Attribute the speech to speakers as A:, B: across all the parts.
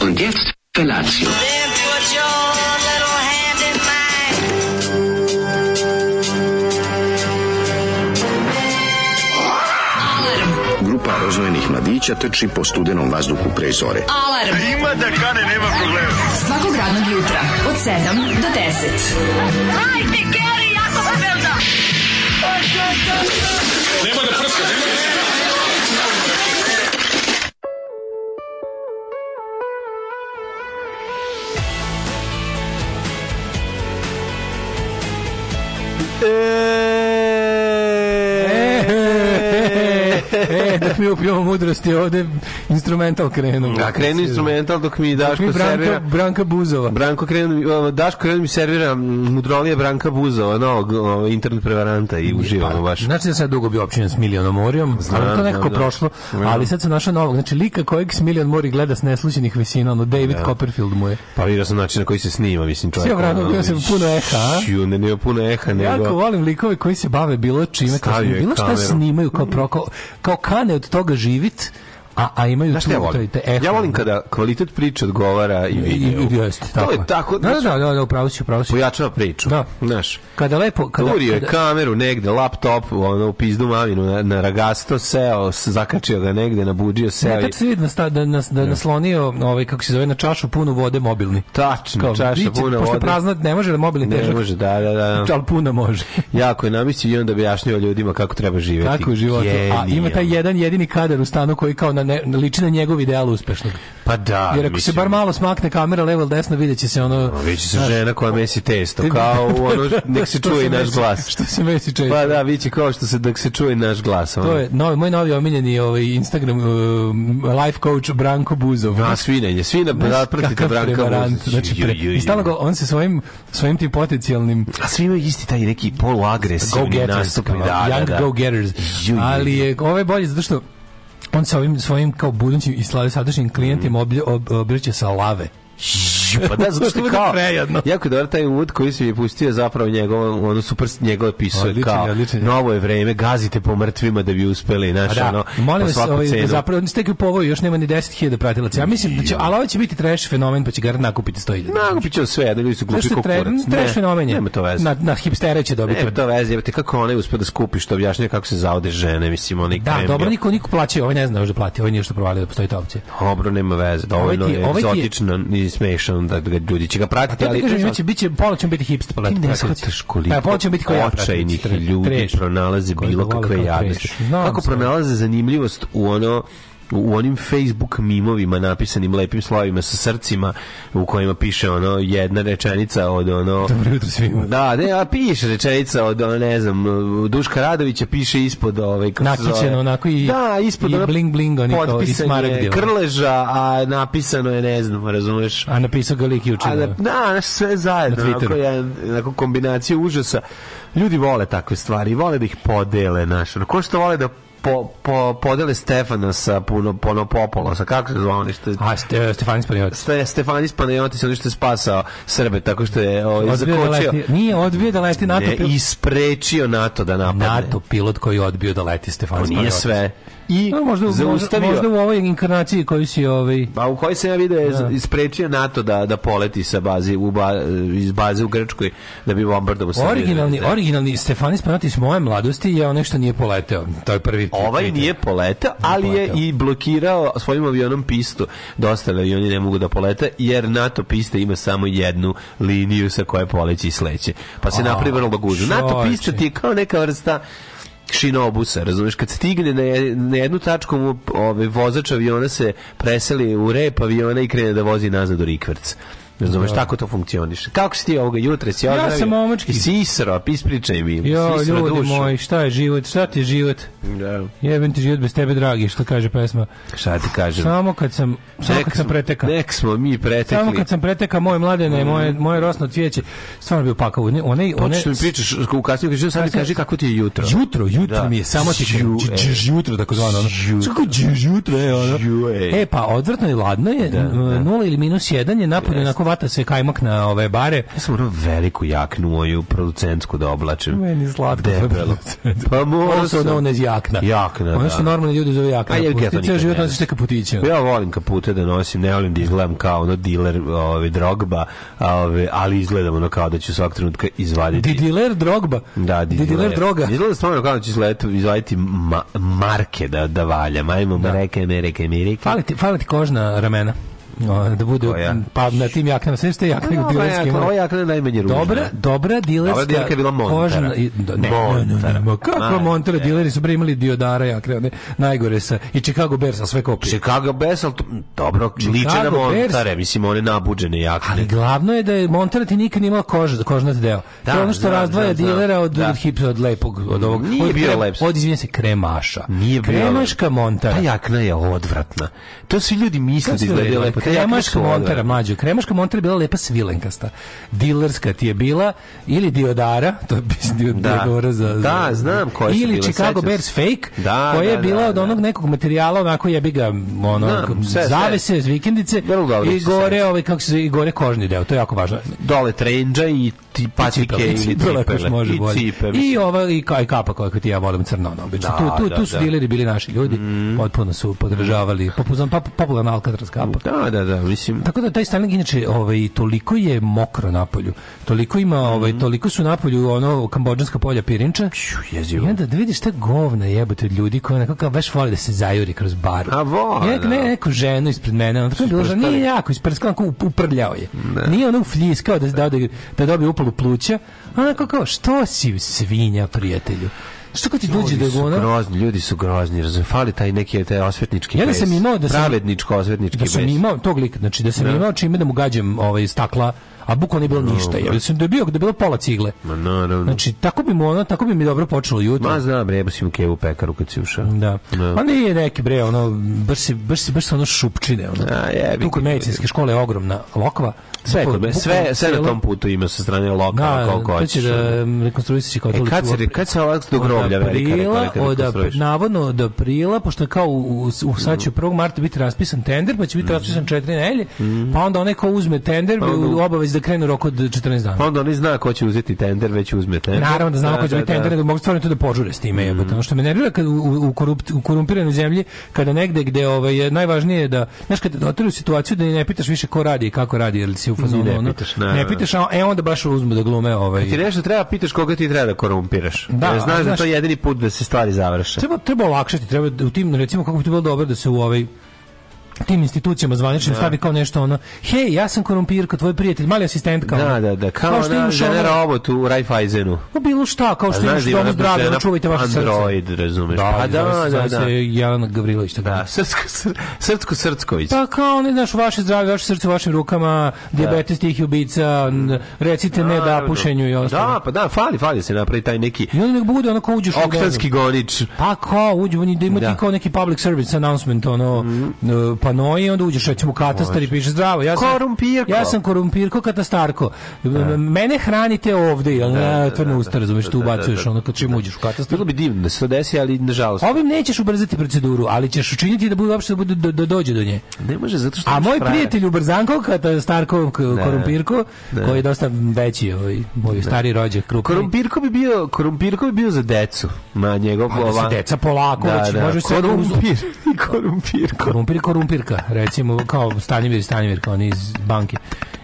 A: Und jetzt Felatio.
B: Then put your little hand in mine.
C: Grupa roznojenih mladića trči po studenom vazduhu pre zore.
D: Alarm. Ima da kane, nema problema. Svakog radnog jutra, od 7 do 10.
E: E, dok mi upijemo mudrosti ovde, instrumental krenu.
F: A krenu instrumental dok mi
E: Dok mi
F: Daško
E: Branka,
F: servira.
E: Branka Buzova.
F: Branko krenu, mi- o, Daško krenu mi servira mm, mudrolije Branka Buzova, novog o, ono, internet prevaranta i uživamo baš.
E: Znači da sam ja dugo bio općenjen s Milionom Morijom, znam, ali to je nekako
F: da, da.
E: prošlo, ali sad sam našao novog. Znači, lika kojeg s Milion Mori gleda s neslućenih visina, ono David Copperfield mu je.
F: Pa vidio sam način na koji se snima, mislim čovjek.
E: Sve vrano,
F: ono,
E: bio sam puno eha, a?
F: Šu, ne, ne, puno eha,
E: Jako
F: nego...
E: volim likove koji se bave bilo čime, kao,
F: Stavio je
E: bilo šta
F: kameru.
E: snimaju, kao, pro, kao, kao kane od toga živit, a, a imaju
F: Znaš šta ja volim?
E: taj- taj eho.
F: Ja volim kada kvalitet priče odgovara i
E: I, i,
F: videu.
E: i jeste,
F: To
E: tako
F: je tako,
E: Da, da, da, da, da, upravo si, upravo si.
F: pojačava priču.
E: Da.
F: Znaš,
E: Kada lepo, kada,
F: Turio je
E: kada-
F: kameru negde, laptop, ono, u pizdu maminu, na, na ragasto seo, s- zakačio ga negde, nabuđio seo.
E: Ne,
F: i-
E: kad se vidi na sta, da, nas, da naslonio, ovaj, kako se zove, na čašu punu vode mobilni.
F: Tačno, čaša
E: bit će-
F: puna
E: Pošto
F: vode.
E: prazna, ne može da mobilni
F: Ne
E: težak.
F: može, da, da, da.
E: Ali puna može.
F: Jako je namislio i onda objašnjava ljudima kako treba živjeti.
E: Tako je u životu. A ima taj
F: Genijalno.
E: jedan jedini kadar u stanu koji kao na ne, liči na njegov ideal uspešnog.
F: Pa da,
E: Jer ako se
F: mislim,
E: bar malo smakne kamera levo ili desno, vidjet će se ono...
F: Vići se žena koja mesi testo, kao u ono, nek se
E: Što
F: čuje i naš
E: Messi-
F: glas.
E: Što se mesi često.
F: Pa da, vići kao što se, dok se čuje i naš glas. ono.
E: To je novi, moj novi omiljeni ovaj Instagram uh, life coach Branko Buzov.
F: A svinenje, svina
E: Znaš
F: pratite
E: kakav
F: Branka
E: prevarant,
F: Vuzić.
E: Znači, pre,
F: Ju, ju, ju.
E: I stalno ga, on se svojim, svojim tim potencijalnim
F: A svi imaju isti taj neki poluagresivni
E: go-getters,
F: nastup.
E: kao, ono, young go-getters.
F: Ju, ju,
E: Ali je ovaj bolji zato što on sa ovim svojim kao budućim i sla- sadašnjim
F: Mm.
E: klijentima oblje- ob- obrće sa lave.
F: Pa da, zato što
E: Bude
F: kao...
E: prejedno.
F: Jako je dobar taj uvod koji se je pustio zapravo njegov, ono super njegov pisao
E: Odličan je,
F: kao
E: odličan je.
F: novo je vreme, gazite po mrtvima da bi uspeli,
E: A
F: znaš, ono,
E: da, molim
F: po
E: vas,
F: svaku
E: ovaj, da
F: cenu.
E: zapravo, niste tek po ovoj, još nema ni 10.000 pratilaca. Ja mislim da će, ali ovo će biti trash fenomen, pa će ga nakupiti 100.000.
F: Nagupit će sve, da ljudi su glupi
E: Zašto
F: ko
E: je tre,
F: kurac. Ne,
E: trash fenomen je?
F: Nema to veze.
E: Na, na hipstere će dobiti.
F: Nema to veze, jebate, kako onaj uspio da skupi što objašnjava kako se zavode žene, mislim, onaj
E: Da,
F: krem
E: dobro,
F: je-
E: niko, niko plaće, ovaj ne zna još da plati, ovaj nije što provalio da postoji ta opcija.
F: Dobro, nema veze, dovoljno
E: Ovaj ti-
F: je
E: ovaj ti je-
F: egzotično i smešano da ga ljudi će ga pratiti,
E: Ja ti
F: ali...
E: kažem, biće, biće, pola će biti hipster pa
F: Ti
E: pratiti.
F: ne shvataš koliko
E: Pa, pola će biti koja
F: očajnih ljudi pronalaze bilo kakve jadnosti. Kako pronalaze zanimljivost u ono u onim Facebook mimovima napisanim lepim slovima sa srcima u kojima piše ono jedna rečenica od ono
E: Dobro jutro svima.
F: Da, ne, a piše rečenica od ono, ne znam Duška Radovića piše ispod ovaj kako se zove.
E: Nakićeno onako i-
F: da, ispod
E: i
F: ono,
E: bling bling oni kao i
F: potpisan je
E: smaragdi, ono.
F: Krleža, a napisano je ne znam, razumeš?
E: A napisao ga lik juče.
F: A da,
E: da.
F: da, znaš, sve zajedno,
E: Na Twitteru.
F: onako, jedan, onako kombinacija užasa. Ljudi vole takve stvari, vole da ih podele, znaš, ono, ko što vole da po, po, podele Stefana sa puno, puno popola, sa kako se zvao nešto?
E: A, ste, Stefan Spanjovac.
F: Ste, Stefanis Panajotis, ono što je spasao Srbe, tako što je ovaj,
E: Odbio da
F: zakočio,
E: leti, nije odbio da leti NATO
F: ne,
E: pilot.
F: isprečio NATO da napadne.
E: NATO pilot koji je odbio da leti Stefan
F: To
E: Spanjovac.
F: nije sve. I
E: No, možda, možda,
F: zaustavio.
E: možda u ovoj inkarnaciji koji si ovaj...
F: Pa u kojoj sam ja video je isprečio NATO da, da poleti sa bazi, u ba, iz baze u Grčkoj da bi bombardovao Srbiju.
E: Originalni,
F: Ne.
E: originalni Stefan Spanjovac iz moje mladosti je onaj što nije poleteo. To je prvi.
F: Ovaj nije poletao, ali je
E: poleteo.
F: i blokirao svojim avionom pistu. Dosta avioni ne mogu da polete, jer NATO pista ima samo jednu liniju sa koje poleći i sleće. Pa se
E: A,
F: napravi vrlo gužu. NATO
E: čoveče.
F: pista ti je kao neka vrsta šinobusa, razumeš, kad stigne na, je- na jednu tačku mu ovaj, vozač aviona se preseli u rep aviona i krene da vozi nazad u rikverc. Razumeš, tako to funkcioniše. Kako si ti ovoga jutra? Si ozdravio?
E: sam momački.
F: I sisro, ispričaj mi.
E: Jo,
F: sisro
E: ljudi
F: dušu.
E: moji, šta je život? Šta ti je život?
F: Da.
E: Jebem ti život bez tebe, dragi, što kaže pesma.
F: Šta ti kažem?
E: Samo kad sam, samo
F: Nek
E: kad sam
F: smo-
E: pretekao.
F: Nek smo mi pretekli.
E: Samo kad sam pretekao moje mladene, moje, moje rosno cvijeće, stvarno bio pakao. Ne, one, one,
F: Počeš da mi pričaš u kasniju kažu, sad mi kaži kako ti je jutro.
E: Jutro, jutro
F: Da.
E: mi je samo ti
F: Ju,
E: dž-
F: e.
E: dž- jutro tako zvano. ono.
F: Ju.
E: Kako dž- jutro je ono.
F: Ju, ej.
E: E pa odvrtno i ladno je,
F: Da,
E: n-
F: da.
E: nula ili minus jedan je napolje onako vata se kajmak na ove bare.
F: Ja sam morao veliku jaknu moju producentsku da oblačim.
E: Meni slatko.
F: Debelo. Pa morao
E: Ono su ono
F: sam.
E: nez jakna.
F: Jakna,
E: Ono što
F: da.
E: normalni ljudi zove jakna.
F: A je, ja to
E: Ceo
F: nikad
E: život
F: ne
E: nosiš te kaputiće. ono.
F: Ja volim kapute da nosim, ne volim da izgledam kao ono diler ove, drogba, a, ove, ali izgledam ono kao da ću svak trenutka izvaditi.
E: Didiler drogba.
F: Da, didiler.
E: Didiler droga.
F: Izgleda stvarno kao da će izgledati, izvaditi ma, marke da, da valja. Majmo, da. mareke, mereke, mirike.
E: Fali ti, fali ti kožna ramena. O, da bude
F: Koja?
E: pa na tim jaknama sve ste jakne u
F: Ova
E: dilerskim.
F: jakna- Ova jakna je najmanje ružna.
E: Dobra, dobra dilerska.
F: Dobra dilerka je bila Montara.
E: kožna i- da, ne, ne, ne, ne,
F: Montara.
E: ne, ma kakva
F: Ma,
E: Montara,
F: ne.
E: dileri su bre imali Diodara jakne, one najgore sa i Chicago Bears sa sve kopije.
F: Chicago Bears, ali to- dobro, liče na
E: Chicago Bears.
F: montare, mislim, one nabuđene jakne.
E: Ali glavno je da je Montara ti nikad nije imala kož, kožnat deo.
F: Da,
E: to je ono što
F: znam,
E: razdvaja
F: znam, znam.
E: dilera od,
F: Da.
E: od hipsa, od lepog, od ovog.
F: Nije
E: od
F: bio
E: krem-
F: lep.
E: Od, izvinjam se, kremaša.
F: Nije bio
E: Kremaška Montara.
F: Ta jakna je odvratna. To svi ljudi misle da izgleda lepo. Te jakne
E: Kremaška
F: su
E: montara,
F: odvratne.
E: mlađo. Kremaška montara je bila lepa svilenkasta. Dilerska ti je bila, ili Diodara, to je bis dio,
F: Da.
E: Diodora za...
F: Da,
E: za-
F: znam koje su
E: Ili
F: bile,
E: Chicago
F: sećam se.
E: Bears Fake,
F: Da,
E: koja je
F: da,
E: bila
F: da,
E: od
F: da.
E: onog nekog materijala, onako jebi ga, ono,
F: Znam, sve, sve.
E: zavese, iz vikendice,
F: Vrlo dobro
E: i
F: se
E: gore,
F: sećam.
E: ovaj, kako se, zove, i gore kožni deo, to je jako važno.
F: Dole trenđa i ti patike
E: Pa Cipele,
F: ili
E: cipele, ako još
F: cipele.
E: može
F: I
E: bolje.
F: cipe,
E: I
F: mislim.
E: ova i, ka, i kapa koja koju ti ja volim crno ono, obično.
F: Da,
E: tu, tu,
F: da,
E: tu su
F: da. Mm.
E: dileri bili naši ljudi, potpuno su podržavali, popuzan, pop, popularna Alcatraz kapa.
F: Da, da, da, mislim.
E: Tako da taj Starlink inače ovaj toliko je mokro na polju. Toliko ima
F: Mhm.
E: ovaj toliko su na polju ono kambodžanska polja pirinča. I
F: Jezivo.
E: onda da vidiš ta govna jebote od ljudi koji onako kao baš vole da se zajuri kroz baru.
F: A vole,
E: Ja ne,
F: da.
E: neku ženu ispred mene, ona tako je bila žena, nije jako isprskala, onako up- uprljao je. Nije ono ufljiskao da, da, da, da dobije upalu pluća. Onako kao, što si svinja, prijatelju? Što kad ti dođe
F: Ljudi
E: da
F: su
E: ga ono...
F: grozni, ljudi su grozni, razum, fali taj neki taj osvetnički
E: Ja da
F: bes.
E: sam imao da sam-
F: Pravedničko osvetnički
E: da sam
F: bes.
E: imao tog lika, znači da sam imao čime da mu gađam ovaj stakla, a bukvalno nije bilo ništa. Ja sam da je bio da je bilo pola cigle.
F: Ma naravno.
E: Znači tako bi mu ono, tako bi mi dobro počelo jutro.
F: Ma znam, bre, jebo si mu kevu pekaru kad si ušao.
E: Da.
F: Da.
E: Pa nije neki bre, ono baš se baš se baš se ono šupčine ono.
F: A, jebi
E: Tu kod
F: ga.
E: medicinske škole je ogromna lokva.
F: Sve,
E: Bukvalno-
F: kod me- sve,
E: bukvalno
F: sve na
E: cijela-
F: tom putu ima sa strane lokala,
E: Da,
F: koliko
E: to će
F: hoćeš. ono.
E: da rekonstruiši kao
F: E,
E: ulicu
F: kad
E: u
F: se,
E: Opri-
F: kad se ovak do groblja
E: od
F: velika
E: aprila,
F: reklama
E: od ap- navodno od aprila, pošto je kao u, u, u sad
F: Mhm.
E: će 1. marta biti raspisan tender, pa će biti raspisan četiri nelje,
F: Mhm.
E: pa onda onaj ko uzme tender, bi u obavez da krenu rok od 14 dana.
F: Pa onda oni zna ko će uzeti tender, već uzme tender.
E: Naravno da znamo ko će biti tender, nego mogu stvarno to da požure s time.
F: Mhm.
E: jebote. Ono što me nervira kad u, u, korupt, u korumpiranoj zemlji, kada negde gde ovaj, je najvažnije da, znaš, kada dotiru situaciju da ni ne pitaš više ko radi i kako radi, ili si u fazonu,
F: Ni ne
E: ono,
F: pitaš, naravno.
E: ne pitaš, a e, onda baš uzmu da glume ovaj,
F: Ti nešto treba, pitaš koga ti treba da korumpiraš.
E: Da,
F: Jer
E: a
F: znaš da
E: znaš-
F: to je jedini put da se stvari završe.
E: Treba treba olakšati, treba u tim recimo kako bi to bilo dobro da se u ovaj tim institucijama zvaničnim stavi kao nešto ono hej, ja sam korumpirka, tvoj prijatelj, mali asistent kao
F: Da, da, da, kao,
E: što
F: ona
E: imaš ono-
F: žena robot u Raiffeisenu.
E: Pa bilo šta, kao što imaš u
F: ima
E: domu
F: ona
E: zdravlja,
F: žena
E: ono, čuvajte vaše srce.
F: Android, razumeš.
E: Da,
F: pa da, da, da.
E: Se Jelena Gavrilović, tako.
F: Da, Srcko, Sr- Srcko Srcković.
E: Pa kao, ne znaš, vaše zdravlje, vaše srce u vašim rukama, diabetes tih ubica, n- recite ne da
F: Naravno.
E: pušenju i ostalo.
F: Da, pa da, fali, fali da se napravi taj neki
E: I onda nek bude onako uđeš u gradu.
F: oktanski gonič.
E: Pa kao, uđe, on je- da ima
F: Da. Mhm.
E: ti kao neki public service announcement, ono, e, panoje, i onda uđeš recimo u katastar i piše zdravo. Ja sam,
F: Korumpirko.
E: Ja sam korumpirko katastarko. M- Mene hranite ovde, jel ne,
F: da,
E: otvorene
F: da,
E: usta, razumeš,
F: da,
E: tu
F: da, da,
E: ubacuješ
F: da.
E: ono kad čim uđeš u katastar.
F: Bilo bi divno da se to desi, ali nažalost.
E: Ovim nećeš ubrzati proceduru, ali ćeš učiniti da bude uopšte da, bude, da, da dođe do nje.
F: Ne može, zato što...
E: A
F: imaš
E: moj
F: frajer.
E: prijatelj u Brzanko, katastarkov k- korumpirko, koji je dosta veći, ovaj, moj stari rođak, krupni.
F: Korumpirko bi bio, korumpirko bi bio za decu. Ma njegov
E: Pa da se deca polako,
F: Da,
E: već
F: da,
E: može sve
F: korumpir, i korumpirko.
E: Korumpir i korumpirka, recimo kao Stanimir i Stanimir, kao oni iz banke.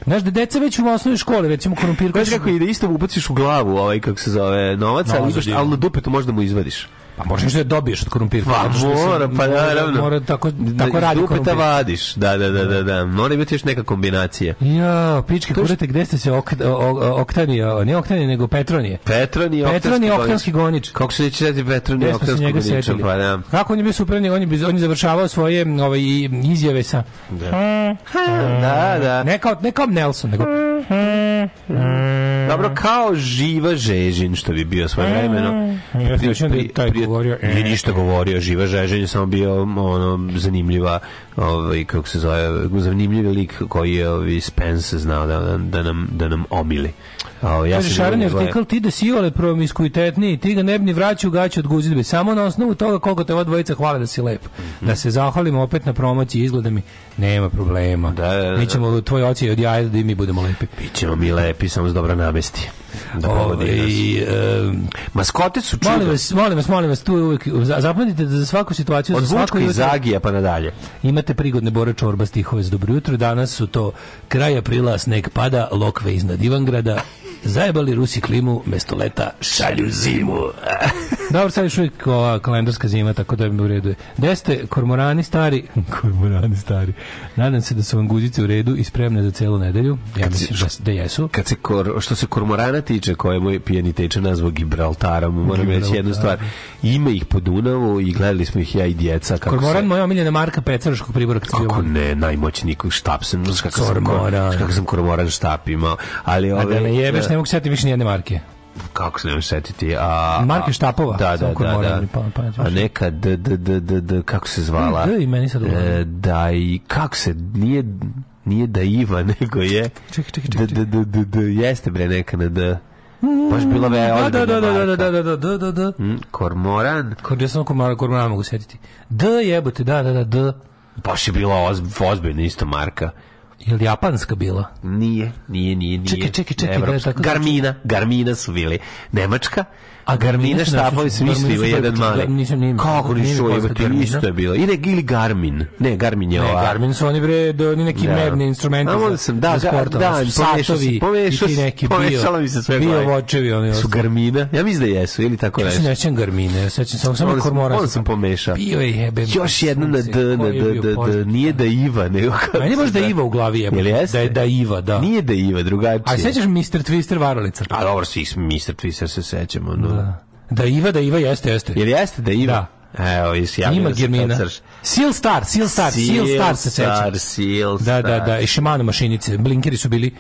E: Znaš da deca već u osnovnoj školi, recimo korumpirka...
F: Znaš kako ide, isto mu ubaciš u glavu ovaj, kako se zove, novac,
E: Novac
F: ali,
E: za
F: imaš,
E: divu.
F: ali na dupetu možda mu izvadiš.
E: Pa možeš da je dobiješ od korumpirka.
F: Pa
E: zato što se
F: mora, pa
E: mora-
F: naravno.
E: Mora, tako,
F: Da,
E: tako
F: iz
E: radi
F: dupeta
E: korumpir.
F: vadiš, da, da, da, da, da. Mora biti još neka kombinacija.
E: Ja, pičke, kurate, gde ste se ok, o- o- oktanije, ne oktanije, nego petronije.
F: Petron i
E: Petron i oktanski
F: gonič.
E: gonič.
F: Kako se neće dati Petron i
E: Gde smo se
F: oktanski
E: njega
F: gonič?
E: setili?
F: Pa da.
E: Kako on je bio super, on je, biz- on je završavao svoje m, ovaj, i- izjave sa...
F: Da, da.
E: Ne kao, ne kao Nelson, nego...
F: Dobro, kao živa Žežin, što bi bio svoje vremeno.
E: E, Ja sam mislio da je taj govorio, e.
F: Nije ništa govorio, živa Žežin je samo bio ono, zanimljiva, ovaj, kako se zove, zanimljivi lik koji je ovaj, Spence znao da, da, da nam, da nam omili. A, ovaj, ja
E: Kaže
F: sam
E: Šaran
F: bio-
E: artikl, ti da si ole promiskuitetniji, ti ga ne bi ni vraćao gaće od guzidbe, samo na osnovu toga koliko te ova dvojica hvale da si lep.
F: Mhm.
E: Da se zahvalimo opet na promociji izgleda mi, nema problema.
F: Da, da, da.
E: Mi ćemo tvoj oci od jaja da i mi budemo lepi.
F: Bićemo mi lepi, samo s dobra namesti. Da povodi nas.
E: Ovaj, e,
F: Maskote su čudo.
E: molim vas, molim vas, molim vas, tu je uvijek, za- zapamtite da za svaku situaciju,
F: Od
E: za svako
F: Vučka i
E: jutro-
F: Zagija pa nadalje.
E: Imate prigodne Bora Čorba stihove za dobro jutro. Danas su to kraj aprila, sneg pada, lokve iznad Ivangrada. Zajebali Rusi klimu, mesto leta šalju zimu. Dobro, sad još uvijek ova kalendarska zima, tako da mi u redu je. Gde ste, kormorani stari? kormorani stari. Nadam se da su vam guzice u redu i spremne za celu nedelju. Ja mislim da, da jesu.
F: Kad se kor, što se kormorana tiče, koje je moj pijani teče nazvao Gibraltarom, moram reći jednu stvar. Ima ih po Dunavu i gledali smo ih ja i djeca. Kako
E: Kormoran,
F: se,
E: moja omiljena marka pecaroškog pribora. kad sam bio
F: Kako
E: mali.
F: ne, najmoćniji ko- štap sam, znaš kako
E: Kormoran.
F: sam, kako sam kormoran štap imao. Ali
E: A
F: ove,
E: da me jebeš, ne mogu sjetiti više nijedne marke.
F: kako se ne mogu setiti. A,
E: Marke štapova,
F: Da, da,
E: samo
F: da. da.
E: kormorani, pa- pa-
F: a neka, d, d, d, d, d, kako se zvala?
E: Da, i meni sad
F: E, da i kako se nije nije da Iva nego je
E: Čekaj, čekaj,
F: da
E: čekaj,
F: da da da da jeste bre neka na da baš bila ve
E: Mm,
F: Mm,
E: Da, da, da, da, da, da, da, da, da, da, da.
F: kormoran
E: Kod ja samo kormorana, kormorana mogu setiti. D jebote, da, da, da, D.
F: baš je bila oz, ozbiljna isto marka
E: Je li japanska bila?
F: nije nije nije nije
E: Čekaj, čekaj, čekaj, da je
F: Evropska.
E: tako-
F: Garmina Garmina su bili Nemačka a Garmina
E: Garmina su nešto-
F: štapovi su
E: Garmina
F: isto
E: su
F: ima
E: prvi
F: jedan
E: put čuo,
F: mali
E: da, nisam ni-
F: kako
E: nije mi
F: nisu
E: poznata
F: jebote
E: Garmina.
F: isto je bilo i ne ili Garmin ne Garmin je
E: Ne,
F: ova
E: E, Garmin su oni bre, do, oni neki
F: Da.
E: merni instrumenti
F: A,
E: za,
F: onda sam, da,
E: za
F: da,
E: sport,
F: da,
E: ono,
F: pomešao si-
E: satovi
F: pomešao
E: i ti
F: si-
E: neki
F: pomešalo mi se sve
E: bio
F: glave.
E: vočevi, oni
F: su
E: ostali.
F: Garmina ja mislim da jesu ili tako
E: Ja se
F: nešto
E: ne sjećam Garmine, ja se sjećam samo, samo
F: Onda sam-
E: kormora.
F: onda sam pomešao.
E: Bio je jebem.
F: Još jedna na
E: sunce,
F: D, na
E: koji je
F: D,
E: bio
F: D, D,
E: požar.
F: nije da Iva, nego kako
E: Meni je baš
F: se
E: da
F: zove.
E: Iva u glavi
F: Jel
E: jebem.
F: jeste?
E: Da je da Iva, da.
F: Nije da Iva, drugačije.
E: A sjećaš Mr. Twister Varalica?
F: A dobro, svi smo Mr. Twister se sećamo, no.
E: Da. Da Iva, da Iva jeste, jeste.
F: Jel jeste da Iva? Da. Evo, jesi javio
E: Ima
F: da se
E: Germina.
F: pecaraš.
E: Seal Star, Seal Star, Seal Star se seća.
F: Star, Seal
E: Da,
F: Star.
E: da, da, i Shimano mašinice, blinkeri su bili,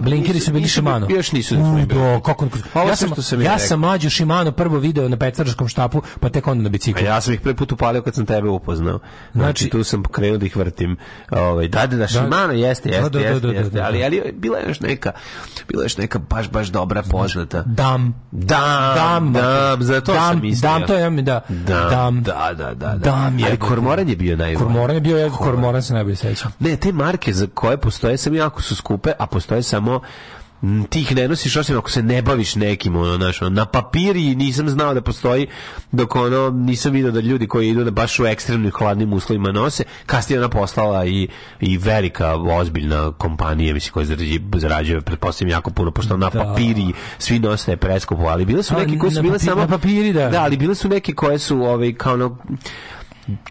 E: blinkeri
F: nisu-
E: su bili
F: nisu-
E: Shimano.
F: još nisu da su mi
E: U,
F: bili. Pa
E: do, kako,
F: Ovo
E: ja
F: sve
E: sam,
F: što sam ja
E: ja,
F: rekao.
E: sam mlađu Shimano prvo video na pecaraškom štapu, pa tek onda na
F: A
E: biciklu.
F: ja sam ih prvi put upalio kad sam tebe upoznao. Znači,
E: Znači-
F: tu sam krenuo da ih vrtim. Ovaj, da, da, da, Shimano, jeste,
E: Da,
F: jeste,
E: da, da,
F: jeste,
E: da, da,
F: jeste.
E: da.
F: Ali, ali bila je još neka, bila je još neka baš, baš dobra poznata.
E: Dam.
F: Dam,
E: Znači, Dam,
F: dam, za to
E: dam,
F: sam mislio.
E: Dam, to je, ja mi da,
F: Dam,
E: dam.
F: da, da, da, da.
E: Dam
F: Ali
E: jebote.
F: kormoran je bio najbolji.
E: Kormoran je bio, ja Kormoran se najbolje sećam.
F: Ne, te marke za koje postoje sam jako su skupe, a postoje samo m, ti ih ne nosiš osim ako se ne baviš nekim ono znaš ono, na papiri nisam znao da postoji dok ono nisam vidio da ljudi koji idu da baš u ekstremnim hladnim uslovima nose kasnije ona poslala i, i velika ozbiljna kompanija mislim koja zarađi- zarađuje pretpostavljam jako puno pošto na
E: Da.
F: papiri svi nose preskupo ali bile su
E: A,
F: neki koji su
E: na
F: bile
E: papi-
F: samo
E: na papiri, da.
F: da ali bile su neke koje su ovaj kao ono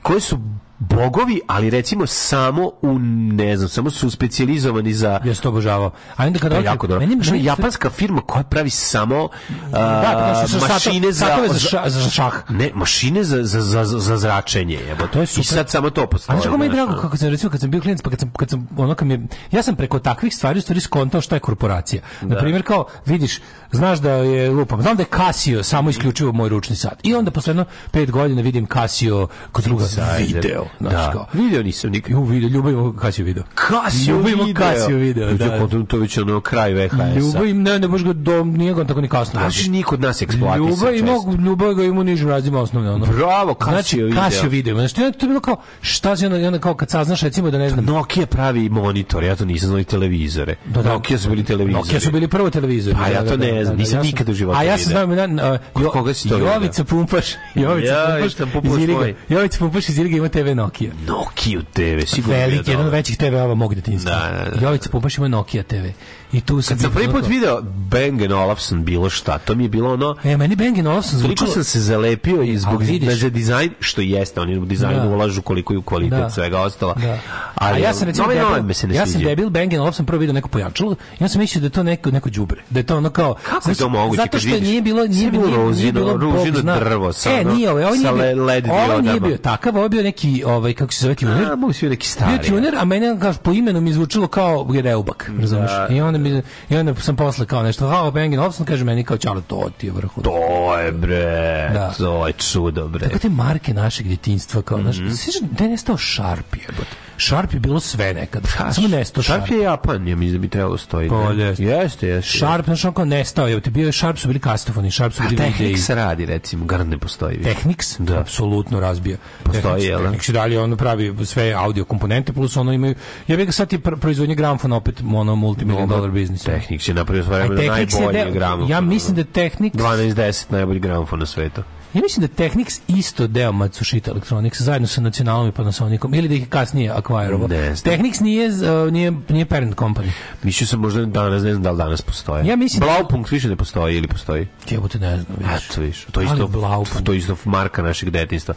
F: koji su bogovi, ali recimo samo u, ne znam, samo su specijalizovani za...
E: Ja sam to obožavao. A onda kada...
F: To je jako dobro.
E: Meni-
F: Znaš,
E: meni-
F: japanska firma koja pravi samo a,
E: Da, kao što su
F: mašine
E: satove- satove za,
F: za,
E: ša- za šah.
F: Ne, mašine za, za, za, za zračenje. Jebo.
E: to je super.
F: I sad samo to
E: A
F: postoji.
E: znaš kako mi je
F: znaš,
E: drago
F: ono.
E: kako sam recimo kad sam bio klijent pa kad sam kad sam ono kad mi je, ja sam preko takvih stvari u stvari skontao šta je korporacija. Na primjer kao vidiš znaš da je lupam znam da je Casio samo isključivo moj ručni sat. I onda posle jedno pet godina vidim Casio kod druga video, znaš
F: da.
E: kao.
F: Video nisam nikad.
E: Ju video, ljubimo Casio video.
F: Kasio
E: Ljubimo Casio video, da.
F: To, to je već ono kraj VHS-a.
E: Ljubav im ne, ne baš ga dom, nije ga on tako ni kasno.
F: Znači, niko od nas eksploatisa.
E: Ljubav ima,
F: često.
E: ljubav ga ima u nižim razima osnovne. Ono.
F: Bravo, Casio
E: znači,
F: video.
E: Casio video. Znači, to je to je bilo kao, šta će onda, i onda kao kad saznaš, recimo da ne znam,
F: Nokia pravi monitor, ja to nisam znao i televizore.
E: Da, da.
F: Nokia su bili televizori.
E: Nokia su bili prvo televizori.
F: Pa ja to ne znam, nisam
E: ja sam-
F: nikad u životu
E: A ja sam
F: vidio.
E: znam, jedan, a,
F: Kod
E: Jo-
F: koga si to vidio?
E: Jovica Pumpaš, Jovica
F: Ja,
E: Pumpaš,
F: šta Pumpaš
E: iz Iriga.
F: moj.
E: Jovica Pumpaš iz Iriga ima TV Nokia.
F: Nokia TV, sigurno je
E: Veliki, jedan od
F: dobro.
E: većih TV-ova mog detinjstva.
F: Da, da, da.
E: Jovica Pumpaš ima Nokia TV. I tu sam...
F: Kad sam
E: bio
F: prvi put
E: onako-
F: video Bang Olufsen bilo šta, to mi je bilo ono...
E: E, meni Bang Olufsen
F: Toliko
E: zvučilo...
F: sam se zalepio i zbog
E: Ali vidiš.
F: da za dizajn, što jeste, oni u dizajn
E: Da.
F: ulažu koliko i u kvalitet
E: Da.
F: svega ostala.
E: Da.
F: Ali
E: A ja sam recimo
F: Novi
E: debil,
F: Novi me se ne
E: ja sam
F: sviđa.
E: debil Bang Olufsen prvo video neko pojačalo, ja sam mislio da je to neko neko đubre, da je to ono kao
F: Kako je to moguće
E: Zato
F: kad
E: što
F: vidiš?
E: nije bilo nije
F: Sve
E: bilo
F: bilo
E: nije
F: ružino-
E: bilo Bog
F: ružino
E: zna.
F: drvo sa
E: E,
F: ono-
E: nije, ovaj, ovaj
F: sa
E: nije
F: le-
E: bio,
F: led
E: ovaj nije
F: diodama.
E: bio takav, ovo je bio neki ovaj, kako se zove tuner.
F: A, mogu svi neki
E: Bio
F: stari.
E: tuner, a mene kaže po imenu mi zvučilo kao Reubak, razumeš? I onda mi i onda sam posle kao nešto, "Ha, Bengen Hobson", kaže meni kao Charles to ti je vrhu.
F: To je bre,
E: Da.
F: to je čudo bre.
E: Tako te marke našeg djetinjstva kao naš,
F: Mhm.
E: mm -hmm. da je nestao Sharp jebote. Sharp je bilo sve nekad. Samo nestao Sharp.
F: Sharp je Japan, ja mislim da bi trebalo stoji.
E: Pa,
F: ne?
E: jeste.
F: Jeste, jeste.
E: Sharp, znaš, on kao nestao, jebote, bio je Sharp, su bili kastofoni, Sharp su
F: A
E: bili videi.
F: Technics radi, recimo, garant ne postoji. više.
E: Technics
F: Da.
E: apsolutno razbija.
F: Postoji,
E: Technics-
F: jel da?
E: Technics i dalje ono pravi sve audio komponente plus ono imaju ja bih ga sad i pr- proizvodnje gramfona opet ono multimilion dolar biznis.
F: Technics je napravio svoje
E: A
F: vremena
E: Technics je
F: najbolji
E: deo-
F: gramofon.
E: Ja mislim da Technics
F: 12-10 najbolji gramofon na svetu.
E: Ja mislim da Technics isto deo Matsushita Electronics zajedno sa Nacionalom i Panasonicom ili da ih je kasnije Acquireovo.
F: Ne znam.
E: Technics nije, z- e, nije, nije parent company.
F: Mislio sam možda danas, ne znam da li danas postoje.
E: Ja mislim da-
F: Blaupunkt više ne postoji ili postoji?
E: Jebote ne znam,
F: A,
E: vidiš.
F: to više. To je
E: Ali
F: isto,
E: Blaupunkt.
F: to je isto marka našeg detinjstva.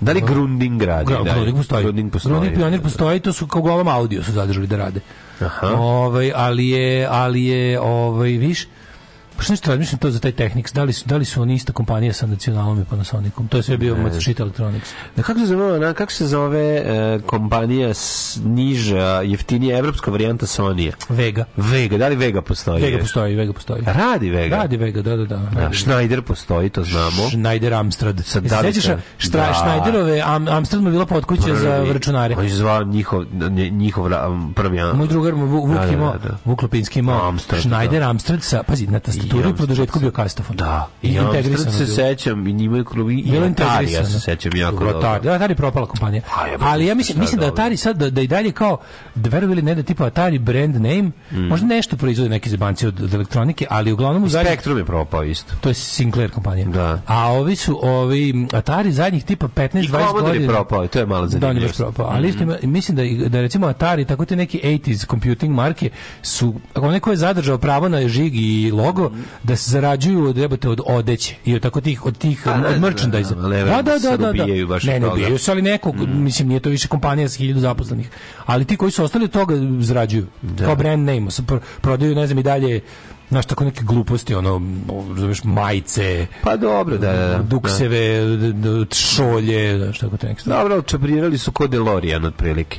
F: Da li Grunding radi?
E: Gra-
F: Da,
E: Grundig postoji.
F: Grundig postoji.
E: Grundig pionir postoji, to su kao golom audio su zadržali da rade.
F: Aha.
E: Ovaj, ali je, ali je, ovaj, viš, pa što nešto razmišljam to za taj Technics, da li su, da li su oni ista kompanija sa Nacionalom i Panasonicom? To je sve bio Matsushita Electronics.
F: Da, kako se zove, ona, kako se zove e, kompanija s, niža, jeftinija, evropska varijanta Sonija?
E: Vega.
F: Vega, da li Vega postoji?
E: Vega postoji, Vega postoji.
F: Radi Vega.
E: Radi Vega, da, da, da.
F: Da, Schneider postoji, to znamo.
E: Schneider Amstrad.
F: Sa
E: Jel se Sećaš
F: Dalicom?
E: štra,
F: Da.
E: Schneiderove Am, Amstrad mu je bila potkuća za računare.
F: On je zvao njihov, nje- njihov ra- prvi... a-
E: Moj drugar mu Vuk
F: Da, da,
E: imao,
F: da, da.
E: Vuk Lopinski imao
F: Amstrad,
E: Schneider Amstrad sa, pazi, na tastaturi
F: I
E: i produžetku
F: Amstrad.
E: bio kastofon.
F: Da, i Amstrad se
E: bilo.
F: sećam, i njima je klub, i
E: Bilo
F: Atari, ja se
E: integrisano.
F: sećam jako
E: Dobro,
F: dobro.
E: Atari, da, Atari je propala kompanija.
F: A, jebote,
E: Ali ja
F: šta
E: mislim,
F: je
E: mislim da
F: dobro.
E: Atari sad, da, da i dalje kao, da veruju ili ne da je tipa Atari brand name,
F: Mm.
E: možda nešto proizvode neki zebanci od, od elektronike, ali uglavnom u zadnjih
F: Spektrum je propao isto.
E: to je Sinclair kompanija.
F: Da.
E: A ovi su ovi Atari zadnjih tipa 15
F: I
E: 20
F: Commodore je
E: godina.
F: propao, i to je malo
E: Da, on je
F: zanimljivo.
E: baš propao. Ali isto
F: Mhm.
E: ima, mislim da, i- da recimo Atari, tako te neki 80s computing marke su, ako neko je zadržao pravo na žig i logo, da se zarađuju od, jebote, od odeće i od tako tih, od tih,
F: da,
E: od
F: da,
E: merchandise.
F: da, ali Pa, ne verujem da se ubijaju baš
E: Ne,
F: od
E: ne
F: toga. Mhm.
E: ubijaju se, ali nekog, mislim, nije to više kompanija s hiljadu zaposlenih. Ali ti koji su ostali od toga zarađuju. Kao brand name. su pr- prodaju, ne znam, i dalje znaš tako neke gluposti ono zoveš majice
F: Pa dobro, da, da, da.
E: dukseve d- d- šolje znaš tako te neke stvari.
F: Dobro, čabrirali su kod DeLorean, otprilike.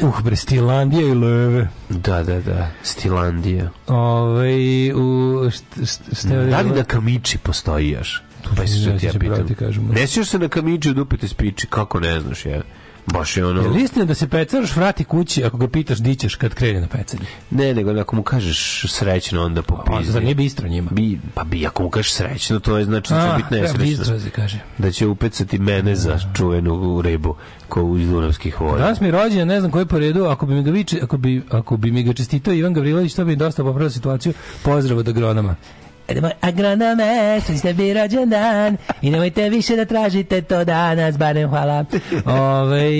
E: Uh, bre, Stilandija i leve.
F: Da, da, da. Stilandija.
E: Ove, u, šta, šta, šta
F: Da li na kamiči postoji još? Pa se što
E: ne
F: ti ja
E: sjećam, pravo
F: pitam.
E: ti kažem.
F: Ne sjećaš se na kamiči od upite spiči, kako ne znaš, je. Baš je ono...
E: Je li istina da se pecaraš vrati kući ako ga pitaš di ćeš kad krene na pecanje?
F: Ne, nego ako mu kažeš srećno, onda
E: Pa,
F: popizdi.
E: zar nije bistro njima?
F: Bi, pa bi, ako mu kažeš srećno, to je znači da
E: A,
F: će biti
E: da,
F: nesrećno.
E: bistro se kaže.
F: Da će upecati mene za čuvenu ribu koju iz Dunavskih voda.
E: Danas mi je rođendan, ne znam koji po redu, ako bi mi ga, viče, ako bi, ako bi mi ga čestitao Ivan Gavrilović, to bi mi dosta popravio situaciju. Pozdrav od agronoma. Idemo E, agronome, što ste bi rođendan i nemojte više da tražite to danas, barem hvala. Ove,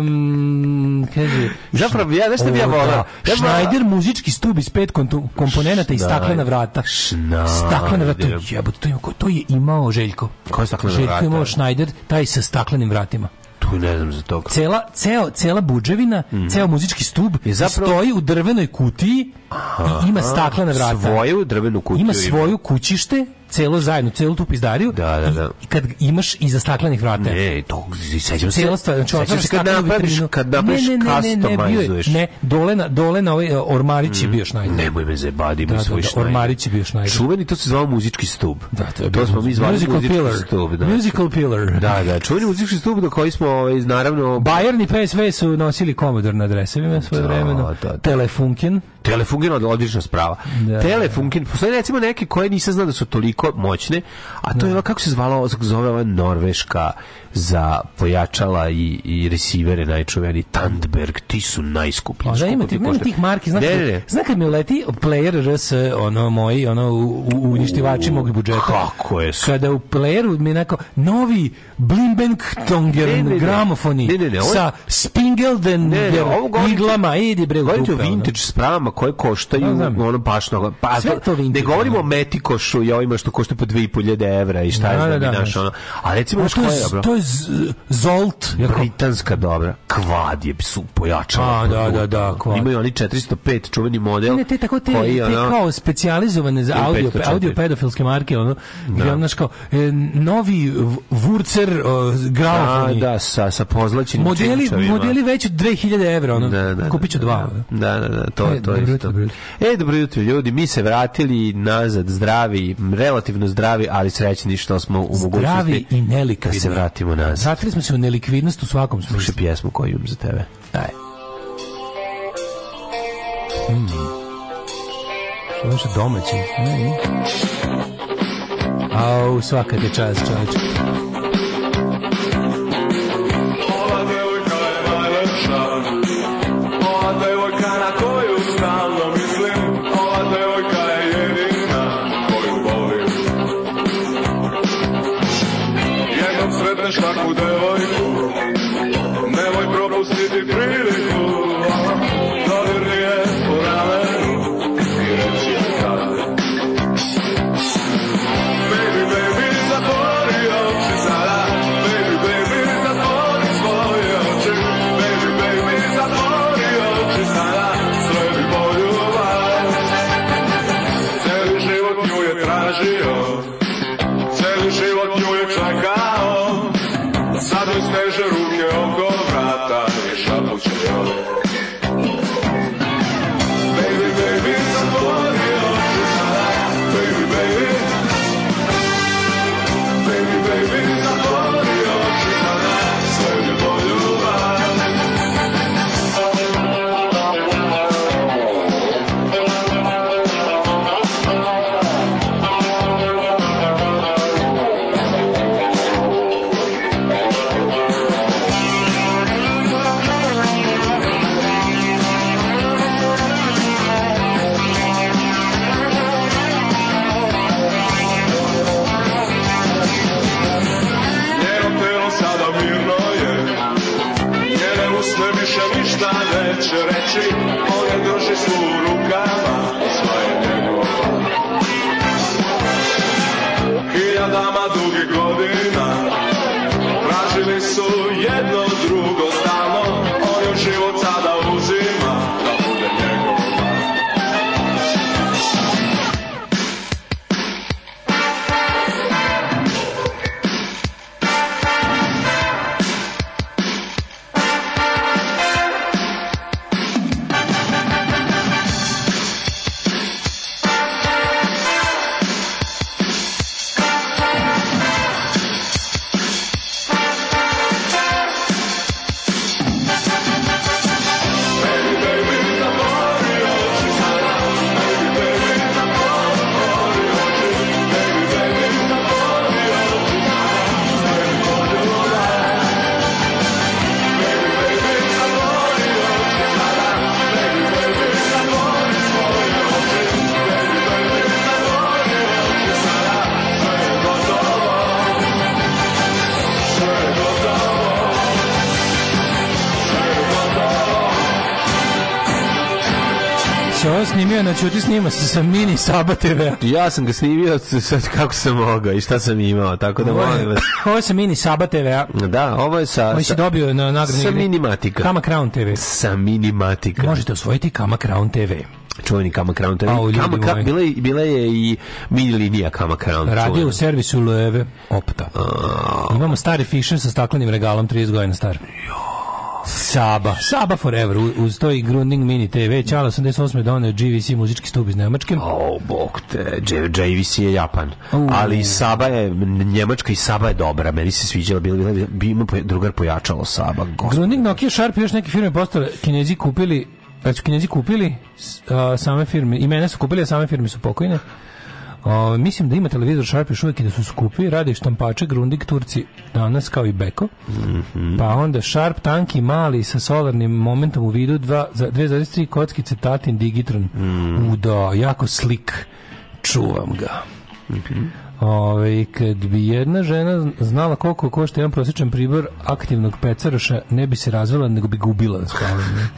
E: um, kaže,
F: Zapravo, ja, znaš šta bi ja
E: O,
F: volao?
E: da.
F: Ja bi volao-
E: Schneider muzički stub iz pet kontu- komponenata i staklena vrata.
F: Schneider.
E: Staklena vrata, jebote, to je, to je imao Željko.
F: Koja staklena
E: Željko
F: vrata?
E: je imao Schneider, taj sa staklenim vratima
F: Tu ne znam za to.
E: cela, ceo, cela buđevina, ceo muzički stub
F: Je Mhm. zapravo-
E: stoji u drvenoj kutiji i ima staklena vrata.
F: Svoju drvenu kutiju.
E: ima svoju kućište, celo zajedno, celu tu pizdariju.
F: Da, da, da.
E: I kad imaš iza staklenih vrata.
F: Ne, to sećam se.
E: Cijela stvar, znači
F: Sećam
E: otvaraš
F: se kad
E: staklenu
F: napraviš,
E: vitrinu.
F: kad napraviš
E: Ne, ne, ne, ne, ne, bio je-
F: customizuješ.
E: Ne, dole na, dole na ovaj e, ormarić je bio Schneider.
F: Nemoj me zebadi,
E: Da,
F: moj
E: da,
F: svoj
E: da,
F: Schneider.
E: Ormarić je bio Schneider.
F: Čuveni, to se zvao muzički stub.
E: Da, to je bio
F: to smo mi zvali
E: musical
F: muzički
E: pillar.
F: stub. Da.
E: Musical pillar.
F: Da, da, čuveni muzički stub do koji smo, ovaj, naravno,
E: Bayern i PSV su nosili Commodore na dresovima svoje
F: Da,
E: vremena.
F: da, da.
E: Telefunken.
F: Telefunken od odlična sprava.
E: Da.
F: Telefunken, postoje recimo neke koje nisam znao da su toliko moćne, a to je ova, kako se zvala, ova- zove ova Norveška za pojačala i, i resivere najčuveni Tandberg, ti su najskuplji.
E: Pa da
F: Znaš
E: ima
F: koliko
E: tih,
F: ti
E: ima
F: košta?
E: tih marki, znaš,
F: Ne, ne, ne.
E: znaš kad mi uleti player RS, ono moji, ono u, u- uništivači mog budžeta.
F: Kako je su
E: Kada u playeru mi je neko novi Blimbenk
F: Ne, ne, ne.
E: gramofoni
F: Ne, ne, ne, ovo je-
E: sa Spingelden
F: Ne, ne, ovo govorim-
E: iglama, idi bre u
F: Govorite o
E: dupe, ono.
F: vintage spravama koje koštaju
E: Da, znam.
F: ono pašno. Pa,
E: Sve je to vintage,
F: ne govorimo
E: da.
F: o metikošu i ovima što košta po 2.500 evra i šta
E: Da,
F: je
E: da,
F: znam,
E: da,
F: i naš
E: da.
F: ono. A recimo,
E: A
F: znaš
E: Pa to
F: koja je
E: je,
F: dobro?
E: to je z- Zolt, jako-
F: Britanska dobra. kvad je su pojačala.
E: A, da, da, da, kvad.
F: Imaju oni 405 čuveni model.
E: Ne, te tako te,
F: koji,
E: te
F: ono,
E: kao specijalizovane za
F: Ili
E: audio,
F: 504.
E: audio pedofilske marke, ono, gdje ono, znaš, kao, e, novi v- Wurzer e,
F: A,
E: graofoni.
F: da, sa, sa pozlaćenim
E: modeli,
F: činčevima.
E: modeli već od 2000 evra, ono,
F: Da, da, da,
E: kupit ću dva. ono.
F: Da, da, da, to,
E: E,
F: to je
E: dobro jutro,
F: isto.
E: dobro jutro.
F: E, dobro jutro, ljudi, mi se vratili nazad zdravi, relativno zdravi, ali srećni što smo u
E: Zdravi
F: mogućnosti
E: i
F: da
E: nelikvidni.
F: se vratimo nazad.
E: Zatili smo se u nelikvidnost u svakom
F: Slušaj
E: smislu.
F: pjesmu koju imam za tebe.
E: Aj. Mm. Ovo su domaći. Mm. Au, svaka te čast, čovječe.
A: Ova devojka je najlepša Ova devojka na koju stalno mislim Ova devojka je jedina koju volim Jednom sretneš takvu devojku Nemoj propustiti priliku Dodirni je po ramenu I reći je kad Baby, baby, zatvori oči sada Baby, baby, zatvori svoje oči Baby, baby, zatvori oči sada Sve bi poljubav Celi život nju je tražio Celi život nju je čekao Sad joj steže ruke oko vrata I šapuće joj Baby, baby, zatvori oči sada Baby, baby, Baby, baby, zatvori oči sada, sve mi poljubav. Njeno telo sada mirno je Njene usne više ništa neće reći On je drži svu u rukama a Sva je njegova Hiljadama dugih godina Tražili su jedno drugo stalno On joj život sada uzima Da bude njegova
E: Se ovo snimio, znači ti snima se sa mini Saba TV-a.
F: Ja sam ga snimio sad kako sam mogao i šta sam imao, tako da
E: Ovo
F: molim
E: je-
F: vas.
E: Ovo je sa mini Saba TV-a.
F: Da, ovo je sa...
E: Ovo si
F: sa-
E: dobio na nagradni
F: Sa
E: igri.
F: Minimatika.
E: Kama Crown TV.
F: Sa Minimatika.
E: Možete osvojiti Kama Crown TV.
F: Čuveni Kama Crown.
E: Au, ljudi
F: Kama, Ka-
E: moji.
F: bila, je, bila je i mini linija Kama Crown.
E: Radio
F: čuvena.
E: u servisu Leve E, Opta. Imamo stari Fisher sa staklenim regalom 30 godina star. Saba, Saba forever, U- uz to i Grunding Mini TV, Čala 88. donio GVC muzički stup iz Nemačke.
F: O, bog te, J- JVC je Japan.
E: U.
F: Ali i Saba je, Njemačka i Saba je dobra, meni se sviđala, bila, bila, bi ima poja- drugar pojačalo Saba, gospod.
E: Grundig, Nokia, Sharp i još neke firme postale. Kinezi kupili, pa su Kinezi kupili s- a, same firme, imena su kupili, a same firme su pokojne. O, mislim da ima televizor Sharp još uvijek i da su skupi, rade štampače, Grundig, Turci danas kao i Beko. Pa onda Sharp, tanki, mali sa solarnim momentom u vidu, dva- za 2,3 kockice Tatin Digitron. U, da, jako slik. Čuvam ga. Ove, Ovaj, kad bi jedna žena znala koliko košta jedan prosječan pribor aktivnog pecaroša, ne bi se razvela, nego bi gubila na spavanju.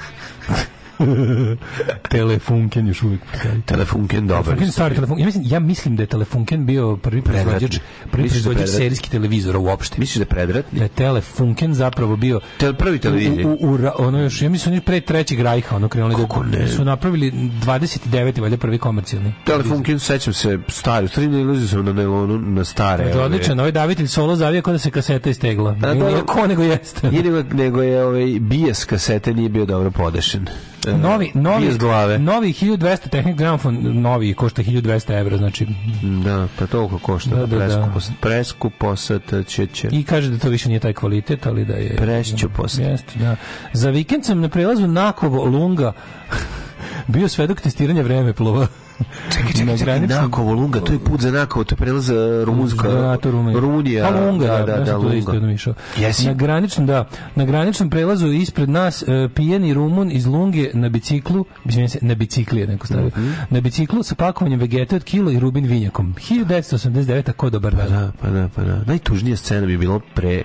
E: Telefunken još uvijek postoji.
F: Telefunken dobar.
E: Telefunken je stari telefon. Ja mislim, ja mislim da je Telefunken bio prvi proizvođač, prvi
F: Misliš da je
E: proizvođač
F: predratni?
E: serijskih televizora uopšte.
F: Misliš da je predratni?
E: Da je Telefunken zapravo bio
F: Te, prvi televizor.
E: U, u, u, ra- ono još, ja mislim, oni pre trećeg rajha, ono krenuli
F: Kako
E: da
F: ne?
E: su napravili 29. valjda prvi komercijalni.
F: Telefunken, sećam se, stari, stari ne iluzio sam na nelonu, na stare.
E: Znači,
F: ove.
E: odličan, ovaj davitelj solo zavija kao da se kaseta istegla.
F: A,
E: Nije
F: da.
E: ko nego jeste.
F: Nije nego, nego je ovaj bijes kasete nije bio dobro podešen. E,
E: Novi, novi,
F: Bijes glave.
E: novi 1200 Technic Grammophon, novi, košta 1200 evra, znači,
F: Da, pa toliko košta.
E: Da, da, da.
F: preskupo, preskupo sad će će.
E: i kaže da to više nije taj kvalitet, ali da je...
F: Prešću posle.
E: Jeste, da. Za vikend sam na prelazu Nakovo Lunga bio svedok testiranja vreme plova. Čekaj,
F: Čekaj, čekaj, Nakovo, Lunga, to je put za Nakovo, to je prelaz za Rumunska, Rumunija.
E: Pa Lunga, da, da, da,
F: Lunga.
E: Lunga. Isto
F: Jesi?
E: Na graničnom, da. Na graničnom prelazu ispred nas e, pijeni Rumun iz Lunge na biciklu, mislim se, na bicikli je neko stavio,
F: Mhm.
E: na biciklu sa pakovanjem vegete od kilo i rubin vinjakom. 1989, a ko dobar dan.
F: Da, pa da, pa da. Najtužnija scena bi bilo pre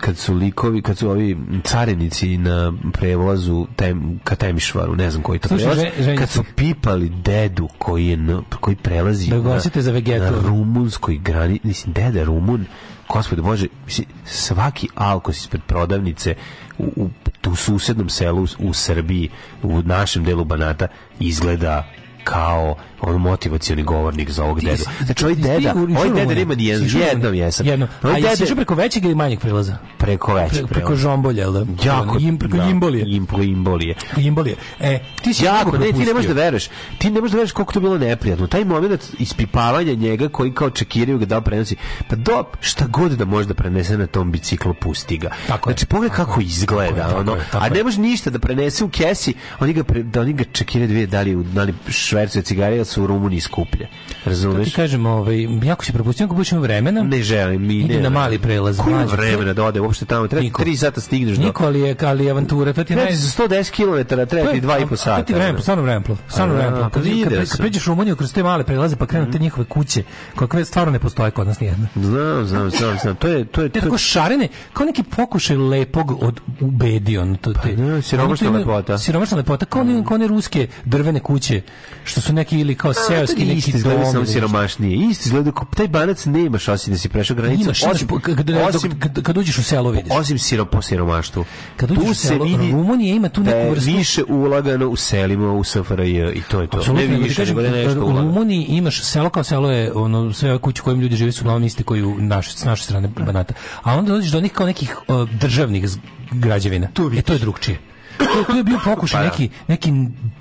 F: kad su likovi, kad su ovi carinici na prevlazu tem, ka Temišvaru, ne znam koji to
E: Slušaj,
F: prelaz,
E: žen- žen-
F: kad su pipali dedu koji, je na, koji prelazi
E: Da
F: na-
E: glasite za Vegetu.
F: na rumunskoj grani, mislim, deda je Rumun, gospod Bože, mislim, svaki alkos ispred prodavnice u, u, u susednom selu u- u Srbiji, u našem delu Banata, izgleda kao on motivacioni govornik za ovog dedu. Znači, ovaj
E: Jesi ti
F: deda,
E: u- išao
F: ovaj
E: u
F: deda
E: Rumuniju?
F: nema ni jedan,
E: Jesi išao u
F: jednom
E: Rumuniju?
F: jesam.
E: Jednom. A
F: Ovaj
E: jesi
F: deda-
E: išao preko većeg ili manjeg prelaza?
F: preko veće.
E: Pre- preko žombolja, jel da? Ono,
F: Jako,
E: Im, preko
F: da,
E: imbolije.
F: Impro, imbolije.
E: Imbolije. E, ti si
F: Jako,
E: mnogo
F: ne, ti ne možeš da
E: propustio.
F: veruješ. Ti ne možeš da veruješ koliko to bilo neprijatno. Taj moment ispipavanja njega koji kao čekiraju ga da li prenosi. Pa do, šta god da može da prenese na tom biciklu, pusti ga.
E: Tako je.
F: znači, pogledaj kako izgleda.
E: tako je,
F: ono.
E: tako
F: A
E: je.
F: ne može ništa da prenese u kesi. Oni ga, pre, da oni ga čekiraju da vide da li, u- da li švercuje cigare ili su u Rumuniji skuplje.
E: Ti
F: Razumeš?
E: kažem, ovaj, jako si propustio, ako budeš imao vremena,
F: Ne želim. Mi,
E: Idi
F: ne,
E: na mali prelaz,
F: Koji
E: mlađe.
F: vremena da ode uopšte tamo? Treba ti
E: Niko.
F: tri sata stigneš do...
E: Niko, ali je, ali je avantura, to ti je
F: Treba
E: naj...
F: ti za 110 km, treba ti dva i po
E: A to
F: sata.
E: ti vremen,
F: ono.
E: stvarno vremenplov, stvarno
F: A,
E: vremenplov.
F: pa
E: Kad, kad,
F: vidio
E: pre-
F: sam.
E: kad pređeš u Rumuniju kroz te male prelaze, pa krenu te njihove kuće, kakve stvarno ne postoje kod nas nijedna.
F: Znam, znam, znam, znam. To je, to je,
E: Te
F: to
E: tako
F: je
E: šarene, kao neki pokušaj lepog od ubedi, ono, to te...
F: da, siromašna
E: Oni to imaju-
F: lepota.
E: Siromašna lepota, kao one, kao one ruske drvene kuće, što su neki ili kao seoski, neki
F: isti
E: dom
F: izgleda samo
E: ili nešto.
F: siromašnije. Isti izgleda kao taj banac nemaš osim da si prešao granicu.
E: Imaš, imaš,
F: osim,
E: kad,
F: osim,
E: kad, kad uđeš u selo vidiš.
F: osim siro, po siromaštvu.
E: Kad
F: Tu
E: uđeš u
F: se
E: selo,
F: vidi
E: Rumunija ima tu
F: da je
E: neku vrstu...
F: više ulagano u selima u SFRJ i to je to.
E: Apsolutno,
F: ne
E: nego ti
F: više,
E: kažem,
F: nego da je nešto
E: u
F: ulagano.
E: Rumuniji imaš selo kao selo je ono sve ove kuće u kojim ljudi žive su uglavnom iste koji u naš, s naše strane Banata. A onda dođeš do onih kao nekih o, državnih z- građevina. Tu e, to je drugčije. To, to je bio
F: Pa
E: pokušaj neki, neki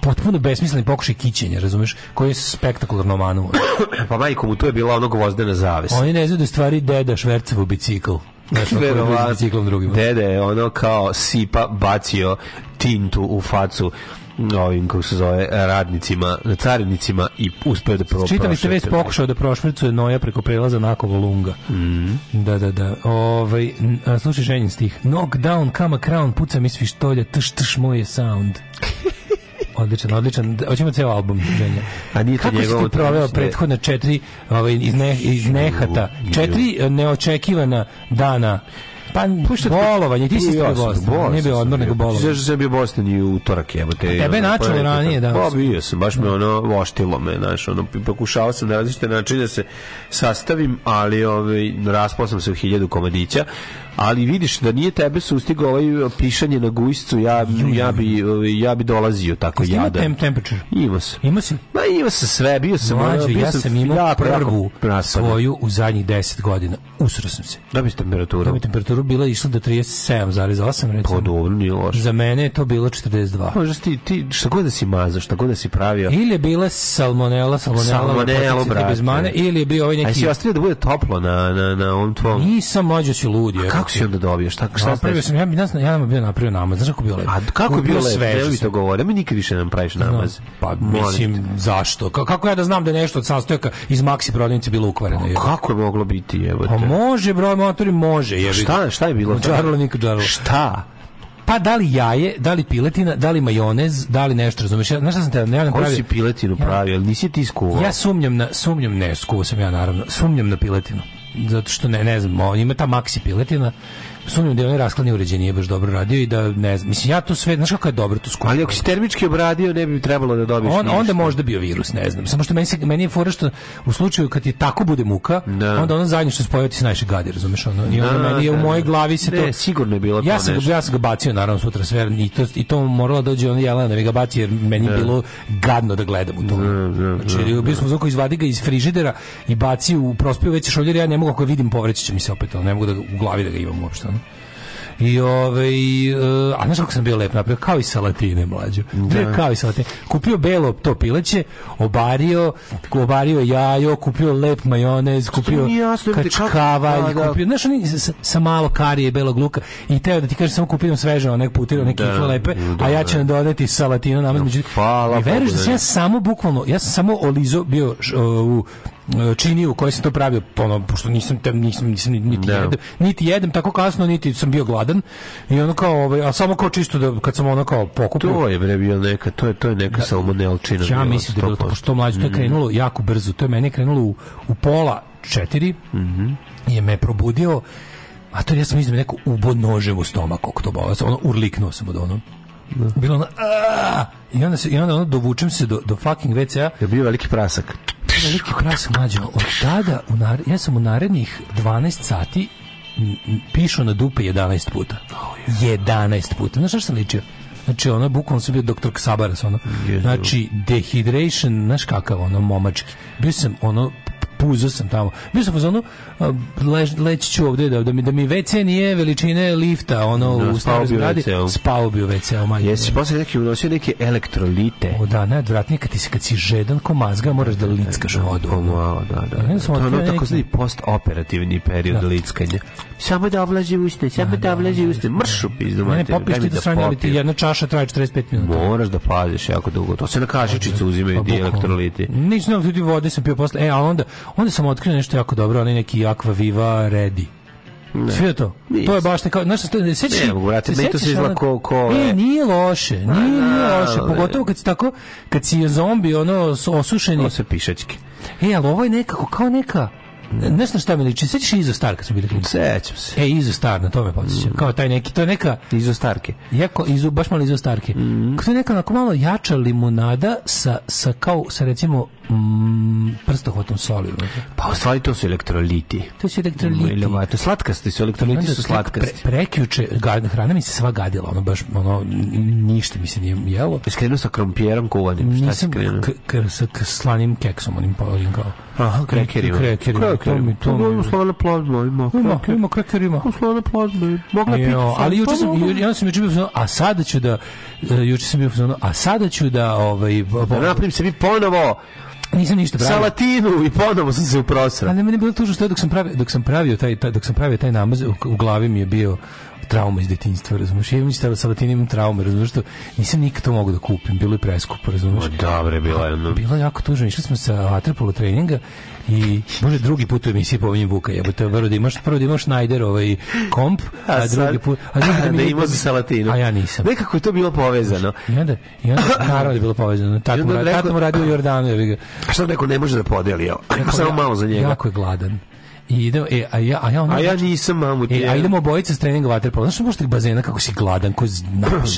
E: potpuno besmisleni pokušaj kićenja, razumeš, koji je spektakularno manuo.
F: Pa majko mu tu je bila ono gvozdena zavesa.
E: Oni ne znaju da je u stvari deda Švercevu bicikl. Znaš, ono koji vozi
F: Verovatno.
E: biciklom drugima.
F: Dede je ono kao sipa bacio tintu u facu ovim, kako se zove, radnicima, carinicima i uspeo da pro-
E: Čitali ste već
F: prošete.
E: pokušao da prošvercuje Noja preko prelaza Nakovo Lunga.
F: Mhm.
E: Da, da, da. Ovaj, n- a, slušaj ženjen stih. Knock down, kama crown, puca mi svištolja, tš, tš, moj je sound. Odličan, odličan. Da, Hoćemo ceo album, ženja.
F: A nije to
E: Kako si
F: njegovo,
E: ti proveo
F: odlično je.
E: prethodna četiri ovaj, iz, ne, iz nehata? Četiri eh, neočekivana dana Pa, bolovanje, ti si
F: Ja
E: bio
F: sam
E: Boston, nije bio
F: sam
E: odmor, nego bolovanje.
F: Znaš da sam bio Boston i u utorak, jebote.
E: tebe je
F: Ono,
E: načelo
F: ponedjeljak.
E: ranije, da.
F: Pa bio sam, baš me ono voštilo me, znaš, ono, pokušavao sam na različite načine da se sastavim, ali ovaj, raspao sam se u hiljadu komadića, ali vidiš da nije tebe sustigao ovaj pišanje na gujscu, ja, ja, bi, ovaj, ja bi dolazio tako
E: Ima
F: jadan.
E: tem, temperature.
F: Ima se.
E: Ima si?
F: Ma ima se sve, bio sam, ono,
E: Mlađo,
F: bio
E: ja sam imao
F: jako, jako
E: prvu
F: raspadan.
E: svoju u zadnjih 10 godina. Usro sam se.
F: Da bi s temperaturom.
E: Da mi temperaturu bila išla do 37,8
F: Pa
E: recimo.
F: dobro, Pa, nije loše.
E: Za mene je to bilo 42.
F: Možda si Ono, ti, ti šta god da si mazao, šta god da si pravio.
E: Ili je bila salmonela, salmonela,
F: Salmonela,
E: lepotica ti
F: brate.
E: bez mane, ili je bio ovaj
F: A
E: neki...
F: jesi ostavio da bude toplo na, na, na ovom tvom... E,
E: Nisam mlađo si ludi. evo.
F: Kako si onda dobio? Šta, šta ste...
E: Napravio sam, ja, bi- ja, sam- ja sam bio napravio namaz, znaš kako je bio lepo?
F: A kako je
E: Kupio
F: bio lepo,
E: sveže
F: ne mi
E: sam.
F: to govore, mi nikad više nam praviš namaz.
E: Pa
F: Molim te.
E: mislim, zašto? Ka- Kako ja da znam da je nešto od sastojaka iz Maxi prodavnice bilo
F: Pa,
E: ukvareno? jebote?
F: Kako je moglo biti, jebote?
E: Pa može, broj motori, može. jebi ga.
F: Pa Šta, šta je bilo?
E: Džarlo, niko džarlo.
F: Šta?
E: Pa da li jaje, da li piletina, da li majonez, da li nešto, razumeš? Ja, znaš šta sam te, ja ne
F: Koju
E: pravio-
F: si piletinu pravio? Jel Nisi ti skuvao?
E: Ja sumnjam na, sumnjam, ne, skuvao sam ja naravno, sumnjam na piletinu. Zato što ne, ne znam, on ima ta maxi piletina sumnjam da je onaj raskladni uređaj nije baš dobro radio i da ne znam, mislim ja to sve, znaš kako je dobro to skupno.
F: Ali ako si termički obradio, ne bi trebalo da dobiješ
E: On,
F: ništa.
E: onda možda bio virus, ne znam. Samo što meni, se, meni je fora što u slučaju kad ti tako bude muka,
F: Da.
E: onda ono zadnje što spojava ti se najviše gadi, razumeš? Ono, I onda
F: Da,
E: meni je u
F: da,
E: mojoj
F: da.
E: glavi se to...
F: Ne, sigurno je bilo
E: ja
F: to
E: sam,
F: nešto.
E: ga- ja sam ga bacio naravno sutra sve i to, i to morala dođe ona Jelena da mi ga baci jer meni je bilo gadno da gledam u to. Znači, bio smo zvuk izvadi ga iz frižidera i baci u prospiju već šoljer, ja ne mogu ako ga vidim povreći će mi se opet, ali ne mogu da ga, u glavi da ga imam uopšte. ono. I ovaj, e, a znaš kako sam bio lep napravio? Kao i salatine, mlađo. Bio Kao i salatine. Kupio belo to pileće, obario, obario jajo, kupio lep majonez, kupio
F: nije jasno, jebote, kako-
E: kačkavalj,
F: Da, da.
E: kupio, znaš, oni sa, sa malo karije belog luka i teo da ti kažem samo kupim sveže one putirane neke kifle lepe, a ja ću vam dodati salatinu namaz. Međutim,
F: hvala
E: mi
F: Bogu
E: veruješ da
F: da
E: sam ja samo bukvalno, ja sam samo olizo bio š- u e, čini u kojoj sam to pravio, ono, pošto nisam, tam, nisam, nisam niti,
F: Da.
E: jedem, niti jedem tako kasno, niti sam bio gladan i ono kao, ovaj, a samo kao čisto da kad sam ono kao pokupio,
F: To je bre bio neka, to je to je neka salmonelčina.
E: ja
F: bila,
E: mislim da je bilo Mhm. to,
F: 100%.
E: pošto to mlađe, to je krenulo jako brzo, to je meni krenulo u, u pola četiri, Mhm. je me probudio, a to je, ja sam izme neko ubo nožem u stomak, koliko to bolo, ono, urliknuo sam od ono. Bilo ono, "Aaah!" i onda, se, i onda ono, dovučem se do, do fucking WC-a,
F: Je bio veliki prasak.
E: veliki pras mlađo, od tada, u nar- ja sam u narednih 12 sati m, m, pišao na dupe 11 puta. 11 puta. Znaš šta sam ličio? Znači, ono, bukvalno sam bio doktor Ksabaras, ono. Znači, dehydration, znaš kakav, ono, momački. Bio sam, ono, puzo sam tamo. Bio sam u zonu, leč, leći ću ovde, da, da, mi, da mi WC nije veličine lifta, ono,
F: Da,
E: u
F: spao
E: staroj
F: bi u
E: zgradi.
F: WC-u.
E: Spao bi u WC-u, majke.
F: Jesi posle neki unosio neke elektrolite.
E: O da, najodvratnije kad ti se, kad si žedan ko mazga, moraš
F: E,
E: da lickaš vodu. ono.
F: O, malo, da, da.
E: Ja
F: da.
E: sam
F: To je ono
E: otkrio
F: tako
E: neki-
F: zli postoperativni period lickanja. Samo da ovlaži uste, samo da ovlaži uste. Mršu pizdu,
E: Ne, ne,
F: mater,
E: popiješ
F: daj mi
E: ti do strane, ali ti
F: popijem.
E: jedna čaša traje 45 minuta.
F: Moraš da paziš jako dugo. To se na kašičicu uzimaju
E: Pa,
F: ti
E: bukvalno.
F: elektroliti.
E: Nisam znao, ljudi vode sam pio posle. E, a onda, onda sam otkrio nešto jako dobro, onaj neki Aqua Viva Ready. Sve to.
F: Nisam.
E: To je baš tako, znaš, to ne sećaš.
F: Ne mogu, brate,
E: se
F: meni to
E: sećaš
F: sve izgleda
E: ono-
F: ko- ko- Pa
E: E, nije loše, nije, nije loše,
F: ali-
E: pogotovo kad si tako, kad si zombi, ono, s- osušeni.
F: To se pišački.
E: E, ali ovo je nekako, kao neka, ne znam šta me liči, sećaš Izo Star kad smo bili klinci?
F: Sećam Mm. se.
E: E, Izo Star, na to me podsjeća. Kao taj neki, to je neka,
F: Izo starke.
E: Jako, izu, baš malo izu starke. Kako to je neka onako malo jača limunada sa, sa kao, sa recimo mm, prstohvatom soli. unutra.
F: Pa u stvari to su elektroliti.
E: To su elektroliti.
F: Elevato. Slatkasti su, elektroliti
E: Onda
F: ovaj, su
E: tek
F: slatkasti.
E: Pre, prekjuče, ga- hrana mi se sva gadila, ono baš, ono, n- ništa mi se nije jelo.
F: Jesi krenuo sa krompijerom kuvanim? Šta si
E: Nisam
F: krenuo?
E: k, k, sa k- slanim keksom, onim pa onim kao.
F: Aha, krekerima.
E: Krekerima, to mi, to mi.
F: Ima slana plazma, ima.
E: Ima,
F: kreker.
E: ima krekerima.
F: Ima slana plazma. Mogla piti
E: Jo,
F: sam.
E: ali juče sam
F: Pa,
E: ju, ja sam juče bio u fazonu, a sada ću da e, juče sam bio u fazonu, a sada ću da ovaj b-
F: Da
E: b-
F: napravim se mi ponovo
E: nisam ništa pravio.
F: salatinu i ponovo sam se uprosra.
E: Ali meni je bilo tužno što je dok sam pravio, dok sam pravio taj, taj dok sam pravio taj namaz u, u glavi mi je bio trauma iz detinjstva, razumeš? Ja imam sa salatinim traume, razumeš što nisam nikad to mogu da kupim, bilo je preskupo, razumeš?
F: Dobre, bila je ono.
E: Bilo je jako tužno, išli smo sa vaterpolo treninga i može drugi put u emisiji pominjem Vuka, jebote, prvo da imaš, prvo da imaš Schneider ovaj komp, a, drugi put,
F: a drugi da
E: mi-
F: imao za salatinu.
E: A ja nisam.
F: Nekako je to bilo povezano.
E: I onda, i onda naravno da je bilo povezano.
F: I
E: Tato mu,
F: onda
E: ra-
F: rekao-
E: tato mu radio u Jordanu, jebi ga.
F: A što neko ne može da podeli, jel? Samo
E: Ja-
F: malo za njega.
E: Jako je gladan. I ide, e, a ja, a ja ono,
F: A ja nisam mamut.
E: E,
F: je.
E: a idemo obojice s treninga vaterpola. Znaš što možete bazena kako si gladan, koji napiš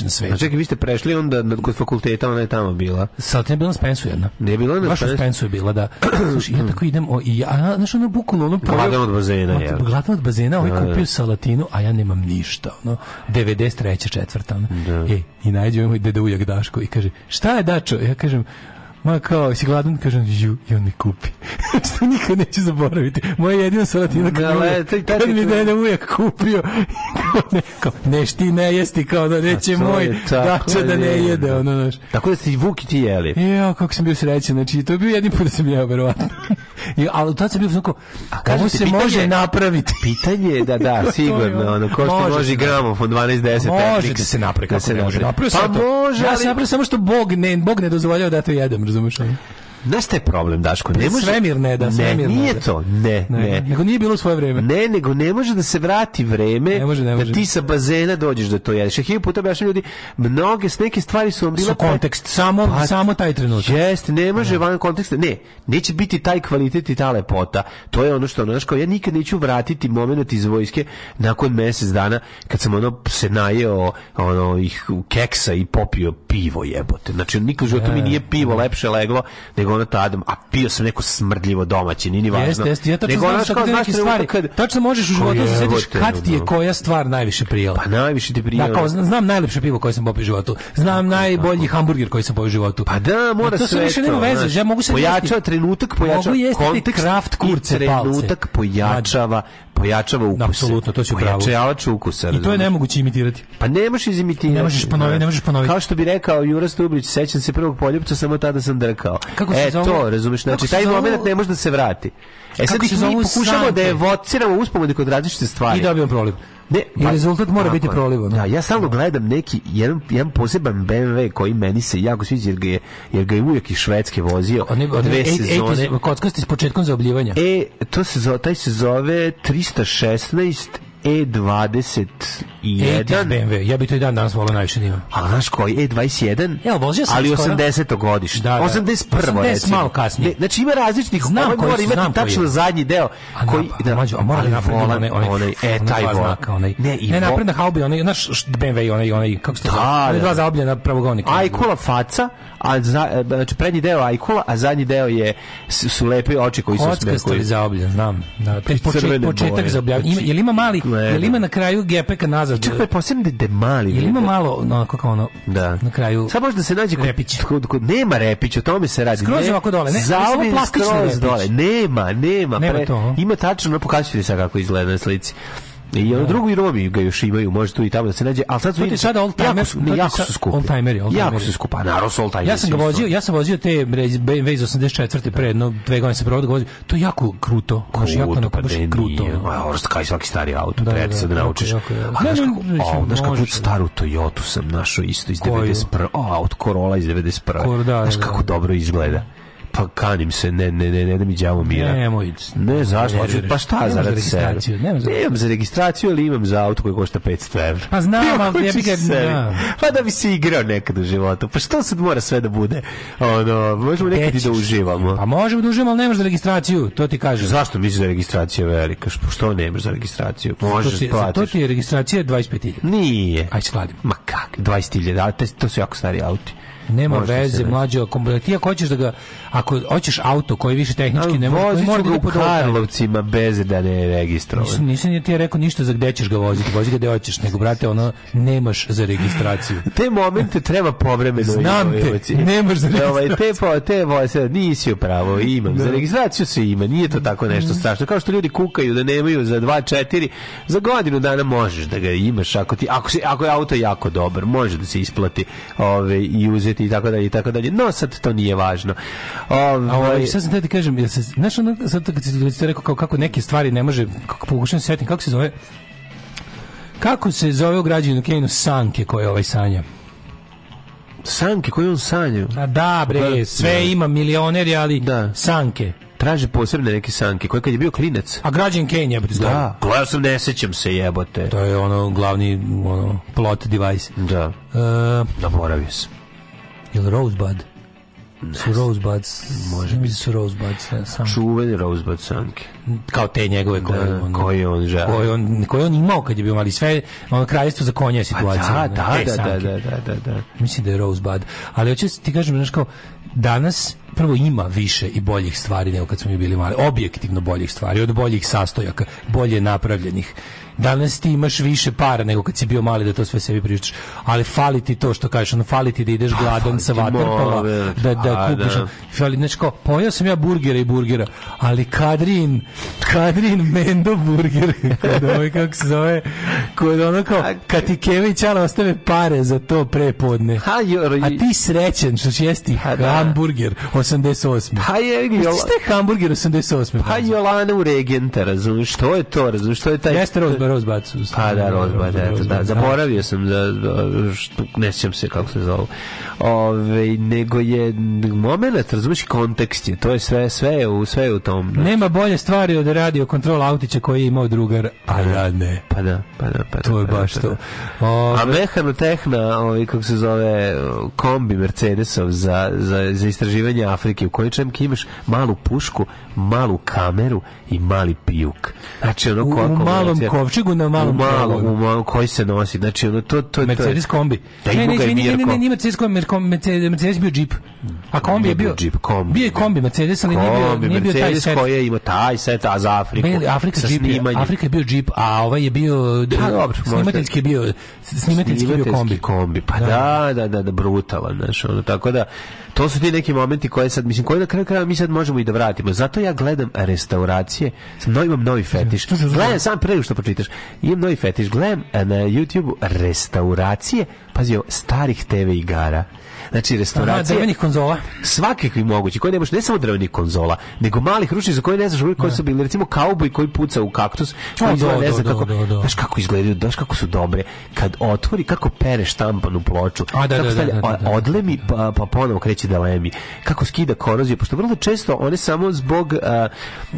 E: na
F: A
E: svetu.
F: čekaj, vi ste prešli onda na- kod fakulteta, ona je tamo bila.
E: Sad je bila na Spensu jedna.
F: Ne bila je na
E: Baš na
F: Spensu?
E: Spensu je bila, da. Slušaj, ja tako idem, o, i ja, a, znaš, ono bukvalno, ono... pojeo-
F: Gladan od bazena,
E: Ono,
F: jel?
E: Gladan od bazena, ovaj
F: Da, da.
E: kupio salatinu, a ja nemam ništa, ono. 93. četvrta, ono. E, i najde ovaj dede ujak Daško i kaže, šta je Dačo? Ja kažem, Ma kao, si gladan, kažem, ju, i on mi kupi. Što nikad neću zaboraviti. Moja jedina salatina
F: Da,
E: kad, mi je-
F: le, taj- taj
E: kad mi
F: ti-
E: dede ujak kupio. ne, kao, neš ti ne jesti, kao da neće
F: To je
E: moj
F: tako
E: dača da ne
F: lijepo.
E: jede, ono, znaš.
F: Tako da ste i Vuk i ti jeli.
E: Jo, kako sam bio srećan, znači to je bio jedni put da sam jeo, verovatno. I, ali tad sam bio znako,
F: kažem
E: ovo
F: ti,
E: se
F: pitanje-
E: može napraviti.
F: Pitanje je da, da, sigurno, ono, ko što
E: Može se
F: može gramofon 12-10
E: Može
F: Technics.
E: da se napravi, kako
F: se
E: ne može.
F: napravi.
E: Napravio
F: Pa
E: sam to.
F: može,
E: Ja
F: ali...
E: sam napravio samo što Bog ne, Bog ne dozvoljava da to jedem, ono? razumiješ?
F: Znaš šta je problem, Daško? Ne može...
E: Svemir ne da, svemir ne
F: nije
E: da.
F: to, ne, ne.
E: ne. Nego nije bilo u svoje vreme.
F: Ne, nego ne može da se vrati vreme
E: Ne može, ne može.
F: da ti sa bazena dođeš da to jedeš. Ja hiljadu puta objašnjam ljudi, mnoge s neke stvari su vam bile...
E: Su kontekst, samo,
F: Pa-
E: samo taj trenutak.
F: Jeste, ne može van konteksta. Ne, neće biti taj kvalitet i ta lepota. To je ono što ono, znaš, kao ja nikad neću vratiti moment iz vojske nakon mjesec dana kad sam ono se najeo ono ih keksa i popio pivo jebote. Znači nikad u životu
E: E,
F: mi nije pivo lepše leglo nego ono tad, a pio sam neko smrdljivo domaće, nije ni važno.
E: Jeste, jeste, ja tačno
F: Nego
E: znam
F: ono,
E: sad
F: kao,
E: te
F: znaš,
E: neke
F: trenutak
E: stvari.
F: kad-
E: Tačno možeš u
F: Pa
E: životu da se setiš
F: jebote,
E: kad ti je
F: ono.
E: koja stvar najviše prijela.
F: Pa ono- najviše ti prije.
E: Da, kao, zna- znam najlepše pivo koje sam popio u životu. Znam najbolji hamburger koji sam popio u životu.
F: Pa da, mora
E: A to
F: sve
E: sve više nema veze,
F: znaš.
E: ja mogu se
F: Pojačava
E: jesti-
F: trenutak, pojačava
E: Mogu jesti ti
F: kontekst
E: kraft kurce
F: i trenutak
E: palce.
F: pojačava, pojačava ukuse.
E: Apsolutno, to si u pravu.
F: Pojačavač ukusa.
E: I to je
F: razumeš?
E: nemoguće imitirati.
F: Pa ne možeš izimitirati.
E: Ne možeš ponoviti, ne možeš ponoviti.
F: Kao što bi rekao Jura Stublić, sećam se prvog poljupca, samo tada sam drkao.
E: Kako se
F: e,
E: zovu-
F: to, razumeš,
E: kako
F: znači,
E: se
F: taj
E: zovu-
F: moment ne može da se vrati. E sad
E: Kako
F: ih
E: se
F: mi
E: zovu
F: pokušamo
E: sanke?
F: da evociramo uspomene kod različite stvari.
E: I dobijemo proliv.
F: Ne,
E: I
F: pa-
E: rezultat mora
F: tako
E: biti
F: je.
E: proliv. ono.
F: Da, ja stalno gledam neki, jedan, jedan poseban BMW koji meni se jako sviđa, jer ga je, jer ga je uvijek iz Švedske vozio
E: Oni, oni,
F: dve
E: ej- ej-
F: sezone.
E: ej- kockasti s početkom zaobljivanja.
F: E, to se zove, taj se zove 316 E21.
E: Ej, ti iz BMW, ja bi to i dan danas volao najviše da imam.
F: A znaš koji? E21?
E: Evo, vozio sam
F: Ali
E: skoro.
F: 80. godište.
E: Da, da.
F: 81.
E: 80
F: recimo.
E: malo kasnije.
F: Ne, znači ima različitih,
E: Znam
F: ovaj
E: koji
F: mora
E: su, znam
F: imati
E: koji
F: tačno
E: je.
F: zadnji deo.
E: A
F: koji,
E: koji, da, mađo, a mora da
F: ali
E: napredno
F: volan,
E: onaj, onaj,
F: onaj, e,
E: ona
F: taj
E: dva
F: volan.
E: znaka, onaj.
F: Ne, i vo-
E: ne, napredna haubi, onaj, znaš, št- BMW, onaj, onaj, kako se to
F: Da,
E: zove?
F: da.
E: Onaj dva zaobljena pravogolnika.
F: Ajkula faca, a za, e, znači prednji deo Ajkula, a zadnji deo je s- su lepe oči koji su
E: Kockast
F: smekli.
E: ili zaobljen, znam. Da, taj početak,
F: crvene
E: početak
F: boje. Znači,
E: zaobljavanja. Ima, jel ima mali, jel ima na kraju gepeka nazad?
F: Čekaj, pa posebno da je demali.
E: Jel ima malo, onako kao ono,
F: Da.
E: na kraju...
F: Sad može da se nađe kod,
E: Repić.
F: kod, kod- nema repić, o tome se radi.
E: Skroz ovako dole, ne,
F: zaobljen
E: samo plastični
F: skroz
E: repić.
F: dole. Nema, nema.
E: Nema to, a?
F: Ima tačno, no, pokazat ću ti sad kako izgleda na slici. I ono drugo i Romi ga još imaju, može tu i tamo da se nađe, ali sad su
E: To ti
F: vidite,
E: sada oldtimer-
F: jako su,
E: to
F: ne,
E: ti
F: jako
E: sad
F: su skupi.
E: oldtimeri, oldtimeri.
F: Jako su skupi, a naravno su oldtimeri.
E: Ja sam ga
F: svi su.
E: vozio, ja sam vozio te BMW iz 84. pre jedno dve godine sam provod vozio. To je jako kruto, baš jako
F: Kruto,
E: onako,
F: pa
E: baš
F: ne,
E: kruto.
F: nije.
E: ono.
F: Ma, ono što kao i svaki stari auto,
E: Da,
F: treba
E: da,
F: se da
E: da,
F: naučiš.
E: jako, jako.
F: A
E: Ne,
F: znaš
E: ne,
F: kako-
E: mislim,
F: a, znaš kako
E: može.
F: staru Toyotu sam našao isto iz
E: Koju?
F: 91. A, od Corolla iz 91.
E: Cor- da,
F: Znaš
E: da,
F: kako
E: da.
F: dobro izgleda. Pa kanim se, ne, ne, ne, ne da mi đavo mira.
E: Nemoj.
F: Ne, zašto?
E: Ne
F: Hoću-
E: veruješ.
F: pa šta
E: Nemaš
F: za
E: za
F: rad sebe?
E: registraciju, nemaš za-
F: Nemam za registraciju, ali imam za auto koji košta 500 evra.
E: Pa znam,
F: Evo,
E: ali
F: hoću
E: jebi ga,
F: sebi.
E: da.
F: Pa da bi se igrao nekad u životu. Pa što sad mora sve da bude? Ono, možemo nekad i da
E: Dećeš.
F: uživamo.
E: Pa možemo da uživamo, ali nemaš za registraciju, to ti kažem.
F: Zašto misliš da je registracija velika? Što- Što nemaš za registraciju? Možeš
E: to ti,
F: da
E: za to
F: platiš.
E: ti je registracija 25.000.
F: Nije.
E: Aj, skladimo.
F: Ma kak, 20.000, a te- to su jako stari auti.
E: Nema
F: Možda se
E: veze,
F: ne-
E: mlađe, ako ti ako hoćeš da ga ako hoćeš auto koji više tehnički ne može,
F: Ali
E: koji
F: vozit
E: mora
F: ću
E: da
F: ga
E: ide
F: u
E: pod oldtimer.
F: Karlovcima bez da ne je registrovan.
E: Nisam, nisam ja ti je rekao ništa za gde ćeš ga voziti, vozi ga gde hoćeš, nego brate, ono, nemaš za registraciju.
F: Te momente treba povremeno
E: Znam te,
F: izvojevati.
E: nemaš za
F: Da, ovaj, te, po, te voze, nisi upravo, imam. Za registraciju se ima, nije to tako nešto strašno. Kao što ljudi kukaju da nemaju za 2-4, za godinu dana možeš da ga imaš. Ako, ti, ako, si, ako je auto jako dobar, može da se isplati ove, i uzeti i tako dalje i tako dalje. No sad to nije važno.
E: A
F: Ovaj,
E: ovaj, sad sam te da ti kažem, jel se, znaš ono, sad kad si, kad si rekao kao kako neke stvari ne može, kako pokušam se setim, kako se zove, kako se zove u građevinu Kejnu sanke koje ovaj sanja?
F: sanke koje on sanju?
E: A da, bre,
F: Da, da.
E: sve ima milioneri, ali
F: Da.
E: sanke.
F: Traže posebne neke sanke, koje kad je bio klinac.
E: A građan Kejn je, da.
F: Da, gledao sam, ne sećam se jebote.
E: To je ono glavni ono, plot device.
F: Da,
E: Uh,
F: zaboravio sam.
E: Jel Rosebud? Su Rosebuds, može biti su Rosebuds, ne, sam.
F: Čuveni Rosebud sanke.
E: kao te njegove koje,
F: Da,
E: on, ono-
F: koje on želi.
E: koje on, koje on imao kad je bio mali, sve ono kraljestvo za konja je
F: Pa
E: situacija.
F: da,
E: ono,
F: da,
E: te
F: da, da,
E: sanke.
F: da, da, da, da.
E: Mislim da je Rosebud. Ali hoću ti kažem, znaš kao, danas prvo ima više i boljih stvari nego kad smo mi bili mali, objektivno boljih stvari, od boljih sastojaka, bolje napravljenih. Danas ti imaš više para nego kad si bio mali da to sve sebi priuštiš, ali fali ti to što kažeš, ono fali ti da ideš
F: Pa,
E: gladan
F: fali
E: sa
F: ti
E: vaterpola,
F: more,
E: da, da
F: pa
E: kupiš,
F: da.
E: fali, znači kao, pojao sam ja burgera i burgera, ali Kadrin, Kadrin Mendo burger, kod ovaj, kako se zove, kod ono kao, kad ti Keva i Ćala ostave pare za to prepodne.
F: Ha, jor,
E: A ti srećen što će jesti
F: Pa da.
E: hamburger 88.
F: pa je,
E: Jeste
F: Jola-
E: šta je hamburger 88?
F: pa Jolana u regenta, razumiješ, što je to, razumiješ, što je taj...
E: Jeste Rosebud Rosebud. su-
F: Pa da, Rozbad,
E: Rosebud,
F: eto, da.
E: Rosebud,
F: Zaboravio sam da, da, što- ne sjećam se kako se zovu. Ove, nego je moment, razumiješ, kontekst je, to je sve, sve je u, sve je u tom. znaš.
E: Nema bolje stvari od radio kontrol autića koji je imao drugar, a ja ne.
F: Pa da, pa da, pa da.
E: To je
F: pa da,
E: baš
F: pa
E: to.
F: da.
E: O,
F: A mehanotehna, ovaj, kako se zove, kombi Mercedesov za, za, za istraživanje Afrike, u kojoj čemki imaš malu pušku, malu kameru i mali pijuk. Znači, ono
E: U- u
F: koliko...
E: malom
F: znači,
E: kovčigu na malom
F: u malom,
E: čovnu.
F: u malom koji se nosi. Znači, ono, to, to, to je-
E: Mercedes kombi.
F: Da
E: ne,
F: ima
E: ne,
F: ga i
E: izvini, ne, ne, ne,
F: Mirko.
E: nije Mercedes kombi, Mer- kom- Mercedes, Mercedes bio džip. A kombi
F: Nije
E: je
F: bio
E: bio...
F: džip, kombi.
E: Bio je kombi Mercedes, ali nije bio,
F: Kombi,
E: nije bio taj
F: Mercedes
E: set.
F: koji je imao taj set, a za Afriku.
E: Beli, Afrika,
F: sa
E: džip je-
F: snimanjem.
E: Afrika je bio džip, a ovaj je bio...
F: Pa dobro, možda.
E: snimateljski je bio, snimateljski je bio kombi.
F: kombi. Pa da, da, da, da brutalan, znaš, ono, tako da, to su ti neki momenti koje sad, mislim, koje na kraju kraja mi sad možemo i da vratimo. Zato ja gledam restauracije, sam no, imam novi fetiš.
E: Slušaj, slušaj.
F: Gledam, sam pre nego što pročitaš, imam novi fetiš, gledam e, na YouTube restauracije, pazi, ovo, starih TV igara. Znači,
E: Aha,
F: restauracije
E: drvenih konzola.
F: svakakvih mogućih, koje nemaš ne samo drvenih konzola, nego malih ručnih za koje ne znaš uvijek koji su bili, recimo kauboj koji puca u kaktus, koji
E: da,
F: izgleda ne
E: da,
F: znam
E: da,
F: kako,
E: da, da.
F: znaš kako izgledaju, znaš kako su dobre, kad otvori, kako pere štampanu ploču,
E: A, da,
F: kako
E: da, da,
F: stavlja,
E: da, da, da.
F: odlemi, pa, pa ponovo kreće da lemi, kako skida koroziju, pošto vrlo često one samo zbog, a,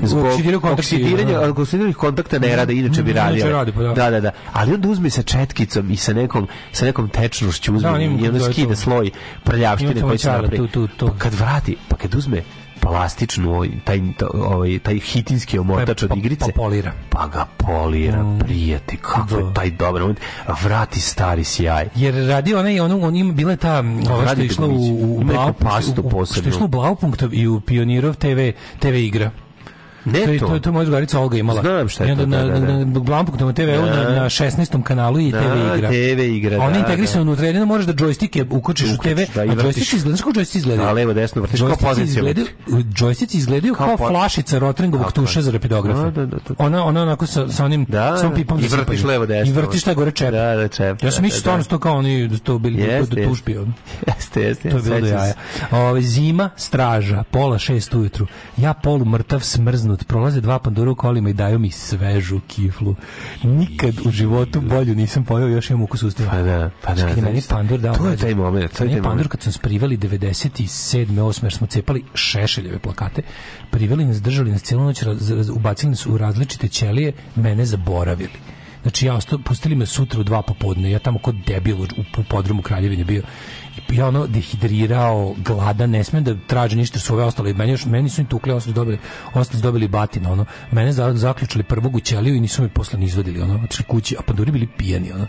F: zbog
E: Oksidiraju kontakti,
F: oksidiranih
E: da, da.
F: oksidiranih kontakta ne rade, inače bi
E: Inače
F: radile.
E: rade, pa da.
F: da, da, da. Ali onda uzme sa četkicom i sa nekom, sa nekom tečnošću uzme
E: on ima
F: i onda
E: kako zove
F: skida
E: to.
F: sloj prljavštine
E: Ima
F: koji će
E: čara,
F: napraviti.
E: tu, tu, tu.
F: Pa kad vrati, pa kad uzme plastičnu ovaj, taj, to- ovaj, taj hitinski omotač
E: Pa-
F: od
E: pa-
F: igrice
E: pa polira.
F: pa ga polira, prijati kako je
E: Mm. Da.
F: taj dobar moment, a vrati stari sjaj
E: Jer radi ona i ono, on ima bila ta ova što
F: Pa, Radi
E: je išla u, u, u
F: Ima neku
E: Blau,
F: pastu
E: u- u, što
F: posebnu.
E: je išla u Blaupunktov i u Pionirov TV, TV igra. To
F: ne
E: je, to, je-
F: to,
E: to je moja drugarica Olga imala.
F: Znam šta je
E: I onda
F: to,
E: na,
F: da, da, da.
E: na, na Blaupunktovom TV-u, na, na 16. kanalu i
F: Da,
E: TV igra.
F: TV igra,
E: A Ona
F: da,
E: je integrisana unutra, jedino moraš da džojstike ukočiš u TV,
F: Uključiš, da, i
E: a
F: vrtiš.
E: džojstici izgledaju, znaš kako džojstici izgledaju?
F: Da, levo, desno vrtiš, kao
E: Džojstici
F: pozicija
E: izgledaju- Džojstici izgledaju
F: Kao
E: kao
F: po-
E: flašica Rotringovog
F: Tako je.
E: tuša za
F: Da,
E: rapidografa.
F: da, da, da.
E: Ona, ona onako sa, sa onim,
F: Da,
E: s onom
F: da.
E: pipom
F: I
E: za
F: vrtiš
E: sipanje.
F: levo, desno.
E: I vrtiš taj gore čep.
F: Da, da, čep,
E: Ja
F: da,
E: sam mislio
F: da,
E: stvarno
F: da.
E: to kao oni, da to bili
F: Jeste,
E: do
F: jeste.
E: tužbi. ono.
F: jeste, jeste,
E: To je bilo do
F: sećam se.
E: jaja. Ove, zima, straža, pola šest ujutru. Ja polu mrtav, smrznut. Prolaze dva pandura u kolima i daju mi svežu kiflu. Nikad u životu bolju nisam pojao, još imam ukus ustima.
F: Pa da, pa da,
E: Kad je meni
F: zaista.
E: pandur dao.
F: To je
E: mlađe.
F: taj moment, to je
E: Meni
F: taj
E: pandur
F: moment.
E: kad sam sprivali 97. 8. jer smo cepali šešeljeve plakate, priveli nas, držali nas cijelu noć, raz, raz- ubacili nas u različite ćelije, mene zaboravili. Znači ja ostao, pustili me sutra u dva popodne, ja tamo kod debil u, u podrumu Kraljevine bio. I ja ono dehidrirao, gladan, ne smem da traže ništa jer su ove ostale. Meni, još, meni su im tukli, ostali dobili, ostali su dobili batina, ono. Mene za- zaključili prvog u ćeliju i nisu me posle ni izvadili, ono. Otišli kući, a panduri bili pijani, ono.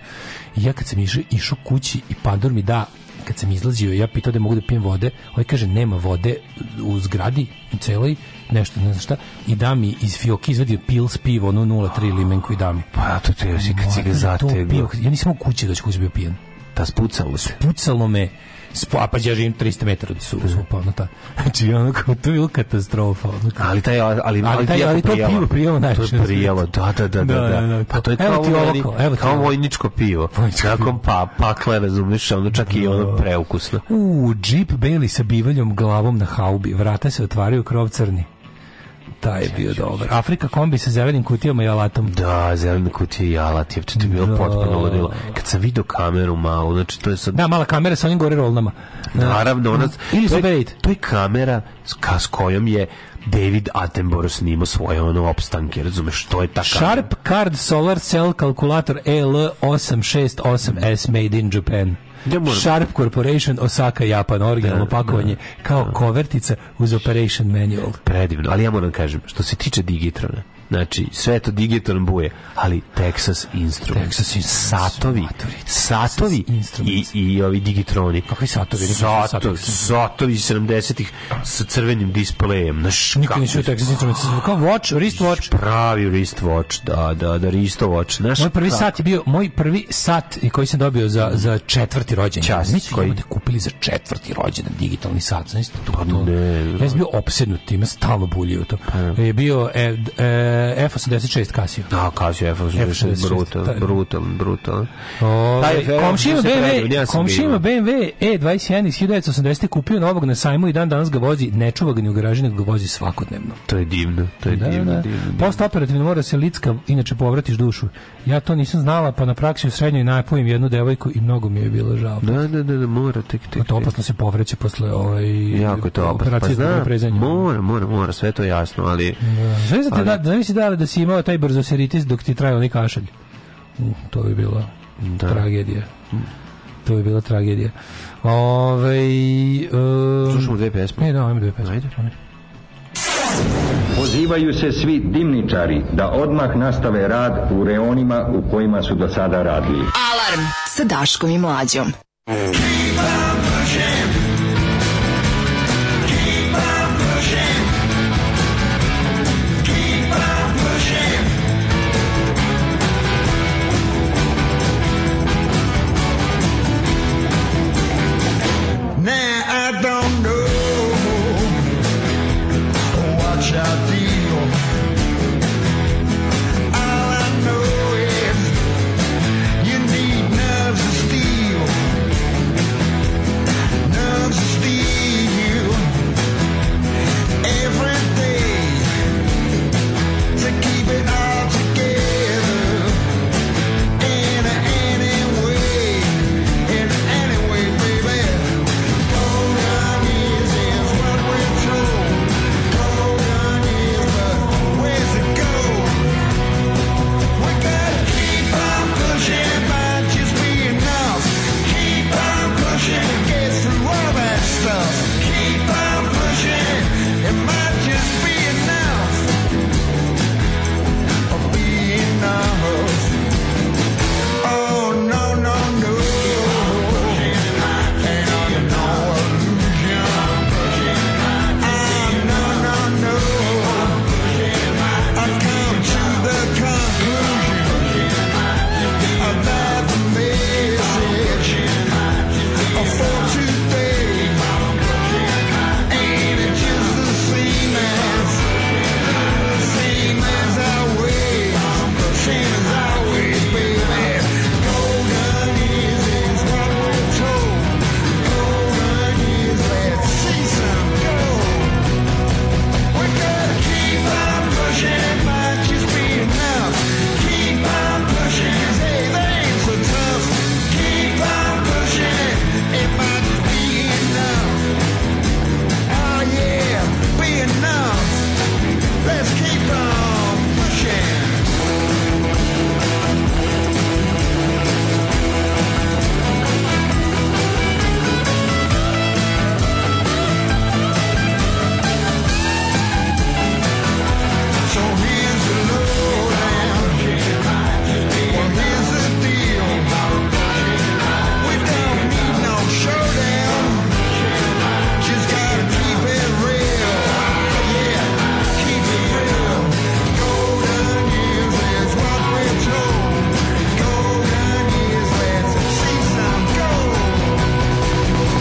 E: I ja kad sam išao, išao kući i pandur mi da kad sam izlazio, ja pitao da mogu da pijem vode, ovaj kaže nema vode u zgradi u celoj, nešto ne znam šta, i da mi iz fioki izvadio pils pivo, ono 0,3 limenku i da mi.
F: pa to te još i kad si ga
E: Mladen, to
F: zategao
E: pivo, Ja nisam mogu kući doći kući bio pijen.
F: ta spucalo se
E: Pucalo me, spo, a pa ja živim 300 metara od su, su pa, ono ta. Znači, ono kao, to je bilo katastrofa. Ono, kao.
F: ali taj ali ali,
E: Ali taj-
F: jako
E: ali to
F: prijelo.
E: pivo prijelo najviše
F: to
E: na
F: je prijelo da da da da,
E: Da,
F: da,
E: da, da.
F: pa to je
E: Evo
F: kao
E: ti
F: ono meni-
E: ovako, evo ti
F: kao
E: ovo.
F: vojničko pivo
E: Vojničko
F: nakon pa pakla razumiješ ono čak i ono preukusno
E: U, džip beli sa bivaljom glavom na haubi. Vrata se otvaraju, krov crni. Taj je bio dobar. Afrika kombi sa zelenim kutijama i alatom.
F: Da, zelena kutija i alat, je to je bilo potpuno ludilo. Kad sam vidio kameru malo, znači to je sad...
E: Da, mala kamera sa onim gore rolnama.
F: Naravno, ona,
E: Ili
F: to je-
E: Super 8.
F: To je kamera s, ka, s kojom je David Attenborough snimao svoje ono opstanke, razumeš, to je ta kamera.
E: Sharp Card Solar Cell Kalkulator EL868S Made in Japan.
F: Ja moram-
E: Sharp Corporation Osaka Japan originalno pakovanje kao kovertica uz Operation Manual.
F: Predivno, ali ja moram da kažem, što se tiče Digitrona, znači sve je to Digitron buje, ali Texas Instruments,
E: Texas Instruments,
F: satovi,
E: matori,
F: satovi
E: Texas Instruments.
F: i, i ovi Digitroni.
E: Kakvi satovi? Nikad nisam vidio
F: Satovi,
E: satovi.
F: satovi 70-ih sa crvenim displejem, znaš,
E: Nikad
F: kako
E: nisam
F: je-
E: vidio Texas Instruments. Kao watch, wristwatch.
F: pravi wristwatch, da, da, da, wristwatch. Znaš,
E: Moj prvi
F: kako-
E: sat je bio, moj prvi sat i koji sam dobio za, za četvrti rođendan.
F: Čast,
E: Mi smo
F: koji- Pa,
E: imate kupili za četvrti rođendan digitalni sat. Znaš, to, to,
F: ne, Pa,
E: ja sam bio opsednut time, stalno buljio to. Je bio e, e, F86 Casio.
F: Da, Casio F86,
E: F86,
F: brutal,
E: taj-
F: brutal, brutal. Taj
E: Ovaj,
F: F86
E: Komšija ima
F: se
E: BMW,
F: predio, ja sam
E: komšija ima BMW E21 E iz 1980. kupio novog na sajmu i dan danas ga vozi, ne čuva ga ni u garaži, nego ga vozi svakodnevno.
F: To je divno, to je
E: Da,
F: divno,
E: da.
F: divno.
E: Post operativno mora se licka, inače povratiš dušu. Ja to nisam znala, pa na praksi u srednjoj napojem jednu devojku i mnogo mi je bilo žao.
F: Da, da, da, da, mora, tek, tek,
E: To
F: tek.
E: opasno se povreće posle ovaj
F: Jako je to opasno. Pa
E: Pa operacije
F: zna,
E: zbog prezanja.
F: mora, mora, mora, sve to je jasno, ali...
E: Znaš da ti
F: Ali-
E: da, da, nisi dala da si imao taj brzoseritis dok ti trajao onaj kašalj? U, to bi bila
F: Da. Mm.
E: tragedija. To bi bila tragedija. Ove, um,
F: Slušamo dve pesme.
E: E, da, ajmo dve pesme.
F: Ajde.
G: Pozivaju se svi dimničari da odmah nastave rad u reonima u kojima su do sada radili.
D: Alarm sa Daškom i Mlađom.
H: Now I don't know what I feel. All I know is you need nerves of steel, nerves of steel every day to keep it all together in any way, in any way, baby. Oh no no no Let's keep on pushing. So here's the lowdown. Well, here's the deal. We don't need no showdown. Just gotta keep it real. Yeah, keep it real. Golden years is what we're told. Golden years, let's see some gold.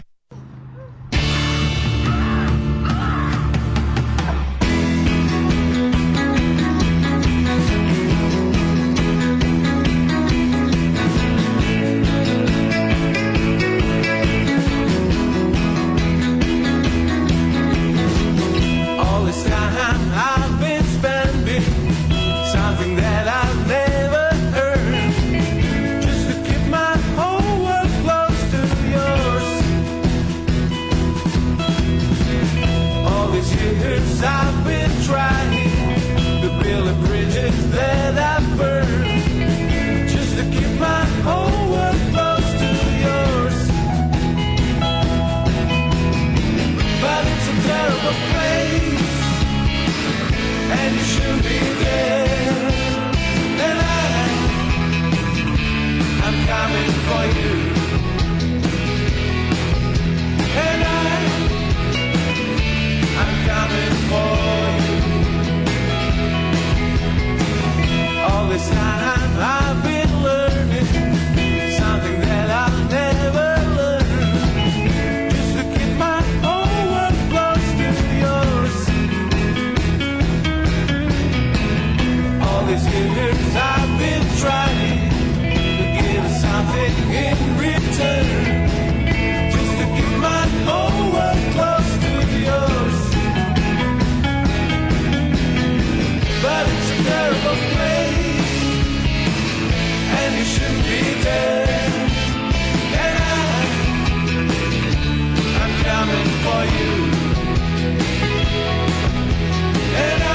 H: that I've burned just to keep my whole world close to yours. But it's a terrible place, and you should be there. And I, I'm coming for you. And I, I'm coming for you. All this time I've been learning something that I'll never learn. Just to keep my whole world close to yours. All these years I've been trying to give something in return. Just to keep my whole world close to yours. but it's a terrible place, and you should be there. And I, I'm coming for you. And I,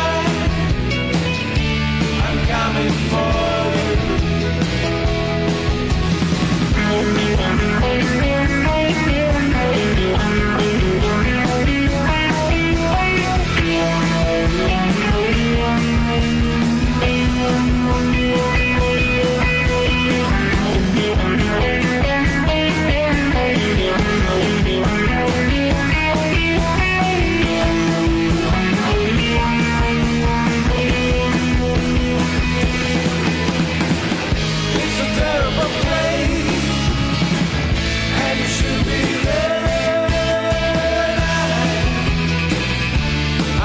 H: I'm coming for you. It's a terrible place, and you should be there.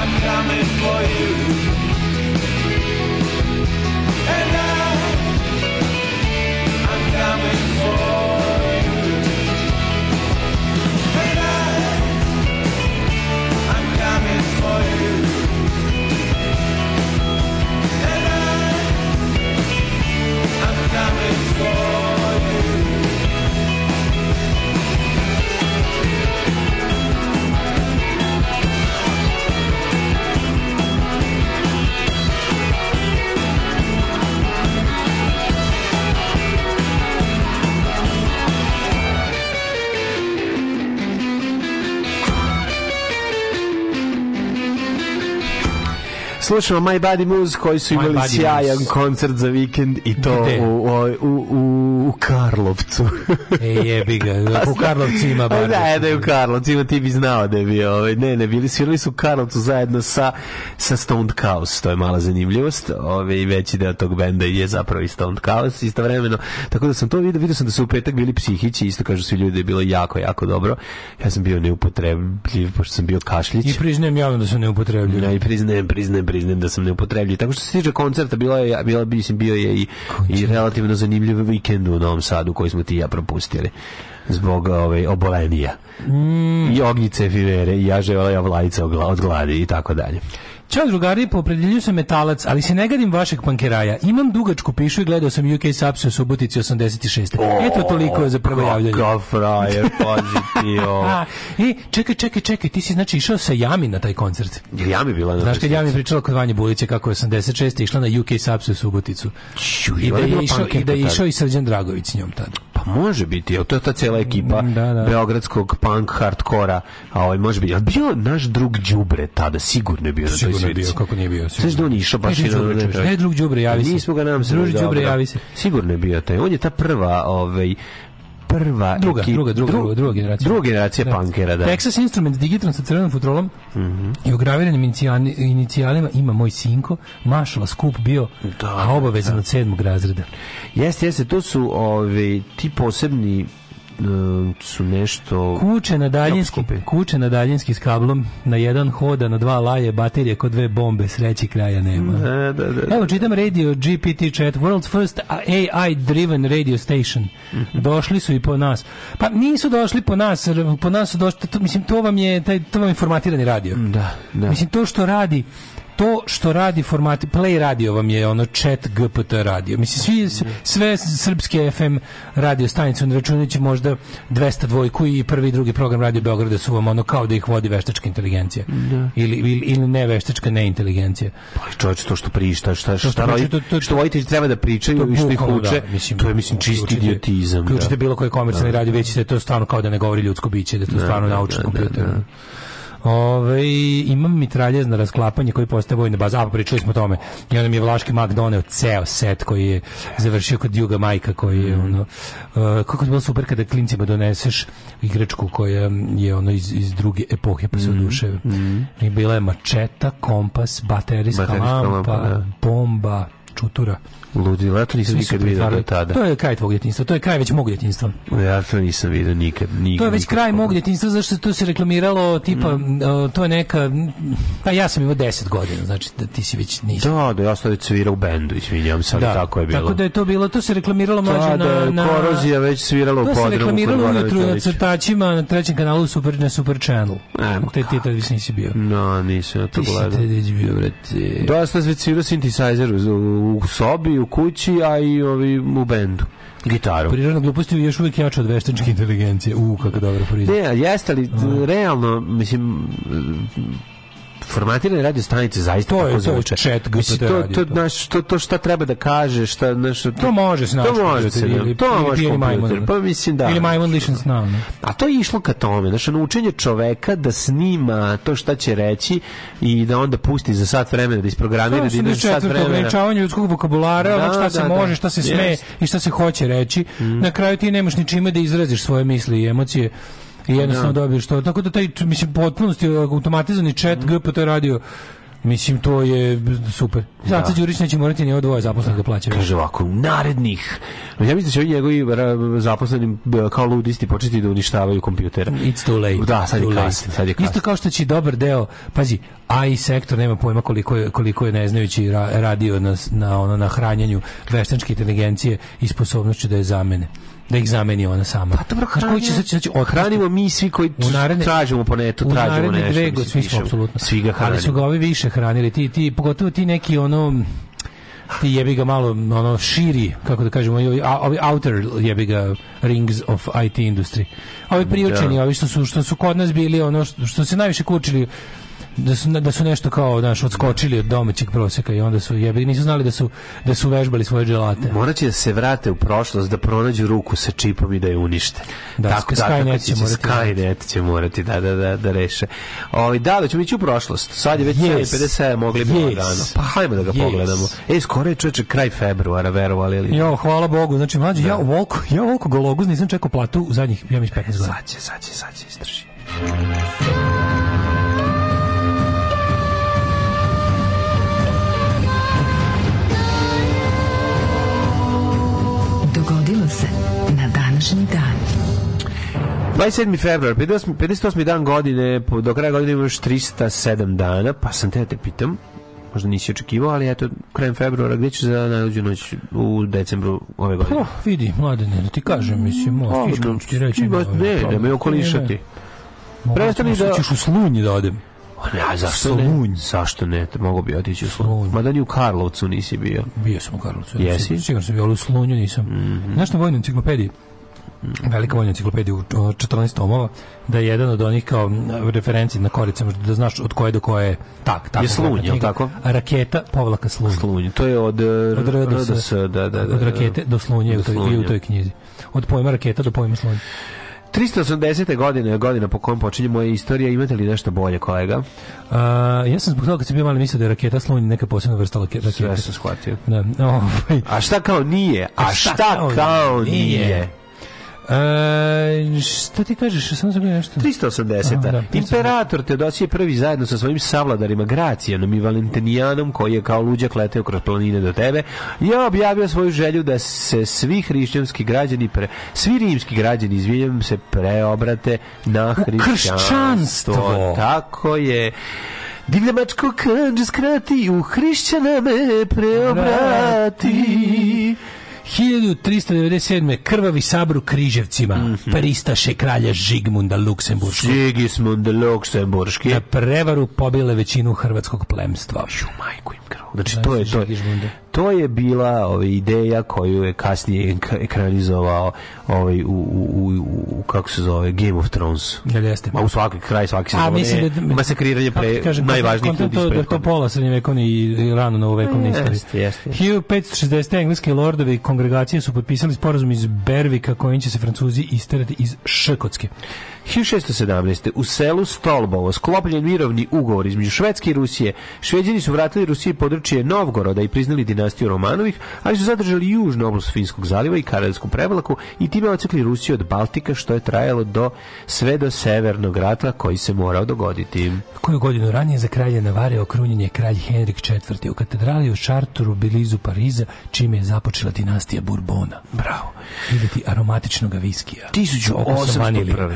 H: I- I'm coming for you, and I, I'm coming for you, and I, I'm coming for you, and I. I'm coming for you.
F: Slušamo My Body Moves koji su imali
E: Body
F: sjajan
E: Moves.
F: koncert za vikend i to
E: Gde?
F: u, o- u, u, u Karlovcu.
E: E, jebi ga, u Karlovci ima bar.
F: Pa da, da je u Karlovcima, ti bi znao da je bio. Ovaj. Ne, ne, bili svirali su u Karlovcu zajedno sa, sa Stoned Chaos, to je mala zanimljivost. Ove, I veći deo tog benda je zapravo i Stoned Chaos istovremeno. Tako da sam to vidio, vidio sam da su u petak bili psihići, isto kažu svi ljudi da je bilo jako, jako dobro. Ja sam bio neupotrebljiv, pošto sam bio kašljić.
E: I priznajem javno da su neupotrebljivi.
F: Ja i priznajem, priznajem, priznajem da sam neupotrebljiv. Tako što se tiče koncerta, bila je, bila, mislim, bio je i, i relativno zanimljiv vikend u Novom Sadu koji smo ti i ja propustili zbog ove, obolenija.
E: Mm.
F: I ognjice fivere, i ja ževala ja vlajica od gladi i tako dalje.
E: Ćao drugari, po opredeljenju sam metalac, ali se ne gadim vašeg pankeraja. Imam dugačku pišu i gledao sam UK Saps u Subotici 86. Eto toliko za
F: Oh,
E: prvo javljanje.
F: Kakav frajer, pazi ti, o.
E: A, I čekaj, čekaj, čekaj, ti si znači išao sa Jami na taj koncert.
F: Jer ja mi bila na
E: Znaš kad
F: toj
E: ja mi pričala kod Vanje Bulića kako je 86. išla na UK Saps u Suboticu.
F: slici. Ju,
E: I da
F: ona bila
E: je išao, i
F: punkerka
E: da je
F: tad.
E: išao i Srđan Dragović s njom tad.
F: Pa može biti, jel to je ta cijela ekipa
E: Mm, Da, da.
F: beogradskog punk hardkora, a ovaj može biti. Jel bio naš drug Đubre tada, sigurno je bio na toj
E: Sigurno je
F: svirci.
E: bio, kako nije bio.
F: Znaš da on išao baš
E: Ne,
F: i na-
E: drug Đubre,
F: na-
E: čuješ. Ne, drug Đubre, javi se.
F: Nismo ga nam se.
E: Druži
F: dobro.
E: Đubre, javi se.
F: Sigurno je bio taj. On je ta prva, ovaj, prva
E: Druga,
F: ekipa-
E: druga, druga,
F: dru-
E: druga, druga generacija.
F: Druga generacija punkera, da. Mhm.
E: Texas Instruments digitalno sa crvenom futrolom i ograviranim inicijani- inicijalima ima moj sinko, mašala skup bio,
F: Da,
E: a obavezan
F: da.
E: od sedmog razreda.
F: Jeste, jeste, to su ovaj, ti posebni um, su nešto...
E: Kuče na daljinski,
F: Jako skupi.
E: kuče na daljinski s kablom, na jedan hoda, na dva laje, baterije kod dve bombe, sreći kraja nema.
F: E, Da, da, da.
E: Evo, čitam radio GPT chat, world's first AI-driven radio station. Došli su i po nas. Pa nisu došli po nas, jer po nas su došli, to, mislim, to vam je, taj, to vam je formatirani radio.
F: Mm, Da, da.
E: Mislim, to što radi, to što radi format Play radio vam je ono chat GPT radio. Mislim svi sve srpske FM radio stanice na računajući možda 202 i prvi i drugi program Radio Beograda su vam ono kao da ih vodi veštačka inteligencija. Ili, ili ili ne veštačka ne inteligencija.
F: Pa čovječe, to što prišta, šta, šta,
E: što pričaju,
F: rodi-
E: to- to-
F: što voditelji treba da
E: To
F: pričaju
E: je
F: i što ih
E: bukvalno,
F: uče,
E: da, mislim,
F: to je, mislim, čisti
E: uključite-
F: idiotizam. da.
E: Uključite bilo koji komercijalni radio, već ćete to stvarno kao da ne govori ljudsko biće, da je to stvarno naučni kompjuter. Ove, imam mitraljez na rasklapanje koji postaje vojna baza, a pričali smo o tome. I onda mi je Vlaški Mag doneo ceo set koji je završio kod Juga Majka koji
F: Mm.
E: je ono, uh, kako je bilo super kada klincima doneseš igračku koja je ono iz, iz druge epohe pa se
F: Mm.
E: oduševe. I bila je mačeta, kompas, baterijska,
F: Baterijska
E: lampa,
F: lampa, da.
E: bomba, čutura.
F: Ludilo, ja to nisam
E: Svi su
F: nikad vidio do
E: pretvarali.
F: tada.
E: To je kraj tvog djetinjstva, to je kraj već mog djetinjstva.
F: Ja to nisam vidio nikad. nikad
E: To je već
F: nikad.
E: kraj mog djetinjstva, zašto tu se reklamiralo, tipa,
F: Mm.
E: o, to je neka, pa ja sam imao 10 godina, znači da ti si već nisi.
F: Da, da, ja sam već svirao u bendu, izvinjam se, ali tako je bilo.
E: Tako da je to bilo, to se reklamiralo mlađe
F: Tada
E: na,
F: je
E: na...
F: korozija već svirala u
E: To se
F: podrumu.
E: reklamiralo
F: kod
E: ujutru na
F: Gorana Vitovića.
E: crtačima na trećem kanalu Super, na Super Channel.
F: Ajmo,
E: Te ti tad već nisi bio.
F: No, nisam ja Mm, to
E: Ti si
F: gledao.
E: tad već bio, brate.
F: Da, ja sam već svirao synthesizer u, u sobi, u kući, a i ovi, u bendu. Gitaru.
E: Prirodna glupost je još uvijek jača od veštačke inteligencije. U, kako dobro prizna.
F: Ne, ali jeste li, realno, mislim, formatirane radio stanice zaista
E: To je-
F: tako
E: to je
F: zvuče.
E: chat GPT
F: Mislim, to,
E: radio,
F: to,
E: to.
F: znaš, to, to šta treba da kaže, šta, znaš, to,
E: To može se naći.
F: To može se, da. To može kompjuter, pa mislim da.
E: Ili majmun lišen sna. ne?
F: A to je išlo ka tome, znači naučenje čoveka da snima to šta će reći i da onda pusti za sat vremena da isprogramira
E: To
F: da
E: su
F: ide
E: ne
F: za sat
E: četvrto
F: vremena.
E: ograničavanje ljudskog vokabulara,
F: Da,
E: ono šta se
F: da, da.
E: može, šta se sme
F: Jest. Mm.
E: i šta se hoće reći. Na kraju ti nemaš ni čime da izraziš svoje misli i emocije i jednostavno dobiješ to. Tako da taj, mislim, potpunosti uh, automatizani chat
F: Mm.
E: GPT radio, mislim, to je super. Zato Đurić neće morati ni ovo dvoje zaposlenih da plaća.
F: Kaže ovako, narednih. Ja mislim da će ovi njegovi ra- zaposleni b- kao ludisti početi da uništavaju kompjutere.
E: It's too late.
F: Da, sad je
E: Too late.
F: kasno, sad je kasno.
E: Isto kao što će dobar deo, pazi, AI sektor nema pojma koliko je, koliko je neznajući ra- radio na, s- na, ono, na hranjenju veštačke inteligencije i sposobnošću da je zamene. Da ih zameni ona sama. Pa
F: Dobro,
E: koji će sad, sad će otpustiti?
F: hranimo mi svi koji
E: U naredne-
F: tražimo po netu,
E: u
F: tražimo
E: naredne
F: nešto.
E: dve
F: mislim,
E: godine, svi smo
F: pišemo.
E: apsolutno.
F: Svi ga hranimo.
E: Ali su ga ovi više hranili, ti, ti, pogotovo ti neki ono ti jebi ga malo ono širi kako da kažemo i ovi, a- ovi outer jebi ga rings of IT industry ovi priučeni, ovi što su, što su kod nas bili ono što, što se najviše kučili da su, da su nešto kao znaš, odskočili od domaćeg proseka i onda su jebi nisu znali da su, da su vežbali svoje dželate
F: Morat će da se vrate u prošlost, da pronađu ruku sa čipom i da je unište.
E: Da, Sky- Skynet će
F: će
E: morati.
F: Skynet će morati da, da, da, da reše. Ovi, da, da ćemo ići u prošlost. Sad je već
E: Yes.
F: 7.57, mogli bi
E: Yes.
F: lagano. Pa hajmo da ga
E: Yes.
F: pogledamo. E, skoro je čoveče kraj februara, verovali ili ne?
E: Jo, hvala Bogu, znači mlađi, ja ovoliko, ja ovoliko gologuz nisam čekao platu u zadnjih, ja mislim 15 godina.
F: Sad će, sad će, sad će, izdrži.
D: Dogodilo se na današnji dan.
F: 27. februar, 58, 58. dan godine, po- do kraja godine ima još 307 dana, pa sam te da te pitam, možda nisi očekivao, ali eto, krajem februara, gdje će za najluđu noć u decembru ove godine?
E: Oh, vidi, mladene, da ti
F: Mm,
E: kažem, mislim, mo,
F: Ovo,
E: stiš mi ti reći.
F: Ma, ne, da me okolišati. prestani da-
E: Hoćeš u slunj da odem.
F: A ne, a zašto ne?
E: Solunj.
F: Zašto ne? Mogu bi otići u Slunj.
E: Solunj.
F: Mada ni u Karlovcu nisi bio.
E: Bio sam u Karlovcu.
F: Jesi? Mhm.
E: Sigurno sam bio, ali u slunju nisam. Znaš na vojnoj enciklopediji, velika vojna enciklopedija u 14 tomova, da je jedan od onih kao m, referenci na koricama, da znaš od koje do koje je tak, tako.
F: Je Slunj,
E: kakva
F: jel'
E: knjiga.
F: tako?
E: Raketa, povlaka slunj.
F: Slunj. To je od, eh,
E: Od RDS,
F: RDS, da, da, da, da.
E: od rakete do slunja je u toj,
F: slunja.
E: i u toj knjizi. Od pojma raketa do pojma slunja.
F: 380. godine je godina po kojem počinje moja istorija. Imate li nešto bolje, kolega?
E: A, ja sam zbog toga kad sam bio mali mislio da je raketa slunj neka posebna vrsta lake- rakete.
F: Sve sam shvatio.
E: Da, ovaj.
F: A šta kao nije? A šta kao nije?
E: E, šta ti kažeš? Samo sam bio nešto.
F: 380.
E: Aha, da,
F: Imperator Teodosije prvi zajedno sa svojim savladarijima Gracijanom i Valentinijanom koji je kao luđak leteo kroz planine do tebe je objavio svoju želju da se svi hrišćanski građani pre, svi rimski građani izvinjavam se preobrate na hrišćanstvo.
E: kršćanstvo.
F: Tako je. Divljamačko kanđe skrati u hrišćana me preobrati.
E: 1397. krvavi sabru Križevcima,
F: Mhm.
E: pristaše kralja Žigmunda Luksemburškog.
F: Sigismund Luksemburški.
E: Na prevaru pobile većinu hrvatskog plemstva.
F: majku im krvu. Znači, to je, to je, to je bila ovaj, ideja koju je kasnije enka- ekranizovao ovaj, u, u, u, u, kako se zove, Game of Thrones.
E: Jel jeste?
F: Ma u svaki kraj, svaki se
E: A
F: zove,
E: Pa mislim da
F: masakriranje
E: kako ti
F: pre,
E: kažem,
F: najvažnijih
E: kontam
F: ljudi iz
E: to, da to
F: prethodne.
E: pola srednjevekovne i i rano novovekovne
F: Jeste,
E: istorije.
F: jeste.
E: 1560. engleski lordovi i kongregacije su potpisali sporazum iz Bervika kojim će se Francuzi isterati iz Škotske.
F: 1617. u selu Stolbovo sklopljen mirovni ugovor između Švedske i Rusije. Šveđani su vratili Rusiji područje Novgoroda i priznali dinastiju Romanovih, ali su zadržali južnu oblast Finskog zaliva i Karelsku prevlaku i time ocekli Rusiju od Baltika, što je trajalo do sve do severnog rata koji se morao dogoditi.
E: Koju godinu ranije za kralja Navare okrunjen je kralj Henrik IV. u katedrali u Šarturu blizu Pariza, čime je započela dinastija Bourbona. Bravo. Vidjeti aromatičnog viskija. Oko su vanili.
F: 1801.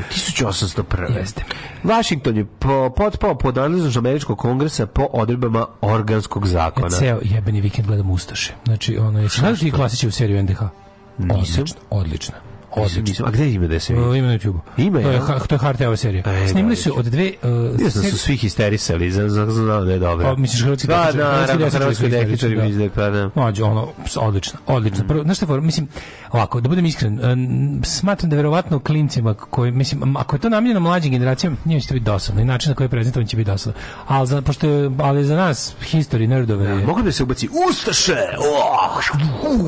F: 1801.
E: Jeste.
F: Washington je po, potpao pod nadležnost američkog kongresa po odredbama organskog zakona.
E: E, Ceo jebeni vikend gledam Ustaše. Znači, ono, je, znaš ti klasiće u seriju NDH?
F: Nisam.
E: Odlična, odlična.
F: Mislim,
E: Odlična.
F: mislim, a gde ima da se vidi?
E: O, Ima na YouTube.
F: Ima,
E: to je,
F: jel?
E: ha- to je Harteova serija.
F: E,
E: Snimili su od dve... Uh,
F: Mislim da
E: ser-
F: su svi histerisali, znam, znam, znam da je dobro.
E: Pa, misliš hrvatski
F: da,
E: tehničari?
F: da,
E: Hrvatski
F: naravno,
E: tehničari su
F: hrvatski tehničari
E: histerični,
F: mi izdak, pa da.
E: Mlađe, ono, ps, odlično, odlično. Prvo, znaš šta je fora? mislim, ovako, da budem iskren, em, smatram da verovatno klincima koji, mislim, m, ako je to namijenjeno mlađim generacijama, njima će to biti dosadno i način na koji je prezentavan će biti dosadno. Ali za, pošto je, ali za nas, history nerdove, je-
F: Mogu da se ubaci Ustaše! Oh!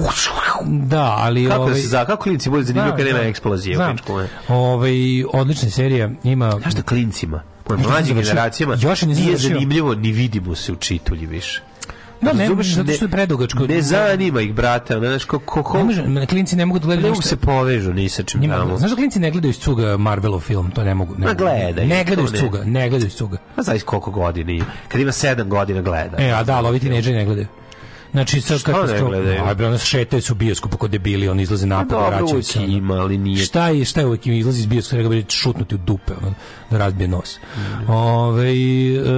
E: da, ali...
F: Kako da
E: ovaj,
F: se za, kako klinci bude zanimljivo
E: da,
F: kad nema
E: da,
F: eksplozije u
E: znam.
F: pičku? me.
E: Ovaj, odlična serija, ima...
F: Znaš da klincima? Po
E: nisam
F: mlađim
E: završio.
F: generacijama
E: Još je nisam
F: nije
E: završio.
F: zanimljivo, ni vidimo se u čitulji više.
E: Da, ne,
F: Razumeš,
E: zato što je predugačko.
F: Ne zanima ih, brate, ono, znaš, ko, ko, ko,
E: Ne može, klinci ne mogu da gledaju
F: ne mogu
E: ništa.
F: se povežu ni sa čim
E: Njima,
F: tamo.
E: znaš da klinci ne gledaju iz cuga Marvelov film, to ne mogu. Ne,
F: Ma gledaju,
E: Ne gledaju
F: to
E: iz
F: ne.
E: cuga, ne gledaju iz cuga.
F: Pa znaš koliko godina ima. Kad ima sedam godina gleda.
E: E, a da, ali ovi tineđeri ne gledaju. Znači, sa
F: Šta ne gledaju?
E: Aj, bre, ono šetaju su u bioskopu kod debili, oni izlaze
F: Pa
E: napolje,
F: dobro,
E: vraćaju
F: uvijek
E: se. ono.
F: ima, ali nije
E: Šta je, šta je uvijek im izlazi iz bioskopa, treba bi šutnuti u dupe, ono, da razbije nos. Ove, e,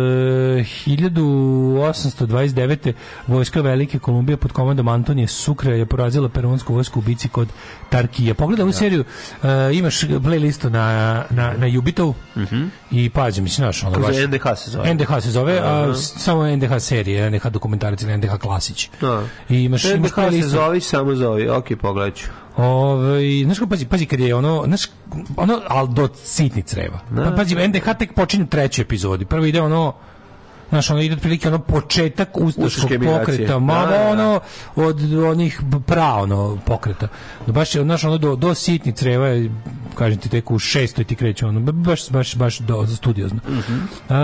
E: 1829. vojska Velike Kolumbije pod komandom Antonije Sukre je porazila peruansku vojsku u bici kod Tarkija. Pogledaj ovu seriju, e, imaš playlistu na, na, na Jubitovu
F: Mhm.
E: i pađe, mislim, znaš, ono
F: Kako
E: baš...
F: se NDH se zove?
E: NDH se zove, a s- samo NDH serije, NDH dokumentarac ili NDH klasić.
F: Da.
E: I imaš,
F: Ne,
E: imaš
F: kako se
E: playlistu.
F: zove, samo zove. Ok, pogledat ću.
E: Ovaj, znaš kako, pazi, pazi, kad je ono, znaš, ono, ali do sitni creva. Pa, pazi, NDH tek počinju treću epizodi. Prvo ide ono, znaš, ono ide otprilike ono početak ustaškog
F: Ustaške migracije.
E: pokreta,
F: Da,
E: malo
F: da, da.
E: ono, od onih pra, ono, pokreta. Da baš, je, znaš, ono, do, do sitni creva, je, kažem ti, tek u šestoj ti kreće, ono, ba- baš, baš, baš do, studiozno.
F: Mhm.
E: A,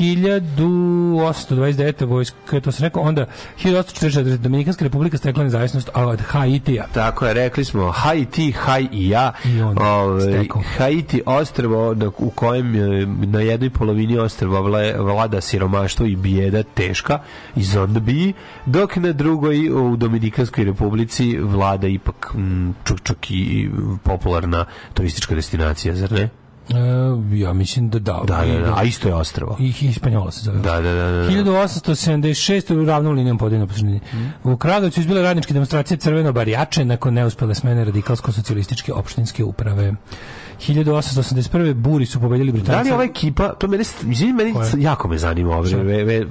E: 1829. vojska, to sam rekao, onda 1844. Dominikanska republika stekla nezavisnost, a od Haitija.
F: Tako je, rekli smo, Haiti, haj i ja.
E: I on,
F: Ovaj,
E: stekao.
F: Haiti ostrvo na- u kojem e, na jednoj polovini ostrva vla- vlada siromaštvo i bijeda teška i zombiji, dok na drugoj u Dominikanskoj republici vlada ipak mm, čak, čak i popularna turistička destinacija, zar ne?
E: E, ja mislim da da.
F: Da, da, da, a isto je ostrvo.
E: I, i Spanjola se zove.
F: Da, da, da, da, Mhm. da.
E: 1876. u ravnom linijom podeljeno poslednje. U Kragovicu izbile radničke demonstracije crveno barijače nakon neuspele smene radikalsko-socijalističke opštinske uprave. 1881. buri su pobedili
F: Da li ovaj-
E: Britanci.
F: ova ekipa, to mene, izvini, meni
E: Koja?
F: jako me zanima ovaj,
E: Šta?
F: ve, ve,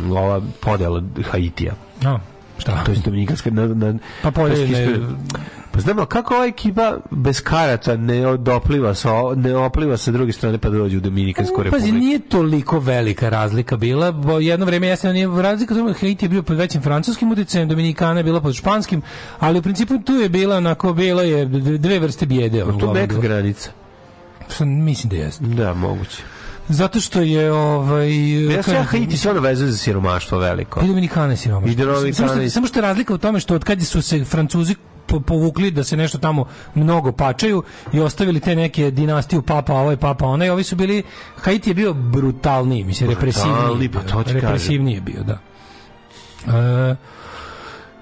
F: mm, ova podela Haitija.
E: A, šta?
F: To je Dominikanska... Na, na,
E: Pa podeljene-
F: Turski ispred- Pa znam, ali kako ova ekipa bez karata ne odopliva sa, o- ne opliva sa druge strane pa dođe u Dominikansku
E: Pazi,
F: republiku?
E: nije toliko velika razlika bila, bo jedno vreme jasno nije razlika, tome Haiti je bio pod većim francuskim uticajem, Dominikana je bila pod španskim, ali u principu tu je bila, onako, bilo je dve vrste bijede. ono,
F: To je
E: uglavnom
F: neka
E: bilo.
F: granica.
E: Mislim da jeste.
F: Da, moguće.
E: Zato što je ovaj
F: Ja se ja
E: kažem,
F: Haiti stvarno vezuju za siromaštvo veliko.
E: i Dominikana je siromašna.
F: I Dominikana
E: Samo što-
F: je-
E: Samo što je razlika u tome što od kad su se Francuzi po- povukli da se nešto tamo mnogo pačaju i ostavili te neke dinastiju papa ovaj papa onaj ovi su bili Haiti je bio brutalniji mislim represivniji
F: Brutalniji,
E: je
F: pa
E: bio.
F: to ti kažem.
E: represivniji je bio da E,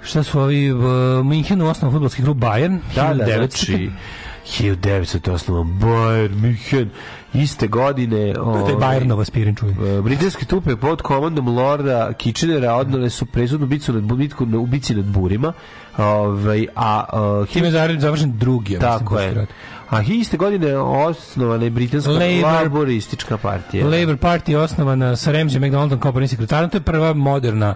E: šta su ovi u Minhenu osnovan fudbalski klub Bayern
F: Da, da,
E: 1900.
F: znači, 1900 je osnovan Bayern München iste godine
E: To je
F: ovaj,
E: Bajerno vaspirin čujem.
F: E, Britanske trupe pod komandom Lorda Kitchenera odnale su presudnu bitku nad, bitku na ubici nad Burima. Ovaj, a, e,
E: Time je zar- završen drugi, ja mislim.
F: tako
E: Boški
F: je.
E: rat.
F: A iste godine osnovana je Britanska
E: Labour-
F: laboristička partija.
E: Labour Party je osnovana sa Ramsay MacDonaldom kao prvim sekretarom. To je prva moderna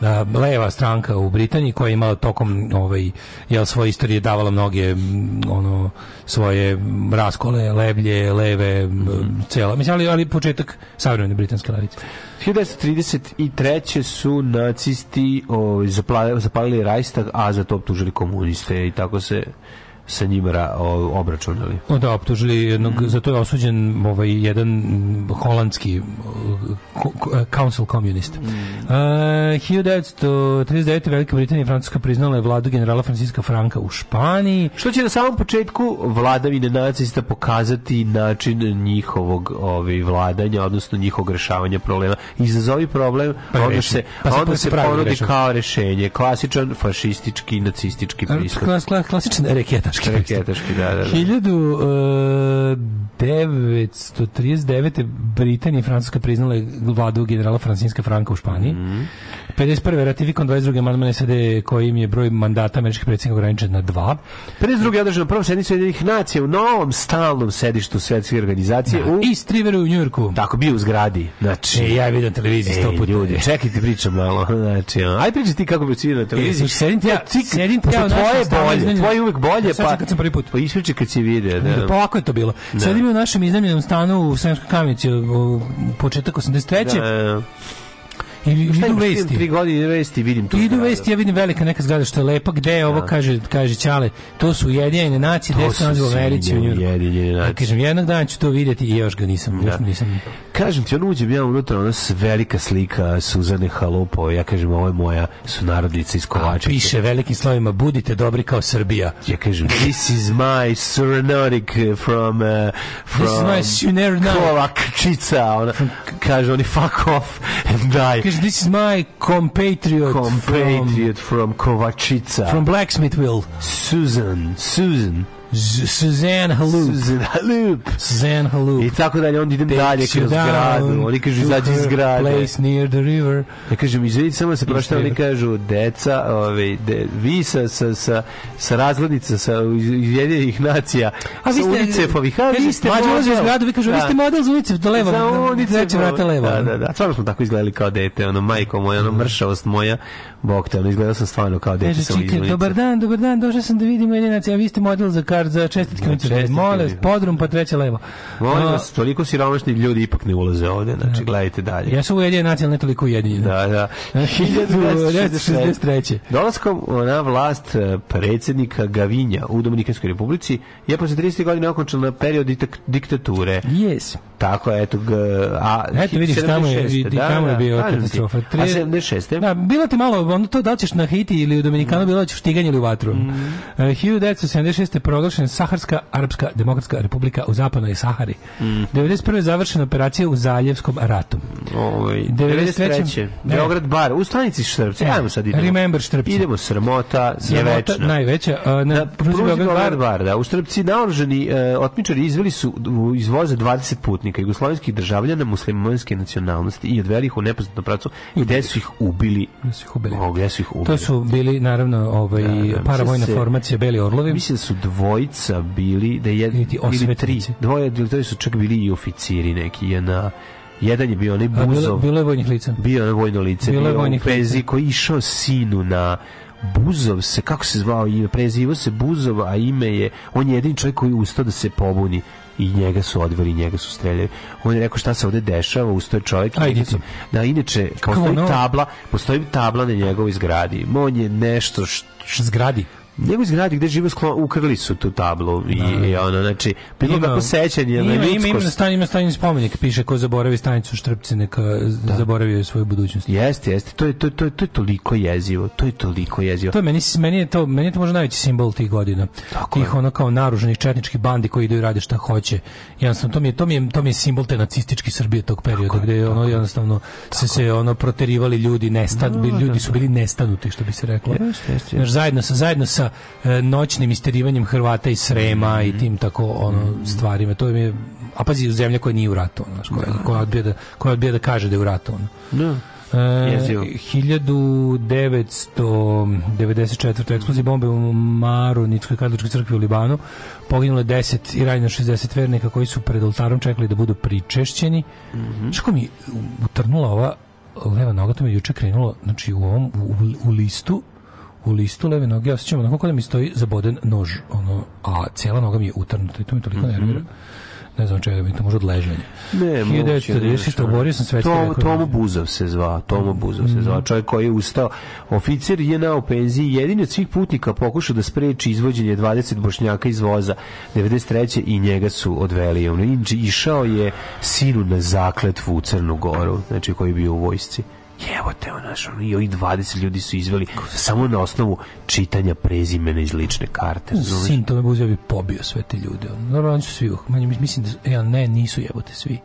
E: a, leva stranka u Britaniji koja je imala tokom ovaj jel svoje istorije davala mnoge m, ono svoje m, raskole leblje leve m, cela mislim ali, ali početak savremene britanske levice
F: 1933. su nacisti ovaj, zapla- zapalili Reichstag, a za to optužili komuniste i tako se sa njima ra- o- obračunali.
E: No da, optužili jednog, za to je osuđen ovaj, jedan mm, holandski uh, ko- ko- uh, council komunist. Uh, 1939. Velika Britanija i Francuska priznala je vladu generala Franciska Franka u Španiji.
F: Što će na samom početku vladavine nacista pokazati način njihovog ovaj, vladanja, odnosno njihovog rešavanja problema. Izazovi problem,
E: Pa je
F: onda
E: reši.
F: se,
E: Pa se-
F: onda
E: pa
F: se
E: se pravi
F: ponudi
E: rešava.
F: kao rešenje. Klasičan fašistički, nacistički pristup.
E: Pa, Klas, klas, klasičan reketaški.
F: Reketaški, da, da, da.
E: e, 1939. Britanija i Francuska priznala vladu generala Francinska Franka u Španiji. 51. ratifikon 22. amandman SAD kojim je broj mandata američkih predsjednika ograničen na dva.
F: 52. je održano prvo sednicu jedinih nacija u novom stalnom sedištu svetske organizacije u...
E: I Striveru u Njujorku.
F: Tako, bio u zgradi. Znači,
E: E, ja vidim televiziju sto
F: Ej,
E: puta.
F: ljudi, čekaj ti pričam malo. Znači, ono, aj pričaj ti kako bi si vidio na
E: E,
F: televiziji.
E: slušaj, sedim ti ja,
F: Ti-
E: sedim ti
F: pošto
E: ja u našem
F: tvoje
E: stalnom
F: bolje,
E: iznenjenom-
F: tvoje je uvek bolje,
E: Sad sam
F: pa...
E: kad sam prvi put.
F: Pa ispričaj kad si vidio,
E: Da,
F: da.
E: pa ovako je to bilo. Sedim u našem iznajmljenom stanu u Sremskoj kamenici u u početak 83.
F: Da,
E: i idu
F: da. Vesti. Tri
E: vesti.
F: godine vesti vidim tu.
E: Idu
F: zgradu.
E: vesti, ja vidim velika neka zgrada što je lepa, gde je ovo, kaže, kaže Ćale, to su Ujedinjene nacije, gde
F: To
E: se nalaze u
F: su
E: Americi, u Njurku.
F: Ujedinjene nacije.
E: Ja kažem, jednog dana ću to vidjeti i još ga nisam, još nisam.
F: Kažem ti, ono uđem ja unutra, ona s- velika slika Suzane Halupo, ja kažem, ovo je moja sunarodnica iz Kovačice.
E: Piše velikim slovima, budite dobri kao Srbija.
F: Ja kažem, this is my sunarodik uh, from... Uh, from
E: This is my sunarodik.
F: Kovačica, ona, kaže, oni fuck off and die.
E: Kaže, this is my compatriot, from-
F: compatriot from, Kovačica.
E: from Blacksmithville,
F: Susan, Susan,
E: Z- Suzanne Halup.
F: Susan Halup.
E: Suzanne Halup.
F: I tako dalje, onda idem
E: Takes
F: dalje
E: you
F: kroz zgradu.
E: down
F: Oni kažu,
E: to
F: izađi iz
E: her
F: zgrade.
E: Place near the river.
F: Ja kažem, izvedite samo da se prošta, oni kažu, deca, ovaj, de, vi sa, sa, sa, sa razglednica, sa Ujedinjenih nacija,
E: A vi
F: sa
E: ste
F: UNICEF-ovih, a vi ste
E: Mađo ulazi u zgradu, vi kažu, vi
F: Da.
E: ste model za ulicu, do levo.
F: Za
E: da,
F: UNICEF-ov.
E: Treće vrata ono." levo.
F: Da, da, da. Stvarno smo tako izgledali kao dete, ono, majko moja, ono, mršavost moja, bog te, ono, izgledao sam stvarno kao dete.
E: Kaže,
F: samo iz
E: čekaj,
F: ulice.
E: dobar dan, dobar dan, došao sam da vidim jedinac, a vi ste model za kar, za čestitke ulice.
F: čestitke,
E: Molim, vas,
F: ljudi.
E: podrum, pa treće levo. Ono,
F: Molim
E: A,
F: vas, toliko siromašnih ljudi ipak ne ulaze ovde, znači gledajte dalje.
E: Jesu ujedinjeni nacije, ali ne toliko ujedinjeni.
F: Da, da.
E: 1963.
F: Dolaskom na vlast eh, predsjednika Gavinja u Dominikanskoj republici je posle 30 godina okončena period ditak- diktature.
E: Yes.
F: Tako, eto ga... A,
E: Eto vidiš tamo je,
F: 76.,
E: vidi, tamo je bio
F: kažem ti.
E: katastrofa.
F: A
E: Tri-
F: 76.
E: Da, bilo ti malo, ono to da li ćeš na Haiti ili u Dominikanu,
F: Mm.
E: bilo da ćeš štiganje ili u vatru. Mm. Uh, 1976. je proglašena Saharska Arapska demokratska republika u zapadnoj Sahari.
F: Mm.
E: 91. je završena operacija u Zaljevskom ratu.
F: Ovaj,
E: 93..
F: 93.
E: Ne.
F: Beograd bar, u stanici Štrpce.
E: E,
F: Ajmo sad idemo.
E: Remember Štrpce.
F: Idemo, sramota, je
E: Sramota
F: večna.
E: Najveća. Uh, na,
F: Na
E: pruzi Beograd
F: Beograd
E: bar.
F: bar, da. U Štrpci naoruženi e, otmičari izveli su u- iz voza 20 putnika jugoslovenskih državljana muslimanske nacionalnosti i odveli ih u nepoznatom pravcu gde su ih ubili.
E: Gde su ih ubili.
F: O, gde su ih ubili.
E: To su bili, naravno, ovaj,
F: Da, da, mislim
E: paravojna
F: se-
E: formacija Beli orlovi.
F: Mislim da su dvojica bili, da je
E: Ili
F: jedan
E: ti
F: ili tri.
E: osvetnici.
F: Dvoje, ili troje su čak bili i oficiri neki. Jedna, jedan je bio onaj
E: A bilo,
F: Buzov.
E: bilo je vojnih lica.
F: bio je vojno lice,
E: Bilo
F: bio
E: je
F: je u
E: vojnih
F: pezi
E: lica.
F: koji je išao sinu na Buzov se, kako se zvao ime, prezivo se Buzov, a ime je, on je jedini čovjek koji je ustao da se pobuni i njega su odveli, njega su streljali. On je rekao šta se ovde dešava, ustao je čovjek. i
E: Ajde
F: njega
E: ti.
F: su- Da, inače, postoji
E: ono?
F: tabla, postoji tabla na njegovoj zgradi. On je nešto što
E: Zgradi.
F: njegovi zgradi gde žive sklon, ukrili su tu tablu i, i ono, znači, bilo kako sećanje na
E: ima, ima, ima,
F: ljudskost.
E: stan, ima stanjen spomenik, piše ko zaboravi stanicu Štrpce, neka zaboravio je svoju budućnost.
F: Jeste, jeste, to je, to, to, to je toliko jezivo, to je toliko jezivo.
E: To je meni, meni je to, meni je to možda najveći simbol tih godina.
F: Tako
E: tih
F: je.
E: ono kao naruženih četničkih bandi koji idu i rade šta hoće. Jednostavno, to mi je, to mi je, to mi je simbol te nacističke Srbije tog perioda, gde je ono jednostavno se se ono proterivali ljudi, nestan, ljudi su bili nestanuti, što bi se reklo.
F: Jeste, jeste,
E: Znaš, zajedno sa, zajedno sa sa e, noćnim isterivanjem Hrvata iz Srema
F: Mhm.
E: i tim tako ono stvarima. To im je a pazi zemlja koja nije u ratu, ono, znaš, koja, koja odbija da koja odbija da kaže da je u ratu. Ono. E,
F: Jezivo.
E: 1994. eksplozija bombe u Maru, Nitskoj katoličkoj crkvi u Libanu. Poginulo je 10 i ranjeno 60 vernika koji su pred oltarom čekali da budu pričešćeni. Mm
F: Mhm.
E: mi utrnula ova leva noga, to mi je juče krenulo, znači u ovom, u, u listu, u listu leve noge, ja osjećam onako kao da mi stoji zaboden nož, ono, a cijela noga mi je utrnuta i to mi toliko nervira. Ne znam čega mi je to može od ležanja.
F: Mhm. Ne, moguće, ne,
E: 1996.
F: znaš, ono,
E: oborio sam svetski
F: Tomo,
E: rekord.
F: Tomo Buzov se zvao, Tomo Buzov se zvao, čovjek koji je ustao. Oficir je na u penziji, jedini od svih putnika pokušao da spreči izvođenje 20 bošnjaka iz voza 93. i njega su odveli. On je išao je sinu na zakletvu u Crnu Goru, znači koji je bio u vojsci. Jevo te, ono, znaš, ono, i ovih 20 ljudi su izveli samo na osnovu čitanja prezimena iz lične karte. razumeš?
E: Sin Tome Buzija bi pobio sve te ljude. ono. Normalno oni su svi, uh, manje, mis- mislim da, su- e, ali ne, nisu jebote svi.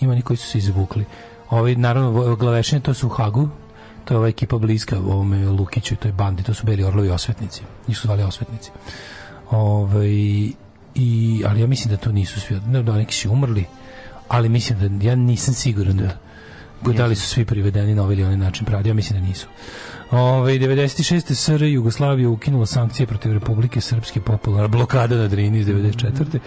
E: Ima oni koji su se izvukli. Ovi, naravno, vo- glavešine, to su u Hagu, to je ova ekipa bliska ovome Lukiću i toj bandi, to su beli orlovi osvetnici. Njih su zvali osvetnici. Ove, i, ali ja mislim da to nisu svi, ne, da neki su umrli, ali mislim da, ja nisam siguran da, da li su svi privedeni na ovaj ili onaj način pravdi, ja mislim da nisu. Ovaj, Ove, 96. SR Jugoslavija ukinula sankcije protiv Republike Srpske popularna blokada na Drini iz 94.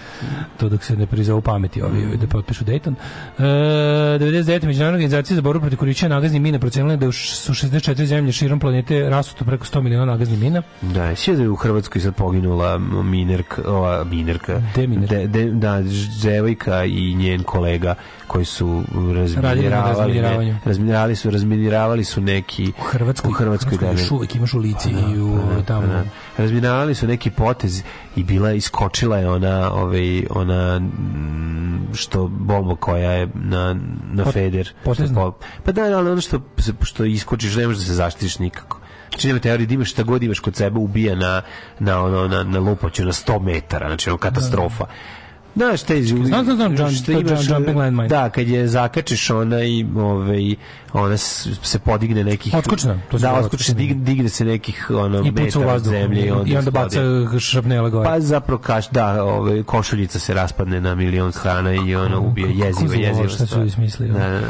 E: To dok se ne prizovu pameti ovi,
F: Mm.
E: ovi da potpišu Dayton. E, 99. Međunarodna organizacija za borbu protiv korišćenja nagaznih mina procenila je da už- su 64 zemlje širom planete rasuto preko 100 miliona nagaznih mina.
F: Da, sve da je u Hrvatskoj sad poginula minerka, ova minerka.
E: Deminerka.
F: De, de, da, ž- devojka i njen kolega koji su
E: Radili na
F: razminiravali.
E: razminiravanju.
F: ne, Razminiravali su, razminiravali su neki...
E: U Hrvatskoj,
F: U Hrvatskoj, da,
E: još
F: ne.
E: uvek imaš u lici i u ono, tamo.
F: Da. pa Razminiravali su neki potez i bila iskočila je ona ovaj ona mm, što bomba koja je na na
E: Pot-
F: feder.
E: potezna?
F: Što po- Pa da, ali ono što se- što iskočiš ne možeš da se zaštitiš nikako. Znači nema teorije da imaš šta god imaš kod sebe ubija na na ono na na lupaću na 100 metara, znači ono katastrofa. Da, šta je
E: Znam, znam, znam, jump- to je jumping landmine.
F: Da, kad je zakačiš ona i ovaj ona s- se podigne nekih
E: Odskočna, to se
F: da,
E: zove
F: odskočna,
E: odskočna.
F: dig- digne se nekih ono
E: I puca u
F: metara od
E: vazduh.
F: zemlje i onda,
E: I onda baca
F: eksplodira.
E: šrapnele gore.
F: pa zapravo kaš, da, ovaj, košuljica se raspadne na milion strana i ono ubije jezivo,
E: kako zlo,
F: jezivo.
E: šta su
F: stvar.
E: izmislili,
F: Da,
E: ono.
F: da, da.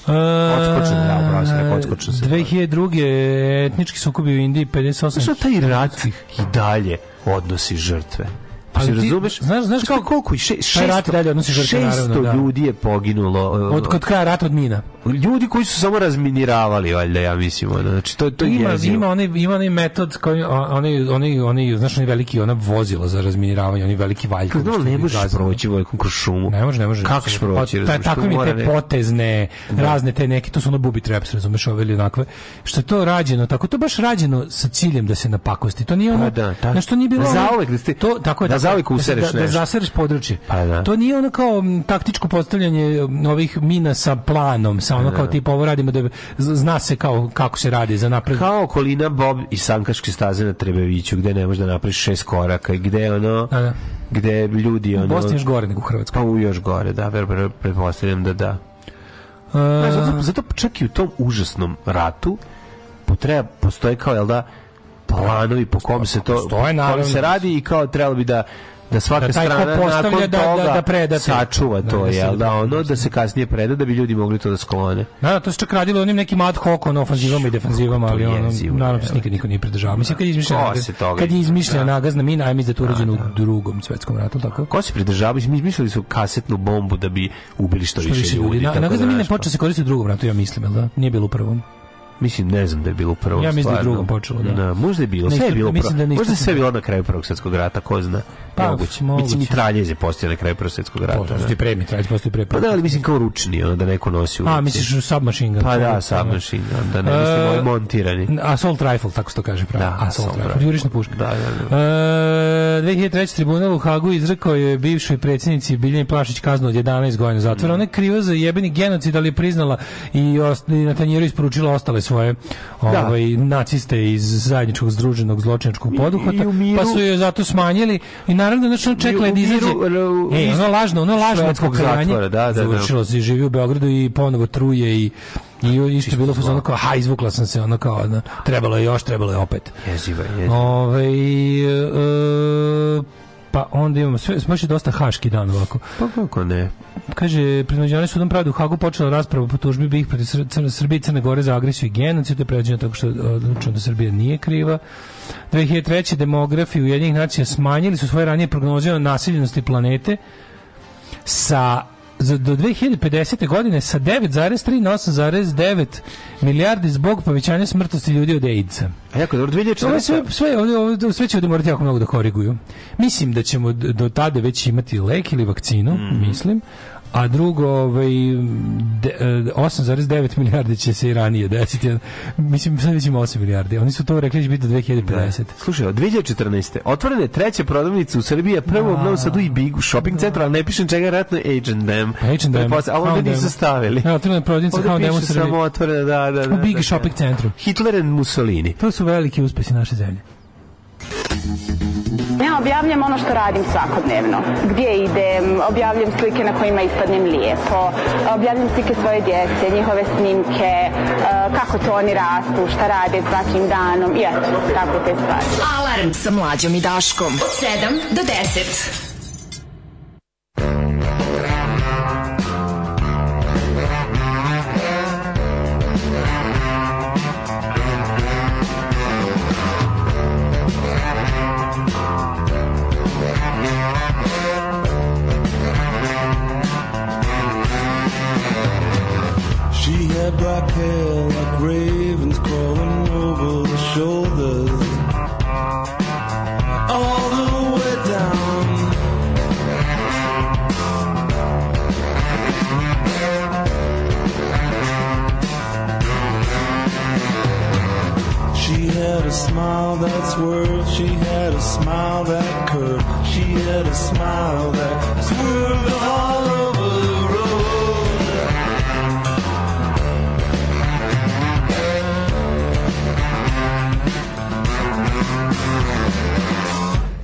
E: Odskočen,
F: Odskočen, da, upravo si rekao, odskočen se.
E: 2002. etnički sukobi u Indiji 58.
F: Znaš, taj rat i dalje odnosi žrtve.
E: Ali
F: Ali
E: ti-
F: razumeš?
E: znaš- znaš
F: Čekaj,
E: kako-
F: koliko? i Še,
E: Taj rat i dalje odnosi žrtve, naravno, da.
F: ljudi je poginulo. ono,
E: Od kod kraja rata od mina.
F: Ljudi koji su samo razminiravali, valjda, ja mislim. Ono. Znači, to, to je
E: Ima
F: jezivo.
E: ima onaj ima onaj metod koji oni oni oni znaš oni veliki ona vozila za razminiravanje, oni veliki valjkovi.
F: Kako
E: što
F: ono ne
E: ih
F: možeš
E: gaze.
F: proći vojkom kroz šumu?
E: Ne može, ne može.
F: Kako ćeš proći?
E: Pa, ta,
F: razumeš,
E: tako
F: to
E: mi
F: mora
E: te
F: neko-
E: potezne, razne te neke, to su ono bubi traps, razumeš, ove ili onakve. Što je to rađeno, tako to je baš rađeno sa ciljem da se napakosti. To nije ono,
F: Pa da, tako.
E: znaš, to nije bilo...
F: Da
E: ono-
F: zauvek da ste-
E: to, tako je,
F: da
E: tako,
F: zauvek
E: se-
F: usereš
E: da, da
F: nešto.
E: zasereš područje.
F: Pa da.
E: To nije ono kao m, taktičko postavljanje m, ovih mina sa planom, sa
F: Pa
E: ono kao tipa ovo radimo da bi- z- zna se kao kako se radi za napred.
F: kao okolina Bob i Sankaške staze na Trebeviću gde ne možeš da napraviš šest koraka i gde ono
E: Da, da.
F: gde ljudi ono
E: Bosni je još gore nego u Hrvatskoj.
F: pa u još gore da ver- ver- pretpostavljam da da
E: E,
F: Znaš, zato, zato čak i u tom užasnom ratu potreba postoje kao jel da planovi po kom se to
E: Postoje,
F: po kom
E: naravno.
F: se radi i kao trebalo bi da da svaka
E: Da taj ko
F: strana
E: postavlja
F: nakon
E: da- da-
F: toga
E: da preda te.
F: sačuva
E: Da,
F: to
E: da se-
F: jel da ono da se kasnije preda da bi ljudi mogli to da sklone
E: Da, da, to se čak radilo onim nekim ad hoc ono, ofanzivama i defanzivama, ali
F: To je
E: ono,
F: jezivo,
E: naravno se
F: evo.
E: nikad niko nije pridržavao. Mislim, kad je
F: Ko
E: izmišljena
F: se
E: nagaz,
F: toga
E: kad je izmišljena
F: da.
E: nagazna mina, ajme da je to urađeno u drugom svetskom ratu, tako?
F: Ko se pridržava? Izmislili su kasetnu bombu da bi ubili što,
E: Što više ljudi. Na,
F: tako da,
E: nagazna mina
F: znaš, pa,
E: počela se koristiti u drugom ratu, ja mislim, jel da? Nije bilo u prvom.
F: Mislim, ne znam da je bilo u prvom.
E: Ja mislim da je
F: stvarno.
E: drugom počelo, da.
F: možda je bilo,
E: Ne,
F: sve je bilo.
E: mislim
F: pro-
E: da ništa
F: možda je sve
E: sam-
F: bilo na kraju Prvog svjetskog rata, ko zna.
E: Pa,
F: moguće.
E: moguće.
F: Mislim, mitraljez je postao na kraju Prvog svjetskog rata. da.
E: Postoji pre, mi traži, postoji pre.
F: Pa da, ali mislim kao ručni, ono da neko nosi u
E: A,
F: ruci.
E: misliš u submachine gun?
F: Pa da, submachine, gun, da ne mislim,
E: E,
F: ovi montirani.
E: Assault rifle, tako se to kaže pravo.
F: Da, assault
E: assault rifle,
F: rifle.
E: jurišna puška.
F: Da, da, da.
E: E, 2003. tribunal u Hagu izrekao je bivšoj predsjednici Biljani Plašić kaznu od 11 godina
F: Mm.
E: zatvora. Ona je kriva za jebeni genocid, ali je priznala i, os- i na tanjeru isporučila ostale svoje
F: Da.
E: ovaj, naciste iz zajedničkog združenog zločinačkog poduhvata,
F: i u miru-
E: pa su joj zato smanjili i naravno znači ona čekala je da
F: u miru,
E: izađe.
F: r-
E: E,
F: iz-
E: ono lažno, ono lažno
F: švedskog
E: pokajanje
F: zatvora, da, da, da.
E: završilo se i živi u Beogradu i ponovo truje i I isto je bilo fazon kao, ha, izvukla sam se, ono kao, ono, trebalo je još, trebalo je opet.
F: Jezivo je, jezivo.
E: Ove, e, pa onda imamo, sve, baš je dosta haški dan ovako.
F: Pa kako ne?
E: Kaže, pred Međunarodnim sudom pravde u Hagu počela rasprava po tužbi BiH protiv Sr- Crne- Srbije i Crne Gore za agresiju i genocid, to je pređeno tako što je odlučeno da Srbija nije kriva. 2003. demografi Ujedinjenih nacija smanjili su svoje ranije prognoze o nasiljenosti planete sa za do 2050. godine sa 9,3 na 8,9 milijardi zbog povećanja smrtnosti ljudi od AIDS-a.
F: A jako dobro,
E: Ovo je
F: 2014.
E: Pa sve, sve, ovdje, ovdje, sve će ovdje morati jako mnogo da koriguju. Mislim da ćemo d- do tada već imati lek ili vakcinu,
F: Mhm.
E: mislim. A drugo, ovaj, de- e, 8,9 milijardi će se i ranije desiti. Mislim, sad već ima 8 milijardi. Oni su to rekli da će biti do 2050.
F: Slušaj, od 2014. otvorena je treća prodavnica u Srbiji, a prvo u Novom Sadu i Bigu shopping centru, ali ne pišem čega, vjerojatno je H&M.
E: H&M,
F: Pretpostavljam, Ali ovdje
E: H&M.
F: nisu stavili.
E: Evo, trenutna prodavnica
F: Ovdje
E: H&M u
F: piše
E: Srbiji.
F: samo otvorena, da, da, da.
E: U Big
F: da,
E: shopping centru.
F: Hitler and Mussolini.
E: To su veliki uspesi naše zemlje.
I: Ja objavljam ono što radim svakodnevno. Gdje idem, objavljam slike na kojima ispadnem lijepo, objavljam slike svoje djece, njihove snimke, e, kako to oni rastu, šta rade svakim danom i eto, tako te stvari.
D: Alarm sa mlađom i Daškom. Od 7 do 10.
H: She had black hair like ravens crawling over her shoulders. All the way down. She had a smile that swirled, she had a smile that curved, she had a smile that swirled all over the road.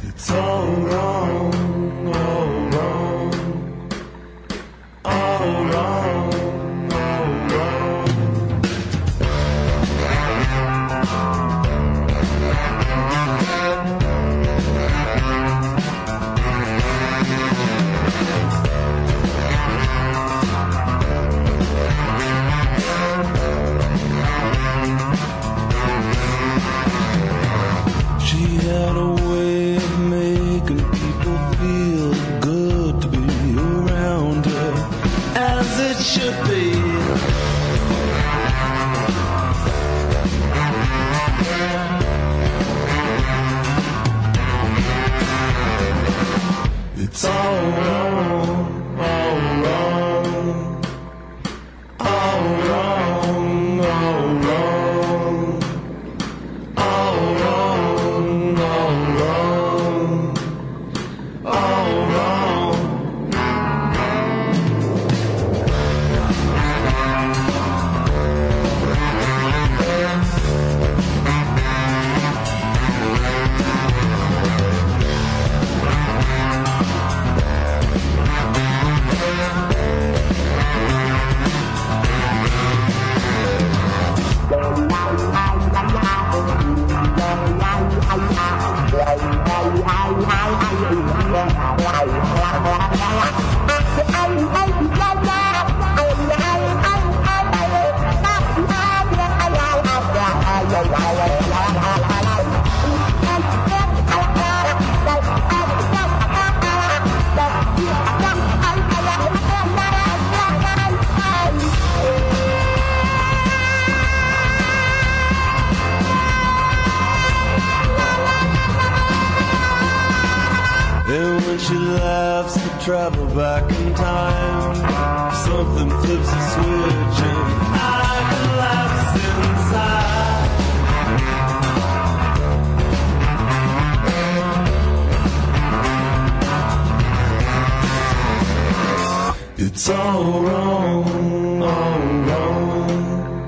H: It's all wrong, all wrong, all wrong, all wrong. She had a way of making people feel good to be around her, as it should be. It's all wrong, all wrong, all wrong, all wrong. All wrong, all wrong, all wrong. And when she laughs, we travel back in time. Something flips a switch and I collapse inside. It's all wrong, all wrong,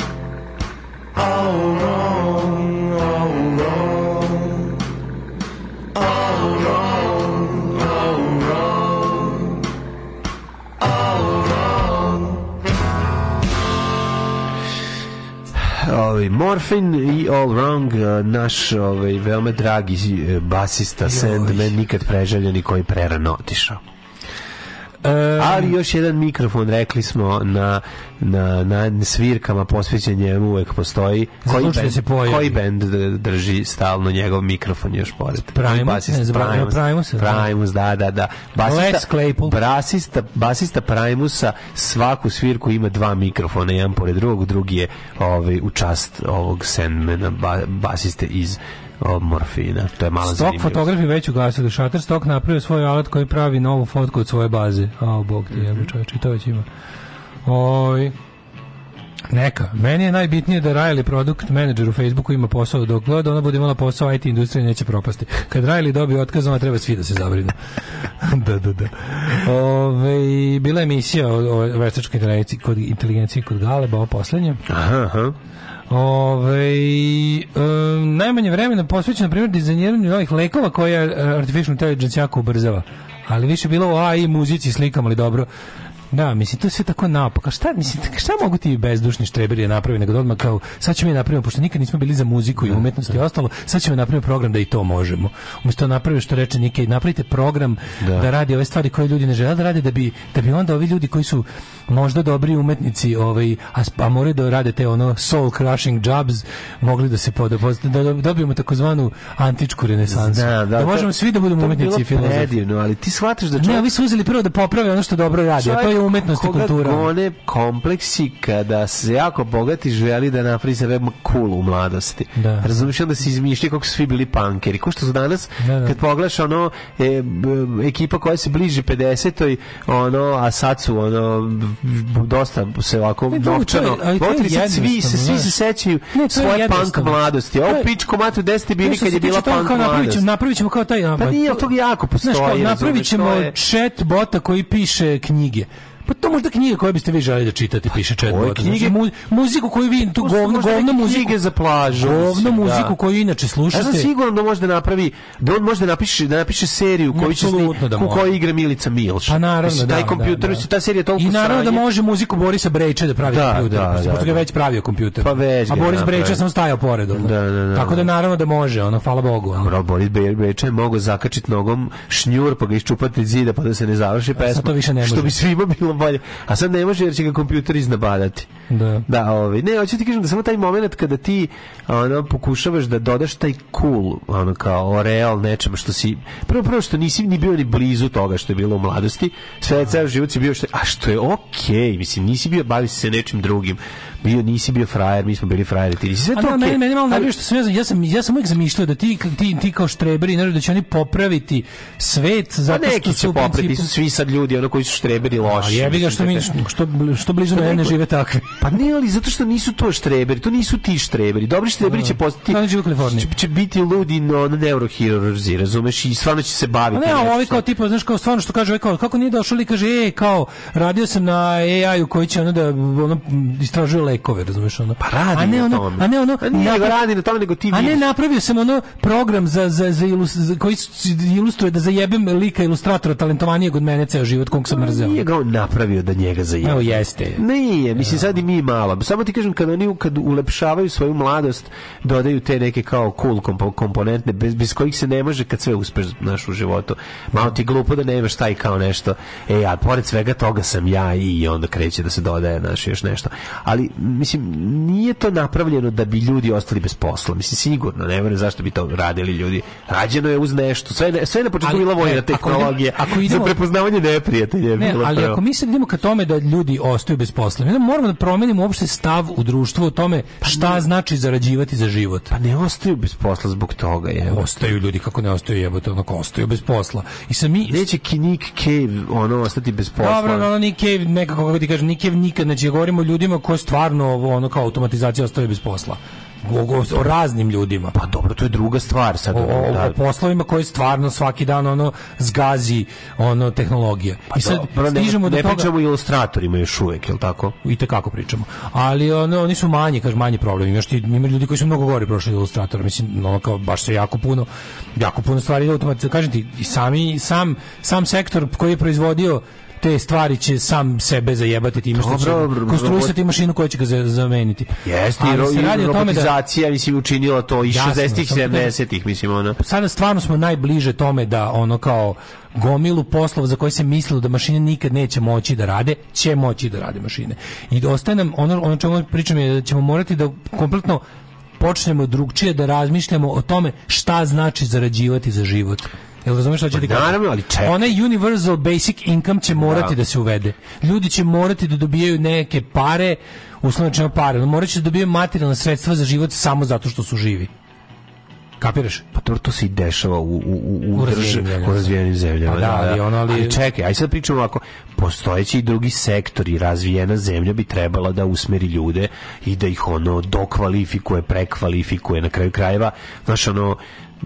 H: all wrong, all wrong, all wrong, all wrong, all wrong.
F: Ovaj Morfin i All Wrong, eh, naš ovaj veoma dragi eh, basista Sandman, nikad preželjeni koji je prerano otišao. E, Ali još jedan mikrofon, rekli smo, na, na, na svirkama posvećen njemu uvek postoji.
E: Za
F: Koji
E: slučaj da se
F: band,
E: pojavi.
F: koji band drži stalno njegov mikrofon još pored?
E: Primus,
F: Basista
E: ne znam,
F: Primus,
E: Primus, da.
F: Primus, da, da, da.
E: Lex Claypool.
F: Basista, basista Primusa svaku svirku ima dva mikrofona, jedan pored drugog, drugi je ovaj, u čast ovog Sandmana, ba, basiste iz o, Morfina. To je mala
E: Stok
F: zanimljivost.
E: fotografi već ugasili. Shutterstock napravio svoj alat koji pravi novu fotku od svoje baze. A, bog ti jebe čoveče, i to već ima. Oj, neka. Meni je najbitnije da Riley produkt menadžer u Facebooku ima posao dok god ona bude imala posao IT industrija neće propasti. Kad Riley dobije otkaz, ona treba svi da se zabrinu. da, da, da. Ove, bila je emisija o, o veštačkoj inteligenciji kod, inteligenciji kod Galeba, ovo poslednje.
F: Aha, aha.
E: Ove, e, najmanje vremena posvećeno, na primjer, dizajniranju novih lekova koje e, Artificial Intelligence jako ubrzava. Ali više bilo o AI, muzici, slikama, ali dobro. Da, mislim, to se tako napaka. Šta, mislim, šta mogu ti bezdušni štreberi da napravi, nego da odmah kao, sad ćemo je napraviti, pošto nikad nismo bili za muziku i umetnost i ostalo, sad ćemo napraviti program da i to možemo. Umesto da napravi što reče Nike, napravite program da. radi ove stvari koje ljudi ne žele da rade, da bi, da bi onda ovi ljudi koji su možda dobri umetnici, ovaj, a, sp- a moraju da rade te ono soul crushing jobs, mogli da se podoboz, da do- dobijemo takozvanu antičku renesansu.
F: Da, da,
E: da,
F: to-
E: možemo svi da budemo
F: to bi
E: umetnici
F: bilo
E: i filozofi.
F: Predivno, ali ti shvataš da
E: Ne,
F: čovjek
E: ovi su uzeli prvo da poprave ono što dobro radi, a to je umetnost i
F: koga
E: kultura.
F: gone kompleksi kada se jako bogati želi da napravi sebe cool u mladosti.
E: Da.
F: Razumiješ onda se izmišlja kako su svi bili punkeri. Ko što su danas,
E: Da, da.
F: kad pogledaš ono, e, b- ekipa koja se bliži 50-oj, ono, a sad su ono, b- dosta se ovako
E: Ne, drugo, E, to je-
F: novčano.
E: ali to je
F: Motori sad svi, se,
E: jednostavno,
F: svi
E: znaš.
F: se sećaju
E: Ne, to je
F: svoje punk
E: jednostavno.
F: mladosti.
E: To
F: Ovo
E: je-
F: pičko matu, gde ste
E: Ne,
F: bili
E: što
F: kad
E: se
F: je bila
E: tiče toga,
F: punk
E: kao napravit
F: mladost?
E: ćemo, napravit ćemo kao taj... ono,
F: Pa nije, ali toga jako postoji.
E: Znaš, kao,
F: razumeš,
E: napravit ćemo
F: to je-
E: chat bota koji piše knjige. Pa to možda knjige koje biste vi želeli da čitate, piše chat
F: Koje
E: bota.
F: knjige?
E: Znači, mu- muziku koju vi, tu
F: To su
E: govno,
F: možda
E: govno
F: neke
E: muziku.
F: knjige za plažu.
E: Govno
F: mislim,
E: muziku
F: da.
E: koju inače
F: Ja sam
E: slušate.
F: siguran da može da napravi, da on može da napiše, da napiše seriju koju će
E: Apsolutno
F: sni,
E: da
F: u
E: može.
F: kojoj igra Milica Milš.
E: Pa naravno,
F: Mislim,
E: da.
F: Taj kompjuter,
E: da, da.
F: mislim, ta serija je toliko
E: I naravno da
F: sranje.
E: može muziku Borisa Brejča da pravi
F: Da,
E: kompjuter.
F: da,
E: Da,
F: da,
E: da, je
F: da.
E: već pravio kompjuter.
F: Pa već
E: A
F: ga je
E: Boris Brejča
F: napravio.
E: sam stajao pored. ono.
F: Da, da, da,
E: Tako
F: da.
E: da naravno da može, ono, hvala Bogu. Ono.
F: Dobro, Boris Be- Beča je mogao zakačiti nogom šnjur pa ga iščupati iz zida pa da se ne završi pesma.
E: to više ne
F: Što
E: može.
F: bi svima bilo bolje. A sad ne može jer će ga kompjuter iznabadati.
E: Da.
F: Da, ovaj. Ne, hoću ti kažem da samo taj moment kada ti ono, pokušavaš da dodaš taj cool, ono kao oreal nečemu što si... Prvo, prvo što nisi ni bio ni blizu toga što je bilo u mladosti, sve ceo život si bio što je, a što je okej, mislim, nisi bio, bavi se nečim drugim. Bio, nisi bio frajer, mi smo bili frajeri, ti nisi sve
E: A
F: E to
E: da,
F: okej.
E: meni, meni malo
F: Ali-
E: nervira što sam ja, ja sam ja sam uvijek zamišljao da ti ti ti kao štreberi ne da će oni popraviti svet
F: Pa
E: zato što
F: neki
E: su
F: će
E: u
F: popreti,
E: principu-
F: su svi sad ljudi, ono koji su štreberi
E: A
F: loši.
E: jebi ga
F: mislim,
E: što mi
F: da te-
E: što što blizu mene ne
F: neko-
E: žive takvi.
F: Pa ne, ali zato što nisu to štreberi, to nisu ti štreberi. Dobri štreberi će postati...
E: Da, oni žive u Kaliforniji.
F: Će, će biti ludi no, ono, neurohirurzi, razumeš? I stvarno će se
E: A
F: baviti.
E: ne, a
F: nešto.
E: ovi kao tipa, znaš, kao stvarno što kaže, ovaj kao, kako nije došao, li kaže, e, kao, radio sam na AI-u koji će ono da ono, istražuje lekove, razumiješ, ono. Pa
F: radi
E: a ne
F: na
E: ono,
F: tome.
E: A ne ono,
F: A nije, nego radi na tome, nego ti
E: A ne,
F: vidiš.
E: napravio sam ono program za, za, za, ilus- za koji s- ilustruje da zajebem lika ilustratora talentovanijeg od mene ceo život, kog sam mrzeo.
F: Nije ga on napravio da njega zajebe.
E: Evo, jeste.
F: Nije, mislim sad i mi malo. Samo ti kažem kad oni kad ulepšavaju svoju mladost, dodaju te neke kao cool kompo- komponente bez, bez kojih se ne može kad sve uspeš naš u životu. Malo ti je glupo da nemaš taj kao nešto. E, a pored svega toga sam ja i onda kreće da se dodaje naš još nešto. Ali mislim nije to napravljeno da bi ljudi ostali bez posla. Mislim sigurno, ne verujem zašto bi to radili ljudi. Rađeno je uz nešto. Sve je- sve je na početku
E: Ali,
F: bila vojna
E: ne, ako idemo-
F: tehnologija.
E: ako
F: za
E: idemo-
F: prepoznavanje neprijatelja. je
E: Ne,
F: bilo
E: ali
F: prvo.
E: ako mi sad idemo ka tome da ljudi ostaju bez posla, mi onda moramo da promenimo uopšte stav u društvu o tome šta znači zarađivati za život.
F: Pa ne ostaju bez posla zbog toga, je.
E: ostaju ljudi kako ne ostaju jebote onako ostaju bez posla i sa mi
F: Neće ki- Nick Cave ono ostati bez posla.
E: Dobro, ono Nikev, nekako kako ti kažem, Nikev nikad, znači govorimo o ljudima koji stvarno ovo, ono kao automatizacija ostaje bez posla. O, o- o raznim ljudima.
F: Pa dobro, to je druga stvar sad.
E: O, o,
F: da.
E: o poslovima koji stvarno svaki dan ono zgazi ono tehnologija. I sad
F: Pa Dobro, ne,
E: stižemo do
F: ne
E: toga.
F: pričamo o ilustratorima još uvijek, jel tako?
E: i te kako pričamo. Ali ono, oni su manji, kaže manji problem. Imaš ti ima ljudi koji su mnogo gore prošli od ilustratora. Mislim, ono kao baš se jako puno jako puno stvari ide automatizovano. Kažem ti, i sami sam sam sektor koji je proizvodio te stvari će sam sebe zajebati time što će
F: Dobro, bro-
E: konstruisati mašinu koja će ga za- zameniti.
F: Jeste, i
E: Ali se
F: ro-
E: radi
F: i
E: o tome da
F: robotizacija, mislim, učinila to i
E: Jasno,
F: 60-ih,
E: samo to-
F: 70-ih, mislim, ono. ona.
E: sada stvarno smo najbliže tome da ono kao gomilu poslova za koje se mislilo da mašine nikad neće moći da rade, će moći da rade mašine. I da ostaje nam ono, ono čemu pričam je da ćemo morati da kompletno počnemo drugčije da razmišljamo o tome šta znači zarađivati za život. Jel razumeš šta će ti kažem?
F: Pa naravno, ali čekaj.
E: Onaj universal basic income će morati da.
F: Da.
E: se uvede. Ljudi će morati da dobijaju neke pare, uslovno rečeno pare, morat će da dobijaju materijalna sredstva za život samo zato što su živi. Kapiraš?
F: Pa to, to se i dešava u, u, u, u,
E: U
F: drž-
E: razvijenim zemljama.
F: u razvijenim zemljama.
E: Pa da, ali ono, ali-
F: čekaj, aj sad pričamo ovako, postojeći i drugi sektori, razvijena zemlja bi trebala da usmeri ljude i da ih ono dokvalifikuje, prekvalifikuje na kraju krajeva. Znaš, ono,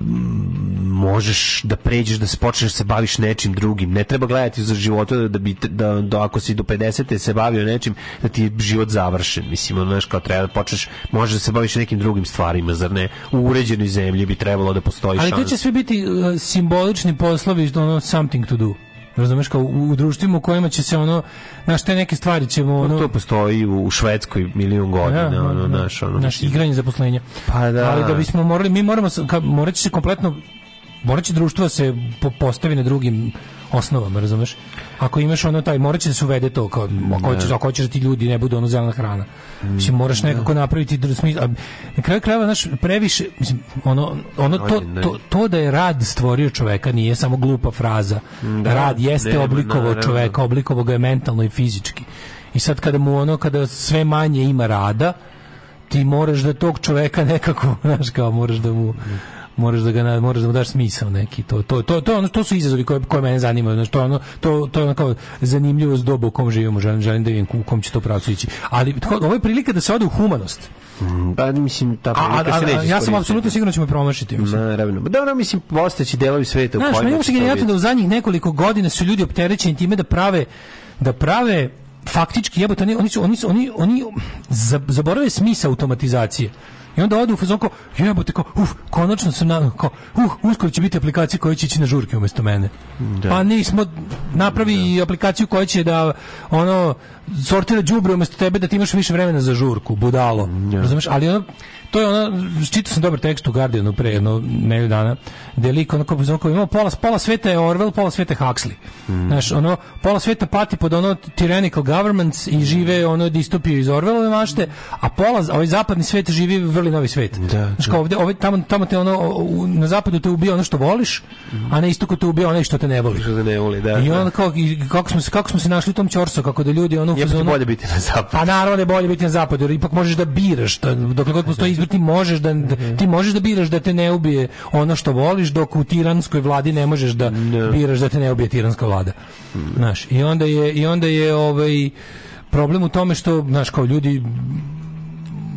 F: m, možeš da pređeš, da se počneš se baviš nečim drugim. Ne treba gledati za života da, bi, da, da ako si do 50. se bavio nečim, da ti je život završen. Mislim, ono, znaš, kao treba da počneš, možeš da se baviš nekim drugim stvarima, zar ne? U uređenoj zemlji bi trebalo da postoji
E: Ali to
F: šansa.
E: će sve biti uh, simbolični poslovi, ono something to do. Razumeš kao u, u društvima u kojima će se ono, znaš, te neke stvari ćemo ono...
F: Pa To postoji u u Švedskoj milion godina,
E: Da,
F: ono,
E: da,
F: naš, ono,
E: naš igranje zaposlenja.
F: Pa da.
E: Ali da bismo morali, mi moramo, s- ka, morat će se kompletno, morat će društvo da se po, postavi na drugim osnovama, razumeš? Ako imaš ono taj, morat će da se uvede to, kao, ako, hoćeš, ako hoćeš da ti ljudi ne budu ono zelena hrana. Mislim,
F: Mm,
E: moraš nekako napraviti dru- smisla. a Na kraju krajeva, znaš, previše, mislim, ono, ono to,
F: Ajde, ne.
E: to, to da je rad stvorio čoveka nije samo glupa fraza. rad jeste
F: nema,
E: oblikovao
F: naravno.
E: čoveka, oblikovao ga je mentalno i fizički. I sad kada mu ono, kada sve manje ima rada, ti moraš da tog čoveka nekako, znaš kao, moraš da mu moraš da ga na- moraš da mu daš smisao neki to to to to je ono to su izazovi koje koje mene zanimaju znači to je ono to to je ono kao zanimljivost doba u kom živimo želim želim da vidim u kom će to pravcu ići ali tako, ovo je prilika da se ode u humanost
F: Pa, mislim, ta
E: a, a,
F: prilika se
E: a-
F: neće
E: ja sam
F: iskoristiti.
E: apsolutno siguran da ćemo je promašiti mislim.
F: Naravno. Pa Dobro, mislim, postaći delovi sveta u
E: Znaš,
F: kojima
E: meni je uopšte
F: će to
E: genijalno da
F: biti.
E: u zadnjih nekoliko godina su ljudi opterećeni time da prave da prave faktički jebote oni oni su, oni su, oni oni za- zaborave smisao automatizacije. I onda odu u fazon kao, jebote, kao, uf, konačno sam, na, kao, uh, uskoro će biti aplikacija koja će ići na žurke umjesto mene. Pa nismo, napravi i aplikaciju koja će da, ono, sortira đubre umjesto tebe da ti imaš više vremena za žurku, budalo. Razumeš? Ali ono, to je ono, čitao sam dobar tekst u Guardianu pre jedno nedelju dana, gde je lik ono kao kao imao pola, pola sveta je Orwell, pola sveta je Huxley.
F: Mm.
E: Znaš, ono, pola sveta pati pod ono tyrannical governments
F: Mm.
E: i žive ono distopiju iz Orwellove mašte, a pola, ovaj zapadni svet živi vrli novi svet. Znaš, kao ovde, ovaj, tamo, tamo te ono, u- na zapadu te ubija ono što voliš, a na istoku te ubija onaj što te ne voli.
F: Što da ne voli, da.
E: I ono,
F: da.
E: onda kao, i kako, smo, se- kako smo se našli u tom ćorsu, kako da ljudi ono... u
F: Jebote,
E: fazonu-
F: bolje biti na zapadu.
E: pa naravno da je bolje biti na zapadu, jer ipak možeš da biraš. to- Dokle god postoji izbor, ti možeš da, Mhm. da- ti možeš da biraš da te ne ubije ono što voliš, dok u tiranskoj vladi ne možeš da Mhm. biraš da te ne ubije tiranska vlada. Znaš, i onda je, i onda je ovaj, problem u tome što, znaš, kao ljudi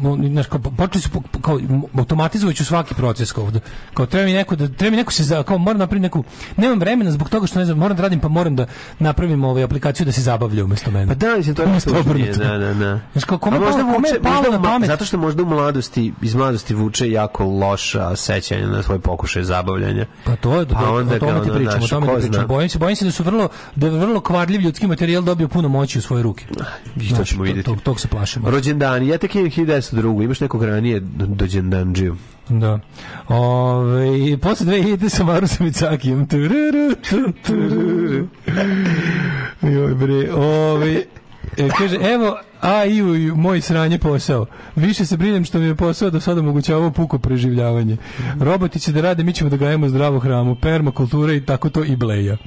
E: no, znaš, kao, počeli su po- po- kao automatizovajući svaki proces kao, da- kao treba mi neko da treba mi neko se za kao moram napraviti neku nemam vremena zbog toga što ne znam moram da radim pa moram da napravim ovaj aplikaciju da se zabavlja umesto mene.
F: Pa da, mislim, to je
E: Umesto
F: najtužnije,
E: obrnuto.
F: Da, da, da.
E: Znaš, kao, kome
F: A
E: je palo- kome je
F: vuče-
E: palo
F: možda
E: na
F: u-
E: pamet?
F: Zato što možda u mladosti, iz mladosti vuče jako loša sećanja na svoj pokušaj zabavljanja.
E: Pa to je,
F: Pa
E: pa
F: onda
E: o tome
F: ga,
E: ti
F: ono,
E: pričamo, o
F: znaš,
E: tome
F: ko
E: ti pričamo.
F: zna.
E: Bojim se, bojim se da su vrlo, da je vrlo kvarljiv ljudski materijal dobio puno moći u svoje ruke.
F: I to
E: Znaš,
F: ćemo vidjeti.
E: Tog, tog se plašimo.
F: Rođendani, ja tek imam 1902. Imaš nekog ranije dođendanđiju?
E: Da. Ove, i posle dve idete sa Marusom i Cakijem. Tururu, tu, tururu. Joj bre, ove, e, kaže, evo, a i u- i u moj sranje posao. Više se brinem što mi je posao do sada omogućavao puko preživljavanje. Roboti će da rade, mi ćemo da gajemo zdravu hramu, permakultura i tako to i bleja.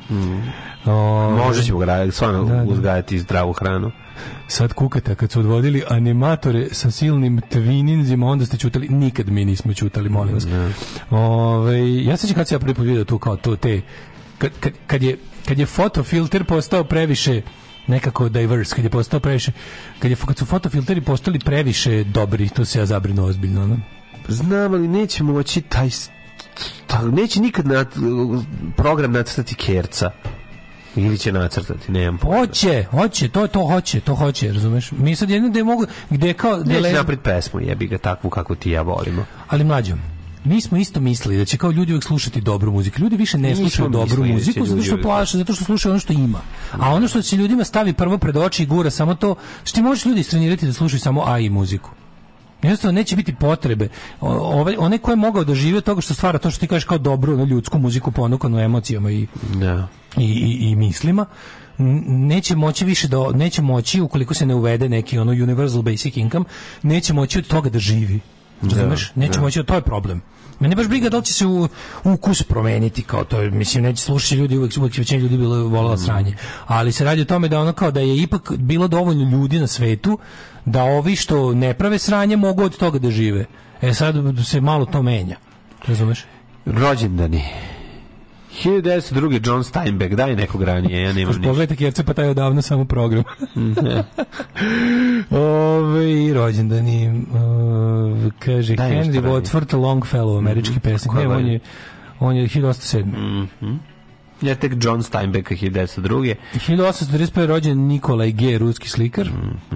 E: Ove,
F: Može ćemo ga raditi, stvarno
E: Da, da.
F: uzgajati zdravu hranu.
E: Sad kukate, a kad su odvodili animatore sa silnim tvininzima, onda ste čutali, nikad mi nismo čutali, molim vas. Ovaj, ja sećam kad se ja prvi put vidio tu kao to te, kad, kad, kad je, kad je fotofilter postao previše nekako diverse, kad je postao previše, kad, je, kad su fotofilteri postali previše dobri, to se ja zabrinuo ozbiljno. ono.
F: Pa Znam, ali neće moći taj... s- ta- neće nikad nat, program nacrtati kerca. Ili će nacrtati, nemam pojma.
E: Hoće, hoće, to to hoće, to hoće, razumeš? Mi sad jedno gde mogu, gde kao... gde
F: Neće
E: le-
F: napred pesmu, jebi ga takvu kako ti i ja volimo.
E: ali mlađo, mi smo isto mislili da će kao ljudi uvek slušati dobru muziku. Ljudi više ne
F: Nismo
E: slušaju dobru
F: mislili da će
E: muziku zato
F: ljudi
E: što
F: uvek-
E: plaše, zato što slušaju ono što ima. A ono što se ljudima stavi prvo pred oči i gura samo to, što ti možeš ljudi istrenirati da slušaju samo AI muziku. Jednostavno neće biti potrebe. O- Ovaj, onaj ko je mogao da živi od toga što stvara to što ti kažeš kao dobru ono, ljudsku muziku ponukanu emocijama i
F: Da.
E: i, i, i mislima n- neće moći više da neće moći ukoliko se ne uvede neki ono universal basic income neće moći od toga da živi razumeš neće moći to je problem Mene baš briga da li će se u, ukus promeniti kao to, je, mislim neće slušati ljudi uvek, uvek će većina ljudi bilo volela sranje. Ali se radi o tome da ono kao da je ipak bilo dovoljno ljudi na svetu da ovi što ne prave sranje mogu od toga da žive. E sad se malo to menja. Razumeš?
F: Rođendani. 1902. John Steinbeck, daj nekog ranije, ja nemam ništa. Mhm.
E: Pogledajte kjerce, pa taj je odavno samo program. Ove, i rođendani, uh, kaže
F: Daj nešto
E: Henry
F: ranije.
E: Watford Longfellow, američki pesnik.
F: Koje
E: Ne, on
F: godine?
E: je, on je 1807.
F: Mhm. Ja tek John Steinbecka 1902.
E: 1831. rođen Nikolaj G, ruski slikar.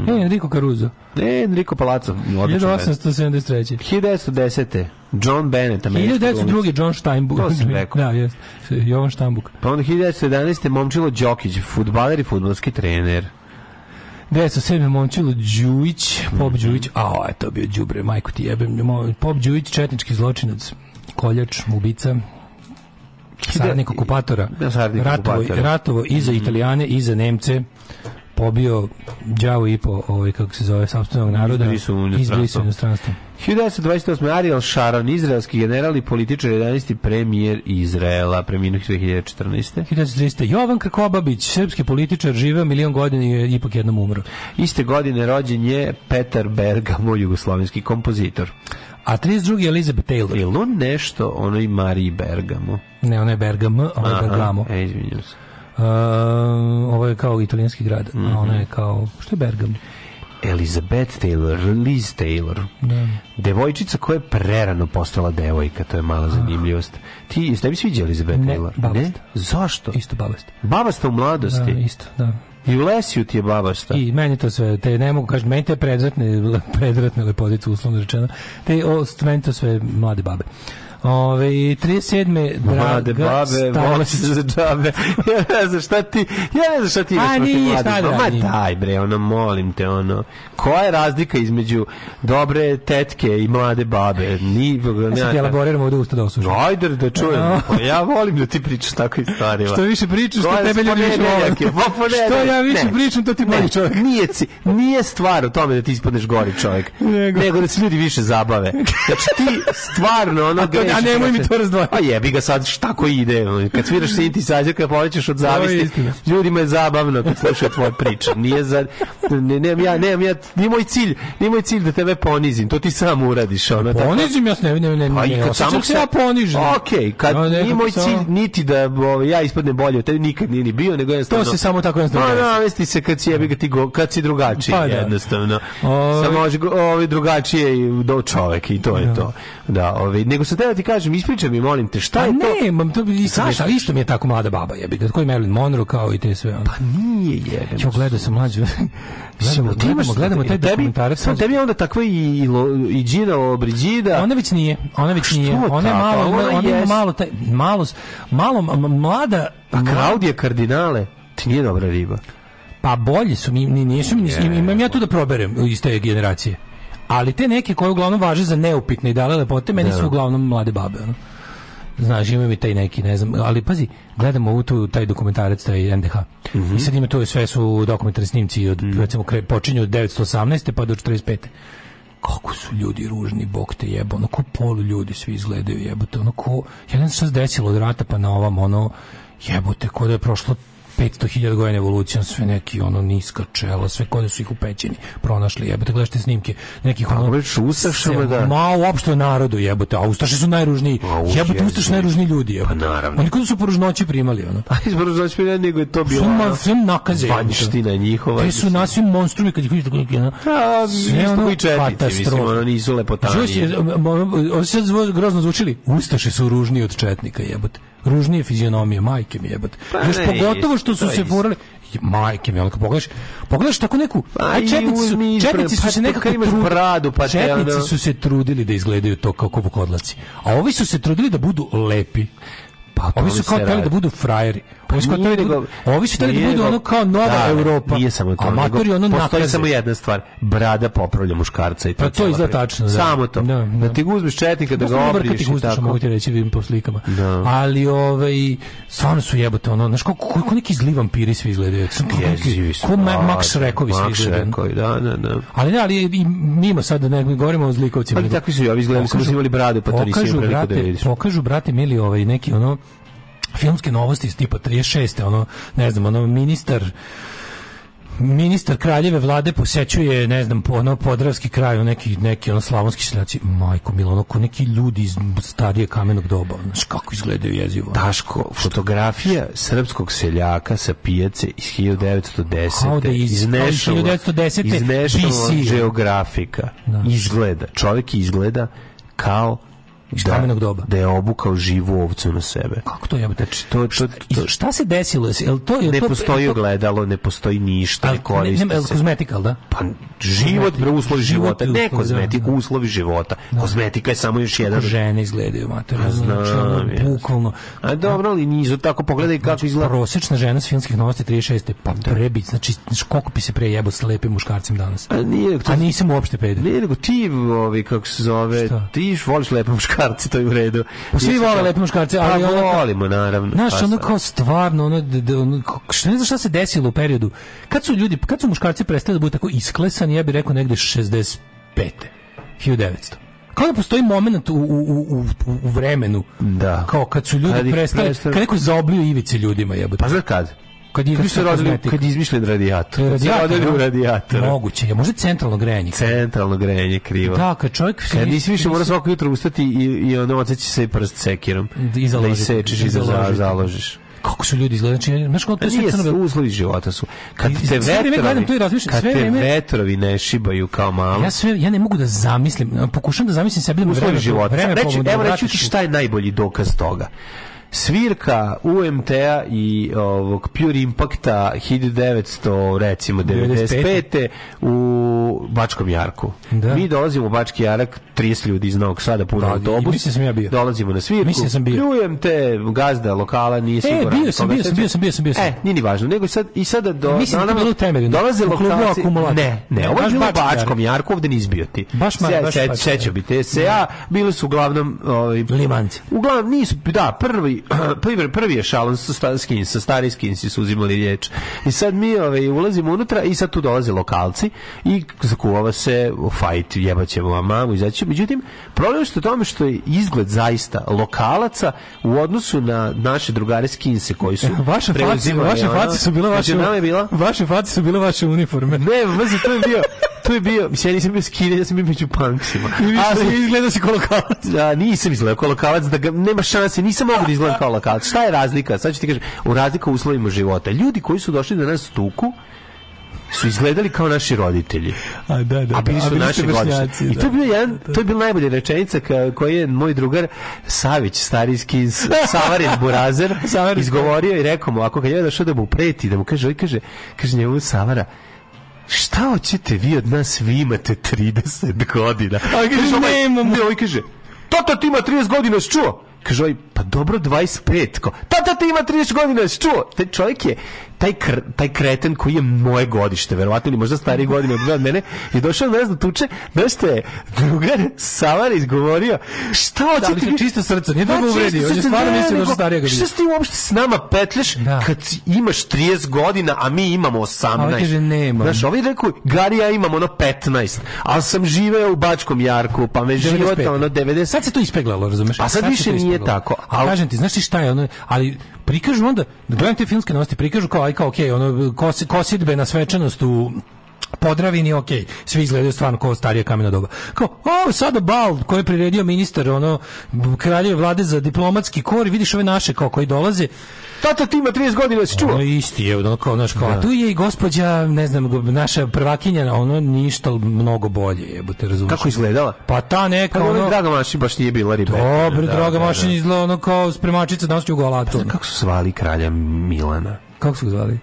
E: E, Enrico Caruso.
F: E, Enrico Palazzo, Mhm. odličan.
E: 1873.
F: 1910. John Bennett, američki glumac.
E: 1902. John Steinbuck.
F: To sam rekao.
E: da, jest. Jovan Steinbuck.
F: Pa onda 1911. Momčilo Đokić, futbaler i futbalski trener.
E: 1907. Momčilo Đujić, Pop
F: Mhm.
E: Đujić, a o, je to bio đubre, majku ti jebem, mo- Pop Đujić, četnički zločinac, koljač, ubica, saradnik okupatora,
F: Da, saradnik
E: ratovo,
F: okupatora. Mhm.
E: ratovo i za Italijane i za Nemce, pobio đavo i po, ovaj, kako se zove, samstvenog naroda,
F: Izbrisao u inostranstvo.
E: izbrisao u inostranstvo.
F: 1928. Ariel Sharon, izraelski general i političar 11. premijer Izraela, preminuo 2014.
E: 1930. Jovan Krkobabić, srpski političar, živeo milion godina i je ipak jednom umro.
F: Iste godine rođen je Petar Bergamo, jugoslovenski kompozitor.
E: A 32. Elizabeth Taylor.
F: Je li on nešto onoj Mariji Bergamo?
E: Ne, ona je Bergamo, ona je Bergamo.
F: E, izvinjam se.
E: Uh, ovo je kao italijanski grad,
F: Mhm.
E: a ona je kao, što je Bergamo?
F: Elizabeth Taylor, Liz Taylor.
E: Da.
F: Devojčica koja je prerano postala devojka, to je mala zanimljivost. Ti, jeste tebi sviđa Elizabeth
E: Ah. Ne,
F: Taylor?
E: babasta.
F: Zašto?
E: Isto babast.
F: Baba ste u
E: Da,
F: mladosti.
E: isto, da.
F: I u Lesiju ti je babasta.
E: I meni to sve, te ne mogu kažem, meni te predratne, le- predratne lepotice, uslovno rečeno, te o, meni to sve mlade babe. Ove, 37. Draga
F: Mlade babe, vole se za džabe. ja ne znam šta ti, ja ne znam šta ti imaš
E: A
F: protiv
E: nije,
F: mladih
E: šta da
F: žena. Ma
E: radim?
F: daj bre, ono, molim te, ono. Koja je razlika između dobre tetke i mlade babe? Ni,
E: Ja sad ti elaboriram ovde usta da osužim.
F: Ajde da čujem. Pa ja volim da ti pričaš tako i starima.
E: Što više pričaš,
F: To
E: što
F: je
E: tebe ljudi više vole.
F: ponedeljak je, pa ponedeljak.
E: Što ja više
F: Ne.
E: pričam, to ti
F: Ne,
E: bolji čovjek.
F: Nije, ci- nije stvar u tome da ti ispadneš gori čovjek, nego,
E: Nego-
F: da se ljudi više zabave. Znači ti stvarno ono... A,
E: to- a nemoj mi to razdvojiti.
F: A Pa jebi ga sad, šta tako ide. ono, Kad sviraš synthesizer, kad povećaš pa od zavisti,
E: istina.
F: ljudima je zabavno kad slušaju tvoje priče. Nije za... Ne, nemam ja, nemam ja, nije moj cilj, nije moj cilj da tebe ponizim, to ti sam uradiš. Ono, tako-
E: Ponizim ja se, ne, ne, ne,
F: pa i
E: ne,
F: kad
E: osjećam
F: samog
E: se ja ponižen.
F: Okej, kad
E: Ja nekako
F: nije moj
E: samo-
F: cilj niti da ovaj, ja ispadnem bolje od tebe, nikad nije ni bio, nego jednostavno...
E: To se samo tako jednostavno
F: Pa
E: desi.
F: navesti se kad si, jebi ga ti go, kad si drugačiji,
E: Pa da.
F: jednostavno.
E: Ovaj-
F: Samo može go- ovaj, drugačije i do čovek i to je to. Da, ovaj, nego sam teo ti kažem, ispričaj mi, molim te, šta
E: Pa
F: je to?
E: ne, mam to bi isto, mi je
F: Zašto?
E: ta- isto mi je tako mlada baba jebi ga, koji Marilyn Monroe kao i te sve. ono.
F: Nije jebeno.
E: Jo, gledao sam mlađu. Gledamo,
F: Ti imaš-
E: gledamo, gledamo taj
F: tebi-
E: dokumentarac.
F: Sam tebi je onda takva i, i, lo- i Gina Lobrigida.
E: Ona već nije, ona već
F: Što
E: nije. Ona je
F: tako?
E: malo,
F: Ona
E: Pa ona, ona ima
F: jest.
E: malo taj malo s- malo m- m- mlada
F: A Klaudija Kardinale, ti nije dobra riba.
E: pa bolje su mi, ni- nisu mi, nisu- imam ja tu da proberem iz te generacije. Ali te neke koje uglavnom važe za neupitne i dale lepote, meni su uglavnom mlade babe, ono. Znaš, imam i taj neki, ne znam, ali pazi, gledamo ovu tu, taj dokumentarac, taj NDH. I sad ima to, sve su dokumentarni snimci, od, recimo, kre, počinju od 918. pa do 45. Kako su ljudi ružni, bog te jebo, ono, ko polu ljudi svi izgledaju, jebote, ono, ko, ja ne znam šta se desilo od rata pa na ovam, ono, jebote, ko da je prošlo 500.000 godina evolucije, ono, sve neki, ono, niska čela, sve ko da su ih u pećini pronašli, jebote, gledaš te snimke, nekih, ono,
F: već u Ustašama,
E: se-
F: da.
E: Ma, uopšte o narodu, jebote, a Ustaše su najružniji,
F: u
E: jebote, Ustaše
F: jezi.
E: su najružniji ljudi, jebote.
F: Pa naravno.
E: Oni kod su po ružnoći primali, ono.
F: A izboru znači mi ne, nego je to bilo...
E: Sve ma-
F: ono,
E: sve nakaze, jebote.
F: Vanština njihova.
E: Te su nasi monstrumi kad ih vidiš tako neki, ono,
F: A,
E: sve
F: isto
E: ono
F: koji četnici, mislim,
E: katastrofa.
F: ono nisu
E: Čuješ,
F: lepotanije.
E: ono, ovo sad zvo- grozno zvučili, Ustaše su ružniji od četnika, jebote. Ružnije fizionomije, majke mi jebote.
F: Pa
E: Još
F: ne,
E: pogotovo što tu su
F: to je
E: se
F: isto.
E: furali majke mi, onako pogledaš, pogledaš tako neku,
F: Pa
E: aj
F: i
E: četnici su,
F: uzmi,
E: četnici
F: pa
E: su se
F: što
E: nekako
F: kad imaš
E: trudili-
F: bradu, pa te
E: četnici
F: ono-
E: su se trudili da izgledaju to kao kupokodlaci, a ovi su se trudili da budu lepi.
F: Pa, o
E: Ovi
F: tome
E: su kao
F: se
E: hteli da
F: radi. Pa
E: budu frajeri. Ovi su kao
F: Nije
E: hteli da budu,
F: nego-
E: ovi su hteli da
F: nije
E: budu
F: nego-
E: ono kao nova
F: Da,
E: Europa.
F: Nije samo to.
E: A matori
F: nego
E: ono
F: Postoji
E: nakaze.
F: samo jedna stvar. Brada popravlja muškarca i to.
E: Pa to
F: je cijela
E: izgleda
F: priča.
E: tačno, da.
F: Samo to.
E: Da,
F: Da,
E: da.
F: ti uzmeš četnika da
E: Da
F: ga
E: ga
F: obriješ
E: obriš
F: i tako.
E: mogu ti reći, vidim po slikama.
F: Da.
E: Ali ovaj stvarno su jebote ono, znaš kako kako neki zli vampiri svi izgledaju. Znaš, Kako neki,
F: Jezivi su,
E: ko Ma-
F: da,
E: Max Rekovi svi
F: Max
E: izgledaju.
F: Rekovi, da, da, da.
E: Ali ne, ali i mimo sad da ne govorimo o zlikovcima.
F: Ali
E: nego-
F: takvi su i ovi izgledali, samo
E: Pokažu-
F: su imali brade, pa to nisi
E: pokažu,
F: imao priliku da
E: brate,
F: vidiš.
E: Pokažu, brate, mili, ovaj, neki ono, filmske novosti iz tipa 36. ono, ne znam, ono, ministar ministar kraljeve vlade posećuje ne znam po- ono podravski kraj ono, neki neki ono slavonski seljaci majko milo ono ko neki ljudi iz starije kamenog doba ono, znaš kako izgledaju jezivo
F: Daško, fotografija srpskog seljaka sa pijace iz 1910.
E: Kao da je iz-
F: National-
E: kao iz 1910
F: iz National
E: BC.
F: Geographica. Izgleda, čovjek izgleda kao
E: kamenog doba.
F: da je obukao živu ovcu na sebe.
E: kako to jebote
F: Znači, to, to,
E: I
F: to-
E: šta se desilo jesi- jel to jel
F: ne
E: to-
F: postoji
E: jel to-
F: ogledalo, ne postoji ništa,
E: al-
F: ne koristi
E: ne, jel
F: se.
E: kozmetika jel da
F: Pa život, bre, uslovi
E: Život
F: života,
E: i
F: ne
E: uslovi,
F: kozmetika,
E: da, da.
F: uslovi života. Kozmetika je samo još jedan
E: Kako žene izgledaju mater znači
F: Pa Znam,
E: ono,
F: jes.
E: bukvalno
F: A dobro, ali nizu, tako pogledaj
E: Znači,
F: kako izgleda.
E: prosječna žena s filmskih novosti 36. Pa prebit, znači, znaš koliko bi se prejebo s lepim muškarcem danas.
F: A nije, to-
E: A nisam uopšte peder.
F: Ne, nego ti, ovi, kako se zove,
E: Šta?
F: ti voliš lepe muškarce, to je u redu.
E: Pa svi
F: Mislim,
E: vole
F: kao-
E: lepe muškarce, ali
F: pa
E: ono kao-
F: volimo, naravno.
E: Znaš,
F: pa
E: ono
F: sad.
E: kao stvarno, ono, da, da, ono, ko- što ne znam šta se desilo u periodu. Kad su ljudi, kad su muškarci prestali da budu tako isklesani, ja bih rekao negde 65. 1900. Kao da postoji moment u, u, u, u, u vremenu.
F: Da.
E: Kao kad su ljudi
F: Kad ih
E: prestali,
F: prestali-
E: kad neko zaoblio ivice ljudima jebote.
F: Pa znaš kad?
E: kad
F: Kad su
E: izmišlja
F: rodili,
E: kozmetika.
F: kad je izmišljen radijator. Kad su
E: Radijator,
F: rodili u
E: da?
F: radijatora.
E: Moguće, je možda centralno grejanje.
F: Centralno grejanje krivo.
E: Da, kad čovjek...
F: Kad nisi više mora svako jutro ustati i, i ono odseći se i prst sekirom.
E: Da, i
F: da
E: založiti.
F: isečeš i
E: Da
F: za, za-
E: založiti.
F: založiš.
E: Kako su ljudi izgledali? Znači, znaš kako
F: Pa
E: to sve
F: nije,
E: crno
F: s-
E: belo?
F: uslovi života su. Kad
E: I- sve
F: te
E: vreme gledam to i
F: vetrovi,
E: razmišljam,
F: kad
E: sve
F: te
E: vreme-
F: vetrovi ne šibaju kao malo.
E: Ja sve, ja ne mogu da zamislim, pokušam da zamislim sebi da mi
F: uslovi
E: vreme,
F: života.
E: vreme
F: Reći,
E: pomogne,
F: evo reći
E: vratiš
F: ti
E: u-
F: šta je najbolji dokaz toga. Svirka UMT-a i ovog Pure Impacta 1900 recimo 95. u Bačkom Jarku.
E: Da.
F: Mi dolazimo u Bački Jarak 30 ljudi iz Novog Sada puno
E: Da, i
F: autobus.
E: mislim sam ja bio.
F: Dolazimo na svirku.
E: Mislim sam bio. E,
F: Pljujem te, gazda lokala nije siguran.
E: bio sam,
F: koga
E: bio sam,
F: sećam.
E: bio sam, bio sam, bio sam.
F: E, nije ni važno, nego sad i sada do
E: Mislim da je
F: na nama
E: bilo u Temerinu,
F: Dolaze
E: u klubu
F: lokalci.
E: Akumulator.
F: Ne, ne, ovo je
E: Baš
F: bilo u
E: Bački Jarak.
F: Bačkom Jarku, ovde ni izbio ti.
E: Baš malo,
F: Se-
E: baš
F: se-
E: Bački
F: sećao
E: Jarak.
F: bi te se ja, bili su uglavnom ovaj
E: Limanci.
F: Uglavnom nisu, da, prvi, prvi, prvi je šalon sa sta, skinsa, stari skinsi su uzimali riječ. I sad mi ovaj, ulazimo unutra i sad tu dolaze lokalci i zakuvava se fajt, jebaćemo vam mamu, izaćemo. Međutim, problem je što u tome što je izgled zaista lokalaca u odnosu na naše drugare skinse koji
E: E,
F: su
E: Vaše face,
F: preuzimali,
E: vaše
F: ono.
E: face su bile vaše...
F: Među nama je bila
E: Vaše face su bile vaše uniforme.
F: ne, mrzi, to E, je bio, to je bio, mislim, ja nisam bio skinjen, ja sam bio među punksima.
E: Ali
F: Ali,
E: izgleda se kao lokalac.
F: da, nisam izgledao kao lokalac, da ga, nema šanse, nisam mogu da izgledam kao lokalac. Šta je razlika? Sad ću ti kažem, u razlika u uslovima života. Ljudi koji su došli da nas tuku, su izgledali kao naši roditelji,
E: A da, da,
F: a bili
E: da,
F: su naši
E: vršnjaci,
F: godišnjaci. I
E: da.
F: to je bio jedan, to je bila najbolja rečenica ka- koju je moj drugar Savić, stari skins, Savarin Burazer,
E: Savarin.
F: izgovorio i rekao mu, ako kad je došao da mu preti, da mu kaže, oj kaže, kaže njemu Savara, šta hoćete vi od nas, vi imate 30 godina.
E: A on kaže,
F: ovaj,
E: "Nemamo."
F: Ne, ovaj kaže, tata ti ima 30 godina, jesi čuo? Kaže, ovaj, pa dobro 25. Ko, tata ti ima 30 godina, jesi čuo? Taj čovjek je, taj, kr, taj kreten koji je moje godište, verovatno ili možda stariji godine od mene, od mene, je došao na nas da tuče, da što je drugar Savar izgovorio, šta hoćete?
E: mislim,
F: vi-
E: čisto srce, nije da ga
F: Pa, čisto
E: uvredio, on je
F: srce,
E: stvarno
F: ne,
E: mislio da
F: nego,
E: su starija ga
F: Šta
E: vidjeli.
F: si ti uopšte s nama petlješ
E: Da.
F: kad si- imaš 30 godina, a mi imamo 18?
E: A ovaj kaže, nemam.
F: Znaš, Ovi rekao, Gari, ja imam ono 15, ali sam živeo u Bačkom Jarku, pa me život
E: 95.
F: ono 90.
E: Sad se to ispeglalo, razumeš?
F: A Pa sad
E: se
F: više
E: to
F: nije
E: ispeglalo.
F: tako,
E: A
F: al-
E: kažem ti, znaš ti šta je ono, ali prikažu onda, gledam te filmske novosti, prikažu kao, aj kao, okej, ono, kos, kosidbe na svečanost u Podravini, ok, svi izgledaju stvarno kao starije kamena doba. Kao, o, sada bal koji je priredio ministar, ono, kraljeve vlade za diplomatski kor i vidiš ove naše kao koji dolaze,
F: Tata ti ima 30 godina, si čuo?
E: ono isti je, ono kao, znaš, kao, a tu je i gospođa, ne znam, go- naša prvakinja, ono, ništa mnogo bolje, jebote, razumeš?
F: Kako izgledala?
E: Pa ta neka,
F: Pa ono,
E: ono,
F: Draga Maši baš nije bila ribe. Pa
E: Dobro, draga mašina izgleda ono kao spremačica danas u golatu.
F: Kako su zvali kralja Milana?
E: Kako su ga zvali?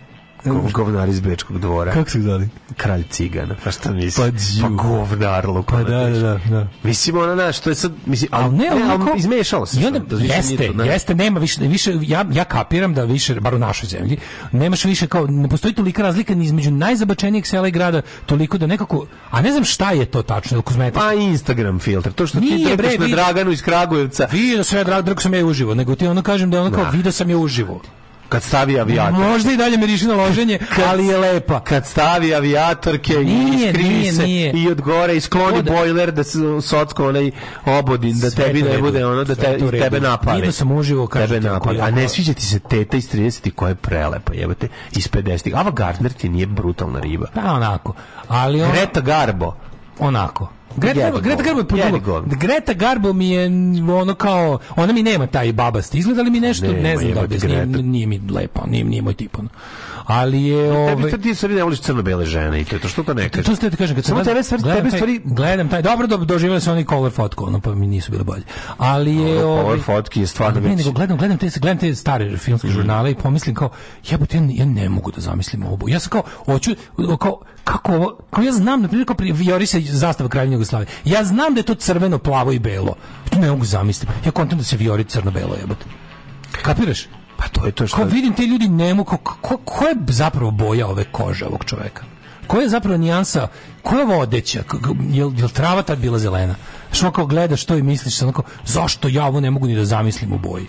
F: Gov- Govnar iz Bečkog dvora.
E: Kako su ga zvali?
F: Kralj cigana. Pa šta misli?
E: Pa džiju.
F: Pa govnar lupa.
E: Pa da, da, da, da.
F: Mislim, ono, znaš, to je sad, mislim,
E: Al
F: ali,
E: ne,
F: ne,
E: onako-
F: ali izmešalo se.
E: I onda,
F: sad, to više
E: jeste,
F: nije to, ne.
E: jeste, nema više, više ja, ja kapiram da više, bar u našoj zemlji, nemaš više kao, ne postoji tolika razlika ni između najzabačenijeg sela i grada, toliko da nekako, a ne znam šta je to tačno, ili kozmetika.
F: Pa Instagram filter. To što
E: Nije,
F: ti
E: bre,
F: trkaš na
E: vidi.
F: Draganu iz Kragujevca,
E: Vidio sam ja drag, drag sam ja i uživo, nego ti ono kažem da je ono kao,
F: Da.
E: vidio sam je uživo.
F: kad stavi avijator.
E: Možda i dalje miriši na loženje, ali je lepa.
F: Kad stavi avijatorke i
E: Nije,
F: iskrivi
E: nije,
F: se
E: nije.
F: i odgore i skloni
E: Oda-
F: bojler da se socko onaj obodin, da
E: Sve
F: tebi
E: je to u
F: ne
E: redu.
F: bude ono da
E: Sve je
F: te,
E: to u
F: i tebe
E: redu.
F: napali.
E: Vidio sam uživo, kažem
F: Tebe
E: ti, ako
F: napali.
E: ja-
F: A ne sviđa ti se teta iz 30 koja je prelepa, jebate, iz 50. Ava Gardner ti nije brutalna riba.
E: Pa onako. Ali ono- on,
F: Greta Garbo.
E: onako. Greta, Garbo,
F: Jedi
E: Greta Garbo je
F: govno, jedi
E: podrugo.
F: govno.
E: Greta Garbo mi je ono kao, ona mi nema taj babasti izgled, ali mi nešto, ne
F: Nema,
E: znam da
F: jebote,
E: objasnim, nije,
F: Greta.
E: nije mi lepo, nije, nije moj tip. Ono. Ali je...
F: Tebi
E: Ove,
F: to ti E, sad ne voliš crno-bele žene i to, je to što to ne kažeš?
E: Ovaj- to ste ti kažem, kad sam
F: Samo
E: gledam-
F: tebe stvari,
E: gledam
F: tebe
E: taj-
F: stvari
E: Gledam taj, dobro, do, doživjeli su oni color fotku, ono, pa mi nisu bile bolje. Ali je...
F: Ovo,
E: ovaj,
F: ove fotke je stvarno
E: Ne,
F: već-
E: nego gledam, gledam te, gledam te stare filmske
F: Mhm.
E: žurnale i pomislim kao, jebote, ja, ne- ja ne mogu da zamislim ovo. Ja sam kao, hoću, kao, kako ovo, kao ja znam, na primjer, kao pri Viori se zastava Kraljevine Jugoslavije. Ja znam da je to crveno, plavo i belo. To ne mogu zamisliti. Ja kontam da se Viori crno-belo jebote. Kapiraš?
F: Pa to je to što...
E: Kao vidim te ljudi ne mogu, ko, ko, ko je zapravo boja ove kože ovog čoveka? Koja je zapravo nijansa, koja je ova odeća? K- k- Jel, jel trava tad bila zelena? Što kao gledaš to i misliš, onako, zašto ja ovo ne mogu ni da zamislim u boji?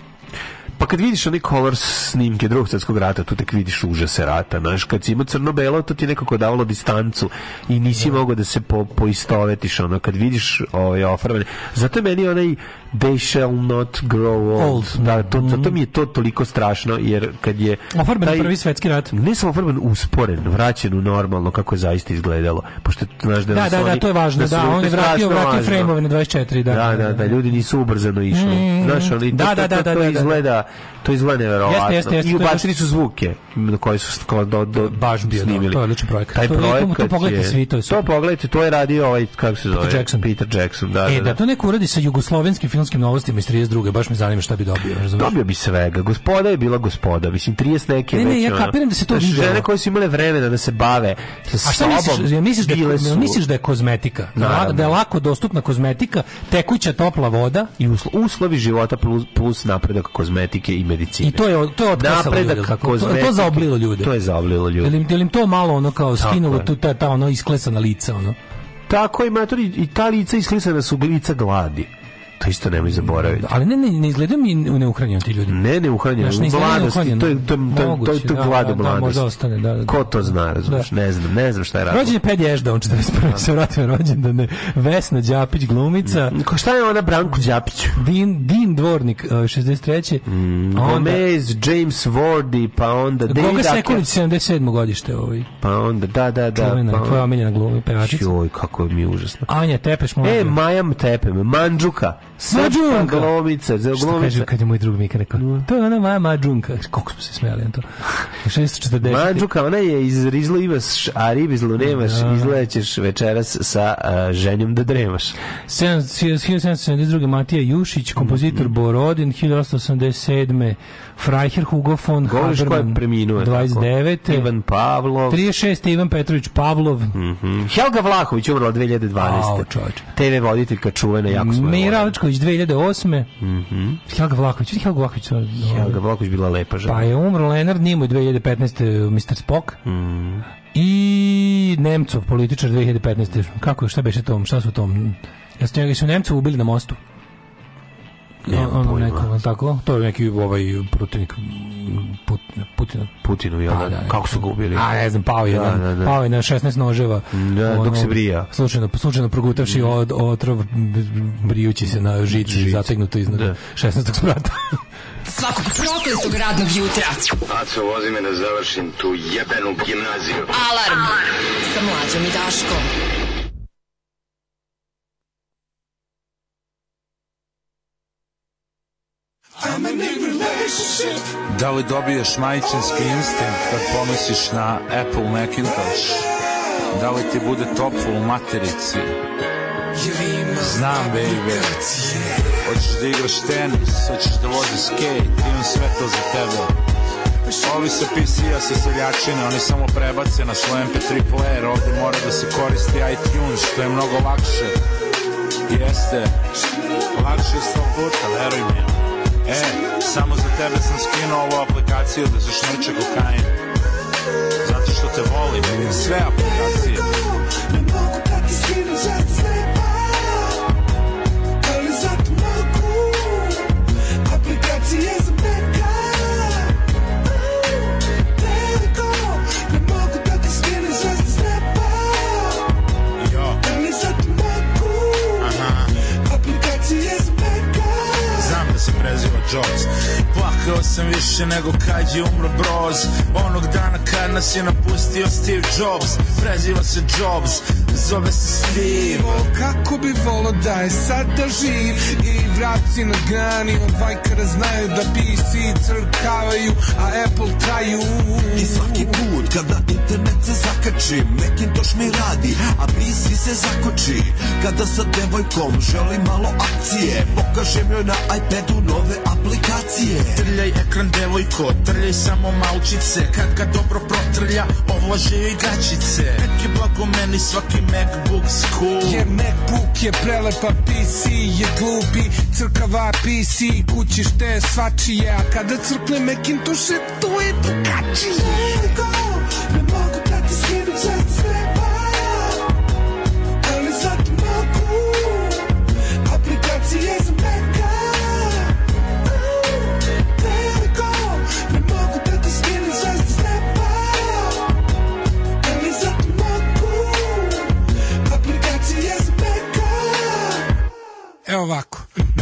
F: Pa kad vidiš onaj color snimke drugog svjetskog rata, tu tek vidiš užase rata. Znaš, kad si imao crno-belo, to ti je nekako davalo distancu i nisi mogao da se po, poistovetiš. Ono, kad vidiš ove ofarbane. Zato je meni onaj They shall not grow old.
E: Old. Mm.
F: Da, to, zato mi je to toliko strašno, jer kad je...
E: Ofarben
F: taj-
E: prvi svetski rat.
F: Ne samo ofarben, usporen, vraćen u normalno kako je zaista izgledalo. Pošto, znaš, da,
E: Da,
F: nas
E: da, da,
F: oni-
E: to je važno,
F: nas
E: da,
F: oni-
E: on
F: to
E: je vratio,
F: strašno
E: vratio
F: važno.
E: frame-ove na 24, da.
F: Da, da, da, ljudi nisu ubrzano išli. Znaš, ali
E: Mm, Da,
F: to,
E: da,
F: to,
E: da,
F: to,
E: da,
F: to
E: da, da.
F: izgleda, to izgleda neverovatno.
E: Jeste, jeste, jeste,
F: I
E: to je
F: ubacili su zvuke na koje su kao do, do,
E: Baš bio dobar,
F: snimili.
E: to je odličan projekat.
F: Taj
E: To je- to-
F: projekat
E: to pogledajte
F: je-
E: svi, to je super.
F: To pogledajte, to je radio ovaj, kako se zove?
E: Jackson.
F: Peter Jackson, da,
E: E,
F: da,
E: da
F: da.
E: to neko uradi sa jugoslovenskim filmskim novostima iz 32. Baš me zanima šta bi dobio, razumiješ?
F: Dobio bi svega. Gospoda je bila gospoda. Mislim, 30 neke
E: Ne, ne,
F: već,
E: ja
F: ono.
E: kapiram da se to
F: Znaš,
E: videlo.
F: Žene koje su imale vremena da se bave sa
E: A šta misliš,
F: sobom,
E: jel misliš da,
F: bile
E: je,
F: su...
E: jel misliš da je kozmetika? Da,
F: Naravno.
E: da je lako dostupna kozmetika, tekuća topla voda
F: i uslo- uslovi života plus, plus napredak kozmetike i medicine.
E: i to je to je otkasalo ljude,
F: napredak
E: jel tako? To,
F: kozmetike.
E: to zaoblilo ljude.
F: To je zaoblilo ljude.
E: Jel im, jel im to malo ono kao
F: Tako
E: skinulo
F: je.
E: tu ta, ta ono isklesana lica ono?
F: Tako i matori i ta lica isklisana su lica gladi. To isto nemoj zaboraviti.
E: Ali ne, ne, ne izgledaju mi neuhranjeno ti ljudi.
F: Ne, ne uhranjeno,
E: Znaš, ne izgledaju
F: mladosti,
E: neuhranjeno.
F: to je to je- to je- to je
E: Moguće,
F: to
E: da,
F: je glad u
E: da, da, možda
F: mladosti.
E: ostane, da, da.
F: Ko to zna, razumeš?
E: Da.
F: Ne znam, ne znam šta je
E: Rođen
F: radio.
E: je Pedi Ežda, on 41. se vratio na rođendane. Vesna Đapić, glumica.
F: Ko šta je ona Branku Đapić?
E: Din, Din Dvornik, eh, 63.
F: Mm,
E: A onda,
F: Gomez, James Wardy, pa onda
E: Goga
F: Dejda,
E: Sekulić, 77. godište. Ovaj,
F: pa onda da, da, da.
E: čuvena,
F: pa
E: tvoja
F: onda-
E: omiljena glumi, pevačica.
F: Joj, kako mi je užasno.
E: Anja Tepeš, moja.
F: E, Majam Tepem, Mandžuka, srpska
E: Mađunka.
F: glomica, za
E: Što kaže
F: glomica.
E: kad je moj drug Mika rekao? To je ona moja mađunka. Koliko smo se smijali na to. 640.
F: Mađuka, ona je iz Rizlu imaš, a rib iz nemaš,
E: Da.
F: izlećeš večeras sa a, ženjom da dremaš.
E: 1772. Matija Jušić, kompozitor
F: Mm.
E: Borodin, 1887. Frajher Hugo von
F: Govoriš ko je
E: Haberman,
F: preminuo. je tako?
E: 29.
F: Ivan Pavlov.
E: 36. Ivan Petrović Pavlov,
F: Mhm. Helga Vlahović umrla 2012.
E: Au, čoveče.
F: TV voditeljka čuvena, jako smo je
E: Mira
F: voleli.
E: Alčković 2008. Helga Vlaković, vidi Helga Vlaković. to je-
F: Mhm. Helga Vlahović bila lepa žena.
E: Pa je umro Leonard Nimoy 2015. Mr. Spock.
F: Mhm.
E: I Nemcov, političar 2015. Kako, šta beše tom, šta su tom? Jeste njega su Nemcov ubili na mostu?
F: Nemam
E: Ono
F: pojma.
E: neko, jel tako? To je neki ovaj protivnik Put, Putina.
F: Putinu, jel?
E: Pa, da,
F: da,
E: ne.
F: kako su ga ubili?
E: A ne znam, pao je,
F: Da,
E: na,
F: da, da.
E: pao je na 16 noževa. Ono,
F: Da, dok se brija. Mm.
E: Slučajno, slučajno progutavši od, otrov brijući se na žici, zategnuto iznad
F: Da.
E: 16. sprata.
D: Svakog prokletog radnog jutra.
A: Aco, vozi me da završim tu jebenu gimnaziju.
D: Alarm, sa mlađom i Daškom.
J: Da li dobiješ majčinski instinkt kad pomisliš na Apple Macintosh? Da li ti bude toplo u materici? Znam, baby. Hoćeš da igraš tenis, hoćeš da voziš skate, imam sve to za tebe. Ovi sa PC-a se seljačine, oni samo prebace na svoj MP3 player, ovde mora da se koristi iTunes, što je mnogo lakše. Jeste, lakše je sto puta, veruj mi. E, samo za tebe sam skinuo ovu aplikaciju da se šmrče kokain. Zato što te volim, vidim sve aplikacije.
H: Ali zato mogu Aplikacije za beka Veliko Ne mogu da ti skinem sve sa snapa Ali zato mogu Aplikacije za beka
J: Znam da se preziva Jaws Plakao sam više nego kad je umro Broz Onog dana kad nas je napustio Steve Jobs Preziva se Jobs, zove se Steve
H: O kako bi volao da je sada živ I vraci na grani od vajkara znaju da PC crkavaju A Apple traju
K: I svaki put kada internet se zakači Macintosh mi radi, a PC se zakoči Kada sa devojkom želim malo akcije Pokažem joj na iPadu nove aplikacije
J: Trljaj ekran devojko, trljaj samo malčice Kad ga dobro protrlja, ovlaže joj gačice Neki blago meni svaki Macbook school
H: Jer Macbook je prelepa, PC je glupi Crkava PC, kućište je svačije A kada crkne Macintosh je tu je drugačije Veliko, ne mogu da ti skinem sve sa snapa Ali zato mogu Aplikacije za Maca Veliko, ne mogu da ti skinem sve sa snapa Ali zato mogu aplikacije za beka Evo ovako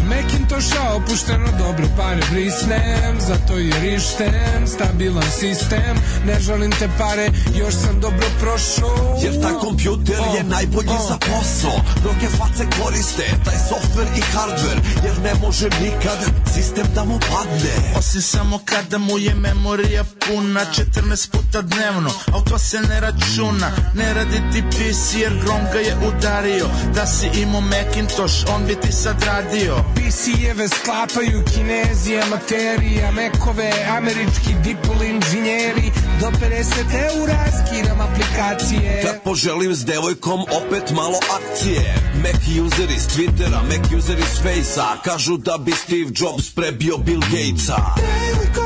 H: Macintosha opušteno dobre pare brisnem Zato i rištem, stabilan sistem Ne želim te pare, još sam dobro prošao
K: Jer taj kompjuter je najbolji za posao Mnoge face koriste, taj software i hardware Jer ne može nikad sistem da mu padne
J: Osim samo kada mu je memorija puna 14 puta dnevno, al to se ne računa Ne radi ti PC jer grom ga je udario Da si imao Macintosh, on bi ti sad radio
H: PC-eve sklapaju kinezije, materija, mekove, američki dipol inženjeri, do 50 eura skiram aplikacije.
K: Kad poželim s devojkom opet malo akcije Mac user iz Twittera, Mac user iz Facea Kažu da bi Steve Jobs prebio Bill Gatesa
H: Veliko,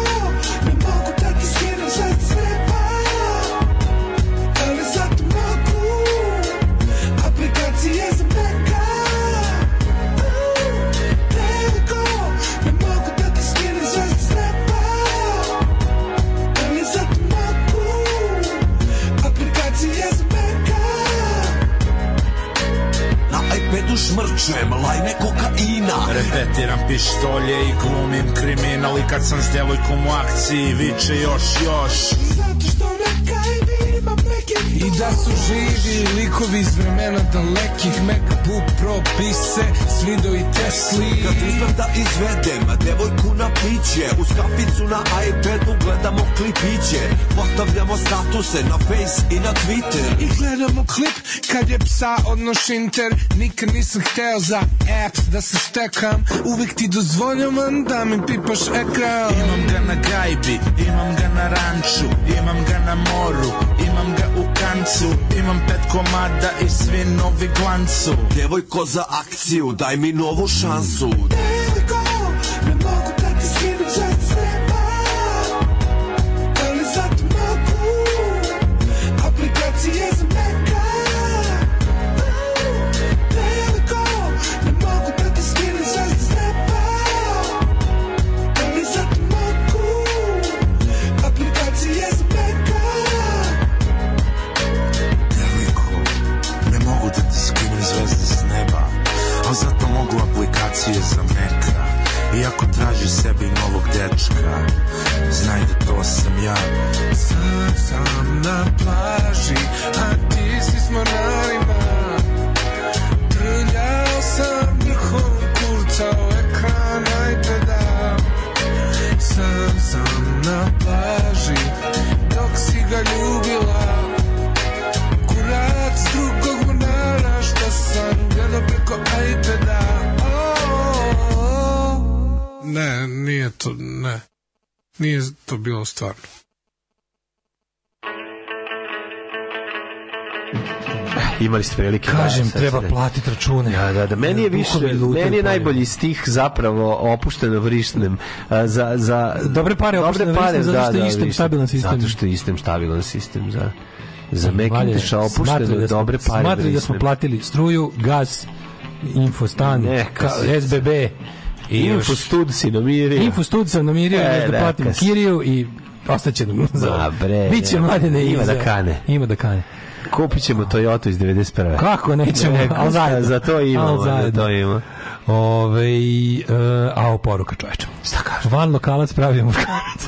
H: ne mogu da ti skiram sve sa snapa, ali zato mogu aplikacije za Maca. Veliko, ne mogu da ti skinem sve sa snapa, ali zato mogu aplikacije za Maca.
K: Na iPadu šmrčem lajne kokaina
J: Repetiram pištolje i glumim kriminal I kad sam s djevojkom u akciji viče još, još
H: Zato što na kajbi imam neki I da su živi likovi iz vremena dalekih Macbook Pro pise s video i Tesli
K: Kad uzmem da izvedem devojku na piće Uz kaficu na iPadu gledamo klipiće Postavljamo statuse na Face i na Twitter
H: I gledamo klip kad je psa odnoš inter Nikad nisam hteo za apps da se stekam Uvijek ti dozvoljavam da mi pipaš ekran
J: Imam ga na gajbi, imam ga na ranču Imam ga na moru, imam ga u kancu Imam pet komada i svi novi glancu
K: Devojko za akciju, daj mi novu šansu
H: Veliko, ne mogu da ti skinem sve sa snapa, ali zato mogu aplikacije za Maca. Veliko, ne mogu da ti skinem sve sa snapa, ali zato mogu aplikacije za Maca.
J: Veliko, ne mogu da ti skinem zvezde s neba Al zato mogu aplikacije za meka Iako traži sebi novog dečka Znaj da to sam ja
H: Sam sam na plaži, a ti si s moralima Trljao sam vrhom kurca u ekran iPada Sam sam na plaži, dok si ga ljubila Kurac drugog morala što sam gledao preko iPada oh, oh, oh. Ne, nije to, ne
L: Nije to bilo stvarno.
F: Imali ste prilike.
E: Kažem,
F: sad
E: treba
F: se-
E: platiti račune.
F: Da, da, da. Meni je više,
E: Duhovi lutaju
F: meni je
E: po nebu.
F: najbolji stih zapravo opušteno vrištnem. a, Za, za,
E: Dobre pare opušteno vrištnem, zato što je istem
F: vrištnem.
E: stabilan sistem.
F: Zato što je istem stabilan sistem, za za
E: Valje,
F: Mekinteša
E: smatraju
F: opušteno
E: da smo-
F: dobre pare
E: Smatraju da smo
F: vrištnem.
E: platili struju, gas, infostan,
F: Neka
E: ka,
F: se-
E: SBB. I još-
F: Infostud si namirio.
E: Infostud sam namirio,
F: E,
E: još da
F: neka
E: platim
F: se.
E: kiriju i ostaće nam
F: Ma
E: za...
F: bre.
E: Biće mladene
F: ima
E: i
F: da
E: za-
F: kane.
E: Ima da kane.
F: Kupit ćemo Toyota iz 91.
E: Kako nećemo,
F: Neka,
E: ali zajedno.
F: Za to imamo,
E: Ali
F: za
E: zajedno.
F: to ima.
E: Ove, e, a o poruka čoveče. Šta kaže? Van lokalac pravi muškarac.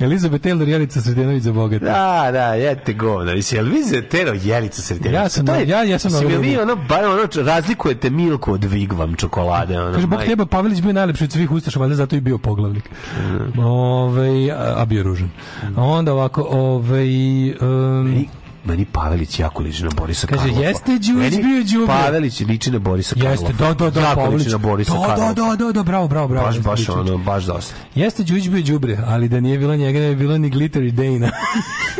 E: Elizabeth Taylor, Jelica Sredenović za bogate.
F: Da, da, jete govna. Jesi, jel vi zetero Jelica Sretenović?
E: Ja sam-
F: To
E: ja- ja sam
F: Mislim, jel vi
E: novinar.
F: ono, bar ono, razlikujete Milku od Vigvam čokolade? Ono,
E: Kaže, Bog
F: majko.
E: teba, Pa Pavelić bio najlepši od svih ustaša, valjda zato i bio poglavnik.
F: Mm.
E: Ove, a, a bio je ružan. A onda ovako, ovaj, ove... Um,
F: Meni Pavelić jako liči na Borisa
E: Kaže,
F: Karlova.
E: jeste Đujić
F: Meni
E: bio Đubre.
F: Pavelić liči na Borisa Karlova.
E: Jeste, da, da, da,
F: jako
E: Pavelić.
F: liči na Borisa
E: Da, da,
F: Karlova.
E: da, da, da, bravo, bravo, bravo,
F: Baš,
E: jeste
F: baš
E: liči.
F: ono, baš dosta.
E: Jeste Đuđić bio đubre, ali da nije bilo njega, ne bi bilo ni Glitter i Dana.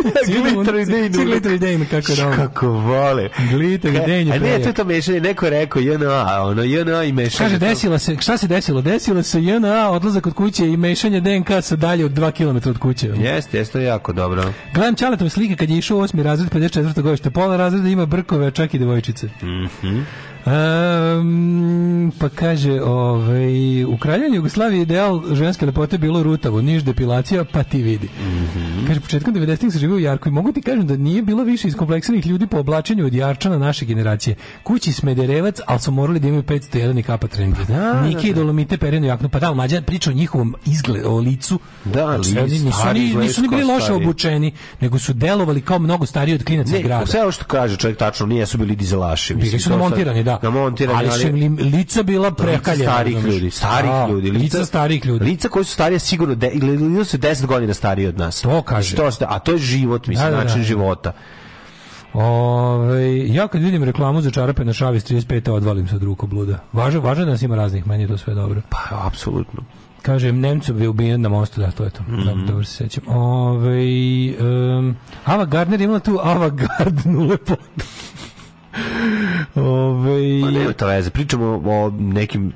F: Glitter i Dejnu.
E: ono, Svi Glitter i Dane, kako je dobro.
F: Kako vole.
E: Glitter i
F: Ka- A
E: Dane je
F: ne, to je
E: prejak.
F: to mešanje, neko je rekao JNA, ono, JNA i mešanje.
E: Kaže, desila se, šta se desilo? Desilo se JNA, odlazak od kuće i mešanje DNK sa dalje od 2 km od kuće.
F: Jeste, jeste to je jako dobro.
E: Gledam Ćaletove slike kad je išao u osmi razred 54. godište. Pola razreda ima brkove, a čak i devojčice.
F: Mhm.
E: Um, pa kaže, ovaj, u Kraljevini Jugoslaviji ideal ženske lepote bilo rutavo, niž depilacija, pa ti vidi.
F: Mhm.
E: Kaže, početkom 90-ih se živio u Jarku i mogu ti kažem da nije bilo više iskompleksiranih ljudi po oblačenju od Jarčana naše generacije. Kući smederevac, ali su morali da imaju 501 i kapa treninga.
F: Pa
E: Nike i Dolomite perenu jaknu, pa da, ali mlađa priča o njihovom izgledu, o licu.
F: Da,
E: Znači,
F: li-
E: oni nisu,
F: stari
E: ni,
F: izgledaju
E: nisu ni
F: kao
E: bili loše
F: stari.
E: obučeni, nego su delovali kao mnogo stariji od klinaca iz grada.
F: Ne, sve ovo što kaže čovjek tačno, nije su bili dizelaši. mislim,
E: Bili su
F: to sad-
E: namontirani, da.
F: Namontirani,
E: ali, su im li- lica bila prekaljena.
F: starih
E: razumeš?
F: ljudi, starih
E: Da,
F: ljudi,
E: lica, starih ljudi.
F: Lica koji su starije sigurno de, ili- ili su 10 godina stariji od nas. To
E: kaže.
F: To, ste- a to je život, mislim,
E: Da, da, da.
F: način života.
E: Ove, Ovaj, ja kad vidim reklamu za čarape na šavi s 35 odvalim se od rukobluda. Važno, važno da nas ima raznih, meni je to sve dobro.
F: Pa, apsolutno.
E: Kaže, Nemcov je ubijen na mostu, da, to je to.
F: Mhm.
E: Dobro, dobro se sjećam. Ove, um, Ava Gardner je imala tu Ava Gardnu lepotu. Ovaj, Ove,
F: Pa nema to veze, pričamo o nekim,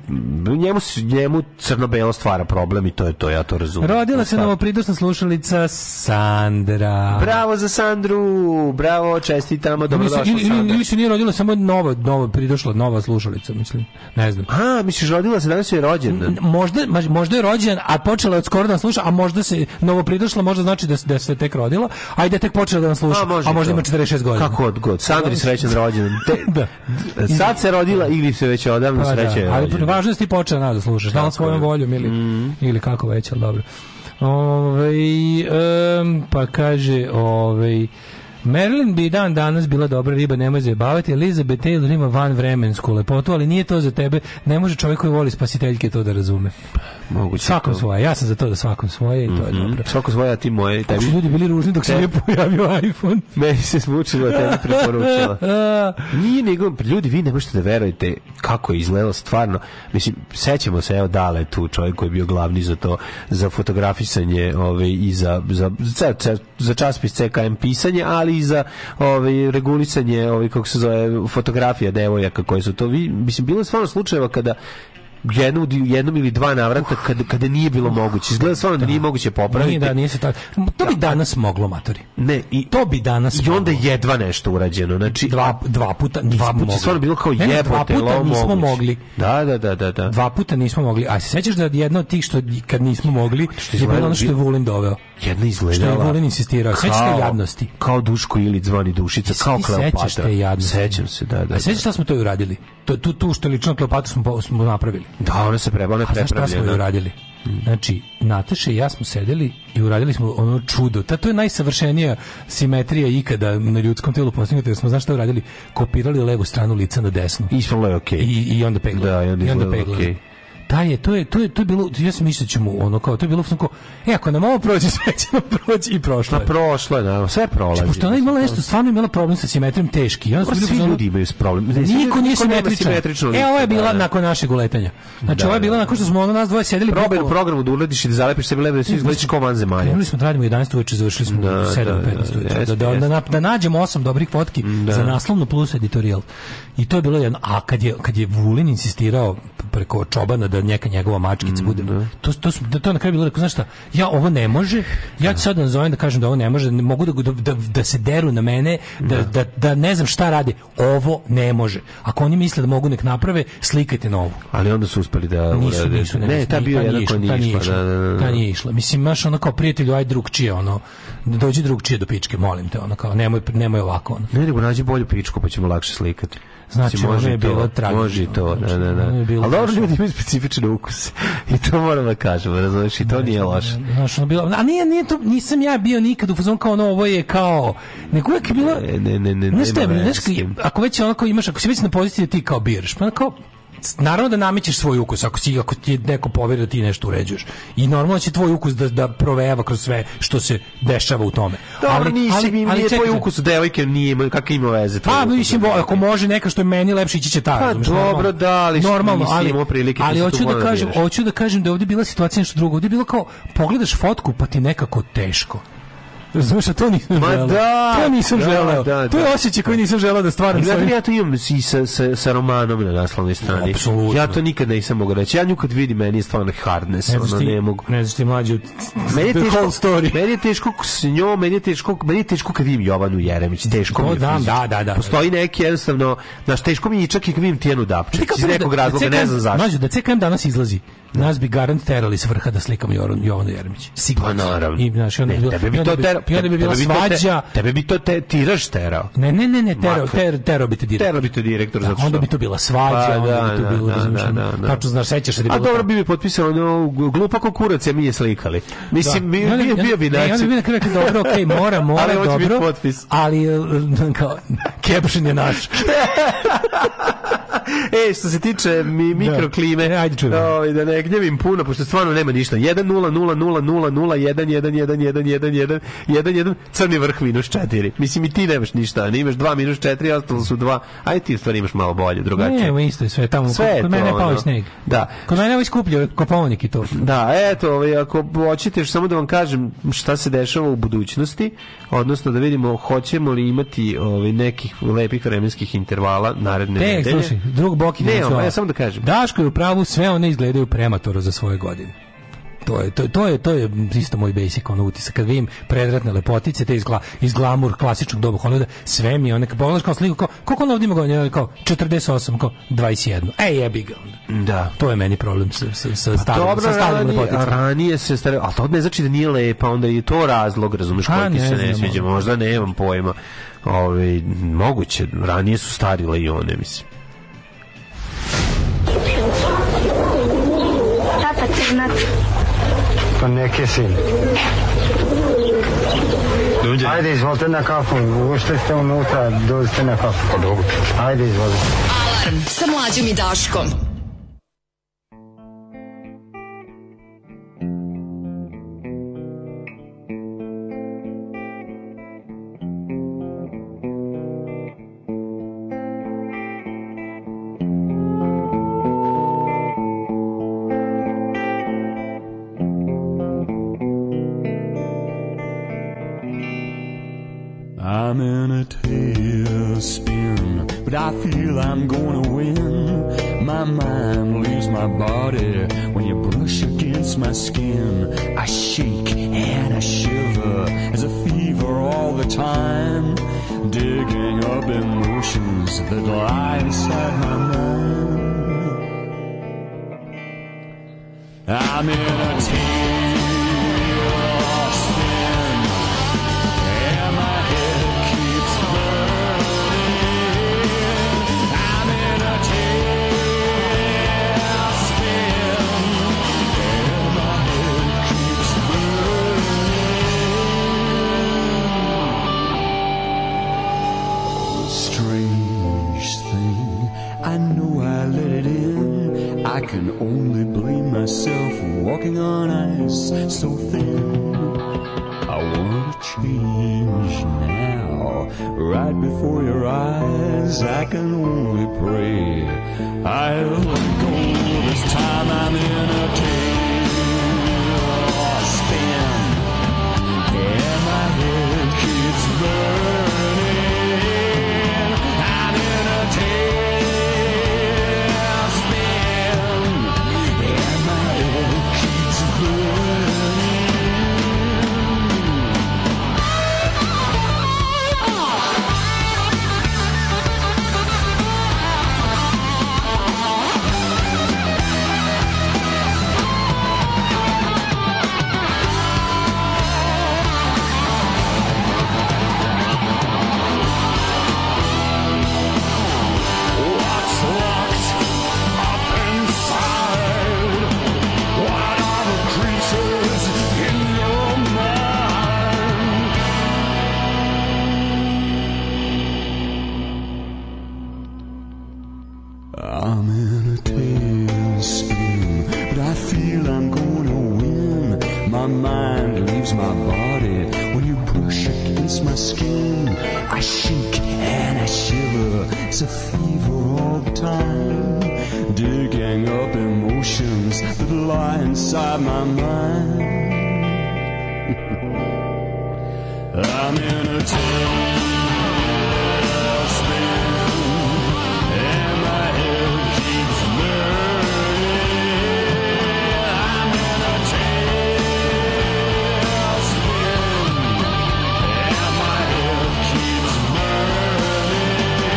F: njemu, s- njemu crno-belo stvara problem i to je to, ja to razumijem.
E: Rodila se
F: Stvar-
E: novopridosna slušalica Sandra.
F: Bravo za Sandru, bravo, čestitamo,
E: Ili se,
F: dobrodošla
E: ili, ili,
F: Sandra.
E: ili se nije rodila samo nova, nova, pridošla nova slušalica, mislim. Ne znam.
F: A, misliš, rodila se, danas je rođendan.
E: Možda, maž- možda je rođen, a počela je od skoro da nas sluša, a možda se novo pridošla, možda znači da, se- da se tek rodila, a i da je tek počela da nas sluša, a,
F: i
E: možda
F: Pa, to.
E: ima 46 godina.
F: Kako od god. Sandri srećan rođendan. Te-
E: Da.
F: Sad se rodila ili se već odavno
E: Pa da,
F: srećan je
E: ali
F: rođendan.
E: važno je da si ti počela nas da slušaš, da li svojom voljom ili,
F: Mhm.
E: ili kako već, ali dobro. Ovej, em, pa kaže, ovaj Marilyn bi i dan danas bila dobra riba, nemoj zajebavati. Elizabeth Taylor ima van vremensku lepotu, ali nije to za tebe. Ne može čovjek koji voli spasiteljke to da razume.
F: Moguće
E: Svakom
F: to. Mhm.
E: svoje. Ja sam za to da svakom svoje i to je dobro.
F: Svako svoje, a ti moje. Tebi,
E: Kako su ljudi bili ružni dok se
F: Te-
E: nije pojavio iPhone.
F: meni se smučilo, tebi preporučila. Nije nego, ljudi, vi ne možete da verujete kako je izgledalo stvarno. Mislim, sećamo se, evo, Dale tu čovjek koji je bio glavni za to, za fotografisanje ove, i za, za, za, za, za časpis CKM pisanje, ali i za ove, regulisanje, ove, kako se zove, fotografija devojaka koje su to. Vi, mislim, bilo je stvarno slučajeva kada jednom, jednom ili dva navrata kada, kada nije bilo moguće. Izgleda stvarno da nije moguće popraviti.
E: Nije da, nije se tako. To bi danas moglo, matori.
F: Ne, i
E: To bi danas
F: i onda
E: moglo.
F: jedva nešto urađeno. Znači,
E: dva, dva puta nismo
F: dva puta
E: mogli.
F: je stvarno bilo kao
E: Ne, ne, dva
F: jebote,
E: puta
F: lov
E: nismo
F: moguć.
E: mogli.
F: Da, da, da, da. da.
E: Dva puta nismo mogli. A se sećaš da jedno od tih što kad nismo mogli je
F: izgledalo
E: bilo ono što je
F: bi-
E: Vulin doveo.
F: Jedna
E: Što je
F: izgledala...
E: Vulin insistirao. Sećaš te jadnosti?
F: Kao Duško ili zvani Dušica,
E: Jesi
F: kao
E: ti
F: Kleopatra.
E: sećaš te jadnosti?
F: Sećam se, da, da. da.
E: A sećaš šta smo to i uradili? To, tu, tu što je lično Kleopatru smo, po- smo napravili.
F: Da, ona se preba, ona je
E: A znaš šta smo joj
F: prepravljena.
E: uradili? Znači, Nataša i ja smo sedeli i uradili smo ono čudo. Ta, to je najsavršenija simetrija ikada na ljudskom telu postignuta, jer smo, znaš šta uradili? Kopirali levu stranu lica na desnu.
F: Ispalo je okej.
E: I, i onda pegla.
F: Da, i onda
E: I onda
F: izgledalo
E: pegla.
F: okej.
E: taj je, to je, to je, to je bilo, ja sam mislio da ćemo ono kao, to je bilo sam kao, e, ako nam ovo prođe, sve će nam proći i prošlo je. Znači,
F: Na prošlo je, naravno, sve prolazi.
E: Pošto ona je imala nešto, stvarno je imala problem sa simetrijom teški. I onda smo
F: Pa
E: bili u
F: svi
E: fazonu-
F: ljudi imaju s problem. Ne, svi-
E: Niko nije
F: niko nema
E: simetričan.
F: simetrično lice,
E: E, ovo je bila
F: da, da.
E: nakon našeg uletanja. Znači,
F: Da,
E: ovo je bila
F: da.
E: nakon što smo ono nas dvoje sedeli.
F: Probaj u
E: bukvalno-
F: programu da uletiš i da zalepiš sebi lebe da se izgledaš kao van zemalja.
E: Krenuli smo da radimo u 11 uveče, završili smo u
F: Da,
E: 7
F: da, da,
E: 15 uveče. Da,
F: jeste,
E: da, da, da, da nađemo osam dobrih fotki za naslovnu plus editorial. I to je bilo jedno. A kad je, kad je Vulin insistirao preko čobana da neka njegova mačkica bude, to, to, su- da, to je na kraju bilo rekao, znaš šta, ja ovo ne može, ja ću sad da nazovem da kažem da ovo ne može, ne mogu da, da, da se deru na mene, da, da, da ne znam šta rade, ovo ne može. Ako oni misle da mogu nek naprave, slikajte na ovu.
F: Ali onda su uspeli da...
E: Nisu,
F: urade-
E: nisu, ne,
F: Pa Ne,
E: nisu,
F: ta
E: ni-
F: bio jedan
E: išla,
F: koji
E: ta
F: nije išla.
E: išla,
F: pa Da, da, da.
E: Ta
F: da.
E: nije išla. Mislim, imaš ono kao prijatelju, aj drug čije, ono, dođi drug čije do pičke, molim te, ono kao, nemoj, nemoj ovako, ono.
F: Ne, nego nađi bolju pičku pa ćemo lakše slikati.
E: Znači,
F: Mislim,
E: ono
F: i
E: je
F: to,
E: bilo tragično.
F: Može i to, da,
E: Znači,
F: da, da.
E: ono je bilo
F: Ali dobro,
E: strašno.
F: ljudi imaju specifične ukuse. I to moram da kažem, razumiješ, i
E: Znači,
F: to nije loše.
E: Znaš, ono bilo, a nije, nije to, nisam ja bio nikad u fazonu kao ono, ovo je kao, nego uvijek je bilo,
F: Ne, ne, ne, ne,
E: znaš šta je,
F: nema
E: znaš,
F: veze s tim.
E: ako već onako imaš, ako si već na poziciji da ti kao biraš, pa ono kao, naravno da namećeš svoj ukus ako si ako ti neko poveri da ti nešto uređuješ i normalno će tvoj ukus da da provejava kroz sve što se dešava u tome
F: Dobro, nisi mi, nije
E: čekaj,
F: tvoj ukus, devojke nije, imaju- kakve ima veze. tvoj
E: Pa
F: ukus?
E: mislim bo- ako može neka što je meni lepše ići će ta.
F: Pa,
E: razumeš,
F: dobro,
E: normalno.
F: da, ali što
E: normalno,
F: nisi
E: ali
F: imao prilike,
E: ali
F: ti sad tu
E: hoću da
F: moraš da
E: kažem,
F: biraš.
E: hoću da kažem da je ovdje bila situacija nešto drugo. Ovdje je bilo kao pogledaš fotku pa ti nekako teško. Razumeš, a to nisam
F: Ma
E: želeo.
F: da,
E: to nisam
F: da,
E: želeo.
F: da,
E: to je
F: da.
E: osjećaj koji nisam želeo da stvaram.
F: Znate
E: svojim-
F: li, ja to imam i sa, sa, sa romanom na naslovnoj strani.
E: Apsolutno.
F: Ja to nikad nisam mogu reći. Ja nju kad vidim, meni je stvarno hardness.
E: Ne
F: Ne,
E: znaš
F: ono,
E: ti-
F: ne mogu.
E: Ne znaš ti mlađu.
F: Meni je
E: the
F: teško,
E: whole story.
F: Meni je teško s njom, meni je teško, meni je teško kad vidim Jovanu Jeremić, teško
E: To
F: mi je.
E: da,
F: fizički.
E: da, da, da.
F: Postoji neki jednostavno, znaš, teško mi je i čak i kad vidim Tijanu Dapčić,
E: Ti kao
F: iz
E: prvo
F: nekog razloga,
E: CKM
F: ne znam zašto.
E: Mlađo, da CKM danas izlazi, nas bi garant terali s vrha da slikamo Jovan, Jovana Jeremić.
F: Pa
E: Sigurno.
F: naravno.
E: I, znaš, i onda
F: Ne,
E: bi bilo-
F: tebe
E: i
F: bi
E: onda
F: to
E: bi-
F: terao.
E: I onda bi bila svađa.
F: Tebe bi to te, tiraš terao.
E: Ne, ne, ne, ne, tero,
F: Makar.
E: ter, tero bi te direkt.
F: Terao bi to direktor. zato
E: Da,
F: što-
E: onda bi to bila svađa,
F: Pa,
E: onda
F: da,
E: bi
F: da,
E: to bilo,
F: da,
E: razumiješ,
F: da,
E: ono,
F: da, da.
E: tačno znaš, sećaš se da je
F: A
E: bilo
F: dobro
E: tako.
F: bi mi potpisano ono, glupa ko kurac, ja mi je slikali. Mislim, mi,
E: I onda
F: bio,
E: bi-
F: bio bi
E: ne, i onda
F: način.
E: bi na kraju rekli, dobro, okej, mora, mora,
F: Ali hoće biti
E: dobro,
F: potpis.
E: ali e, kao, caption je naš.
F: E, što se tiče mi, mikroklime,
E: E, ajde čujem.
F: ovaj, da ne gnjevim puno, pošto stvarno nema ništa. 1 0 0 0 0 0 1 1 1 1 1 1 1 1 crni vrh minus 4. Mislim i ti nemaš ništa, ne imaš 2 minus 4, ostalo su 2. Ajde ti u stvari imaš malo bolje, drugačije.
E: Ne, ma E, isto je sve tamo,
F: Sve
E: kod,
F: je
E: kod
F: to,
E: mene je pao
F: ono.
E: i sneg.
F: Da.
E: Kod mene je ovaj ovo iskuplje, kopovnik i to.
F: Da, eto, ovaj, ako hoćete još samo da vam kažem šta se dešava u budućnosti, odnosno da vidimo hoćemo li imati ovaj, nekih lepih vremenskih intervala naredne
E: Te,
F: nedelje.
E: E, slušaj, drug Boki
F: Ne,
E: neću
F: ono,
E: ovo.
F: ja samo da kažem.
E: Daško je u pravu, sve one izgledaju prematoro za svoje godine. To je, to, to je, to je isto moj basic ono utisak. Kad vidim predratne lepotice, te iz, gla, iz glamur klasičnog doba Hollywooda, sve mi je onak, pogledaš kao sliku, kao, koliko on ovdje ima godina? Ono Kao, 48, kao, 21. E, jebi ga onda.
F: Da.
E: To je meni problem sa, sa, sa starim,
F: Pa Dobro,
E: sa starim
F: ranije, a
E: lepoticama.
F: ranije se stare, ali to ne znači da nije lepa, onda je to razlog, razumeš,
E: A,
F: koji ti
E: Pa ne
F: se ne
E: znam,
F: sviđa,
E: ono.
F: možda nemam pojma. Ove, moguće, ranije su starile i one, mislim.
B: Papa crnac.
L: Pa neke sin. Ajde, izvolite na kafu. Ušli ste unutra, dođite na kafu. Pa dobro. Ajde, izvolite.
D: Alarm sa mlađom i Daškom.
M: I'm in a tailspin, but I feel I'm gonna win. My mind leaves my body when you brush against my skin. I shake and I shiver as a fever all the time, digging up emotions that lie inside my mind. I'm in a tailspin. And my head keeps burning. I'm in a tailspin, and my head keeps burning. Strange thing, I know I let it in. I
H: can only blame myself for walking on ice so thin. I want to change now. Right before your eyes, I can only pray. I'll go this time I'm in a tailspin. And my head keeps burning. I'm in a tailspin. And my head keeps burning. What's locked up inside? What are the creatures in your mind? I'm in a tailspin, but I feel I'm gonna win. My mind leaves my body when you brush against my skin. I shake and I shiver. It's a fever all the time. Digging up emotions that lie inside my mind. I'm in a tailspin. And my head keeps burning. I'm in a tailspin. And my head keeps burning.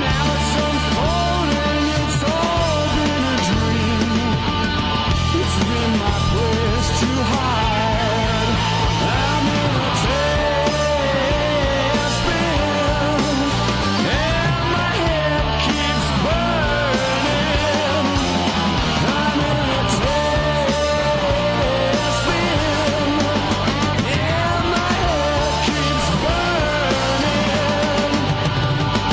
H: Now it's unfolding. It's all been a dream. It's been my place to hide. I'm in a tailspin. And my head keeps burning. I'm in a tailspin. And my head keeps burning.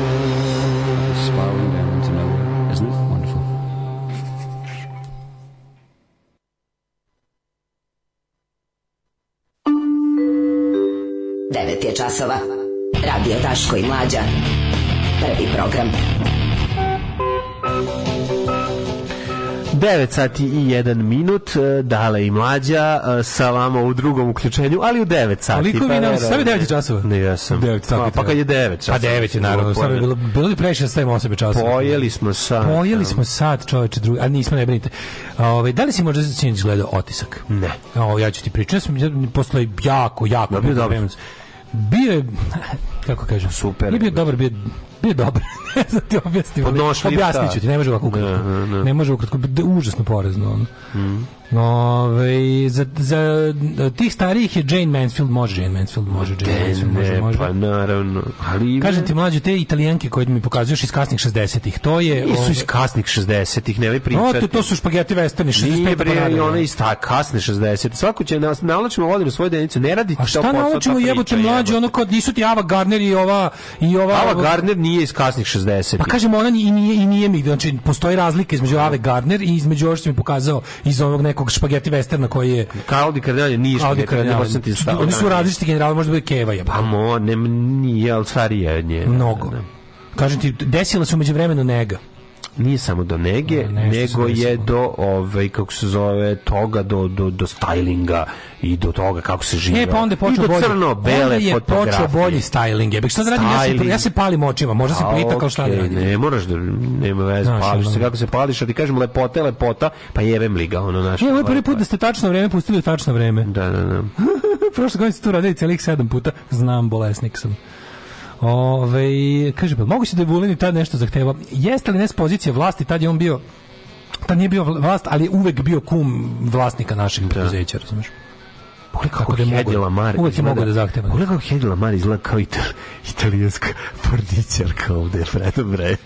N: Just spiraling down into nowhere. Isn't it wonderful?
O: Devet je časova. Radio Daško i Mlađa. Prvi program.
F: 9 sati i 1 minut, e, dale i mlađa, e, sa vama u drugom uključenju, ali u 9 sati.
E: Koliko vi nam,
F: verovatno.
E: sad je 9 časova?
F: Ne, jesam.
E: 9
F: Pa,
E: sati.
F: pa kad je 9
E: Pa
F: časova.
E: 9 je naravno, sad je bilo, bilo bi previše da stavimo 8 časova.
F: Pojeli smo sad.
E: Pojeli smo sad, čoveče, drugi, a nismo, ne brinite. A, Ovaj da li si možda sinoć gledao Otisak? Ne. O, ja ću ti pričati. Ja sam ja- posle jako, jako... Da, bio dobar. Bio je, kako kažem... Super. Nije bio dobar, bio, bio je dobar. ne znam ti objasniti.
F: Podnošljiv,
E: Objasnit ću
F: da.
E: ti, ne može ovako ukratko.
F: Ne,
E: Ne,
F: ne, ne.
E: može ukratko, da, užasno porezno. Ono. Ove, za, za tih starijih je Jane Mansfield, može Jane Mansfield, može Jane Mansfield, može,
F: Ne,
E: može.
F: pa naravno. Ali
E: Kažem ti mlađe, te italijanke koje mi pokazuješ iz kasnih 60-ih, to je...
F: Nisu iz
E: ove-
F: kasnih 60-ih, ne mi pričati.
E: No, to, to su špageti westerni, 65
F: Nije
E: pa
F: bre,
E: nadalje.
F: i ona iz ta kasne 60. Svako će nas navlačimo vodinu svoju denicu, ne radi to posao.
E: Šta naučimo
F: ta
E: jebote
F: priča,
E: mlađe, ono kao nisu ti Ava Gardner i ova... I ova
F: Ava Gardner nije iz kasnih 60.
E: Pa kažem, ona i nije, i nije mi, znači, postoji razlika između Ave Gardner i između ovo što mi pokazao iz onog nekog špageti westerna koji je...
F: Kaldi Kardinali nije
E: Audi
F: špageti, ne
E: Kardinale.
F: možete ti stavu,
E: Oni su
F: da.
E: različiti generali, možda bude Keva jebote.
F: Pa mo, ne, nije, ali starija je od nje.
E: Mnogo. Kažem ti, desila se umeđu vremenu nega.
F: Nije samo do nege, nego je do ovaj kako se zove toga do do do stylinga i do toga kako se živi.
E: E, pa onda je počeo
F: I do
E: bolji.
F: crno
E: onda
F: bele
E: je
F: fotografije.
E: počeo bolji styling. Jebek, šta da radim? Ja se,
F: Styling.
E: ja se palim očima, možda se
F: A,
E: plita kao šta E, da
F: okej,
E: radim.
F: Ne, moraš da nema veze,
E: Znaš,
F: pališ se
E: ono.
F: kako se pališ, a ti kažem lepota, je lepota, pa jebem li ga, ono naš.
E: E, ovo je prvi put da ste tačno vreme pustili u tačno vreme.
F: Da, da, da.
E: Prošle godine ste to radili celih sedam puta. Znam, bolesnik sam. Ove, kaže, pa moguće da je Vulin i tad nešto zahtevao. Jeste li ne s pozicije vlasti, tad je on bio tad nije bio vlast, ali je uvek bio kum vlasnika naših preduzeća, razumeš? Pogledaj kako da je
F: Hedi
E: mogu.
F: Lamar
E: Uvek je
F: izgleda-
E: mogu da zahtevam.
F: Pogledaj kako Hedi Lamar izgleda kao ital, italijanska porničarka ovde, Fredo Bre.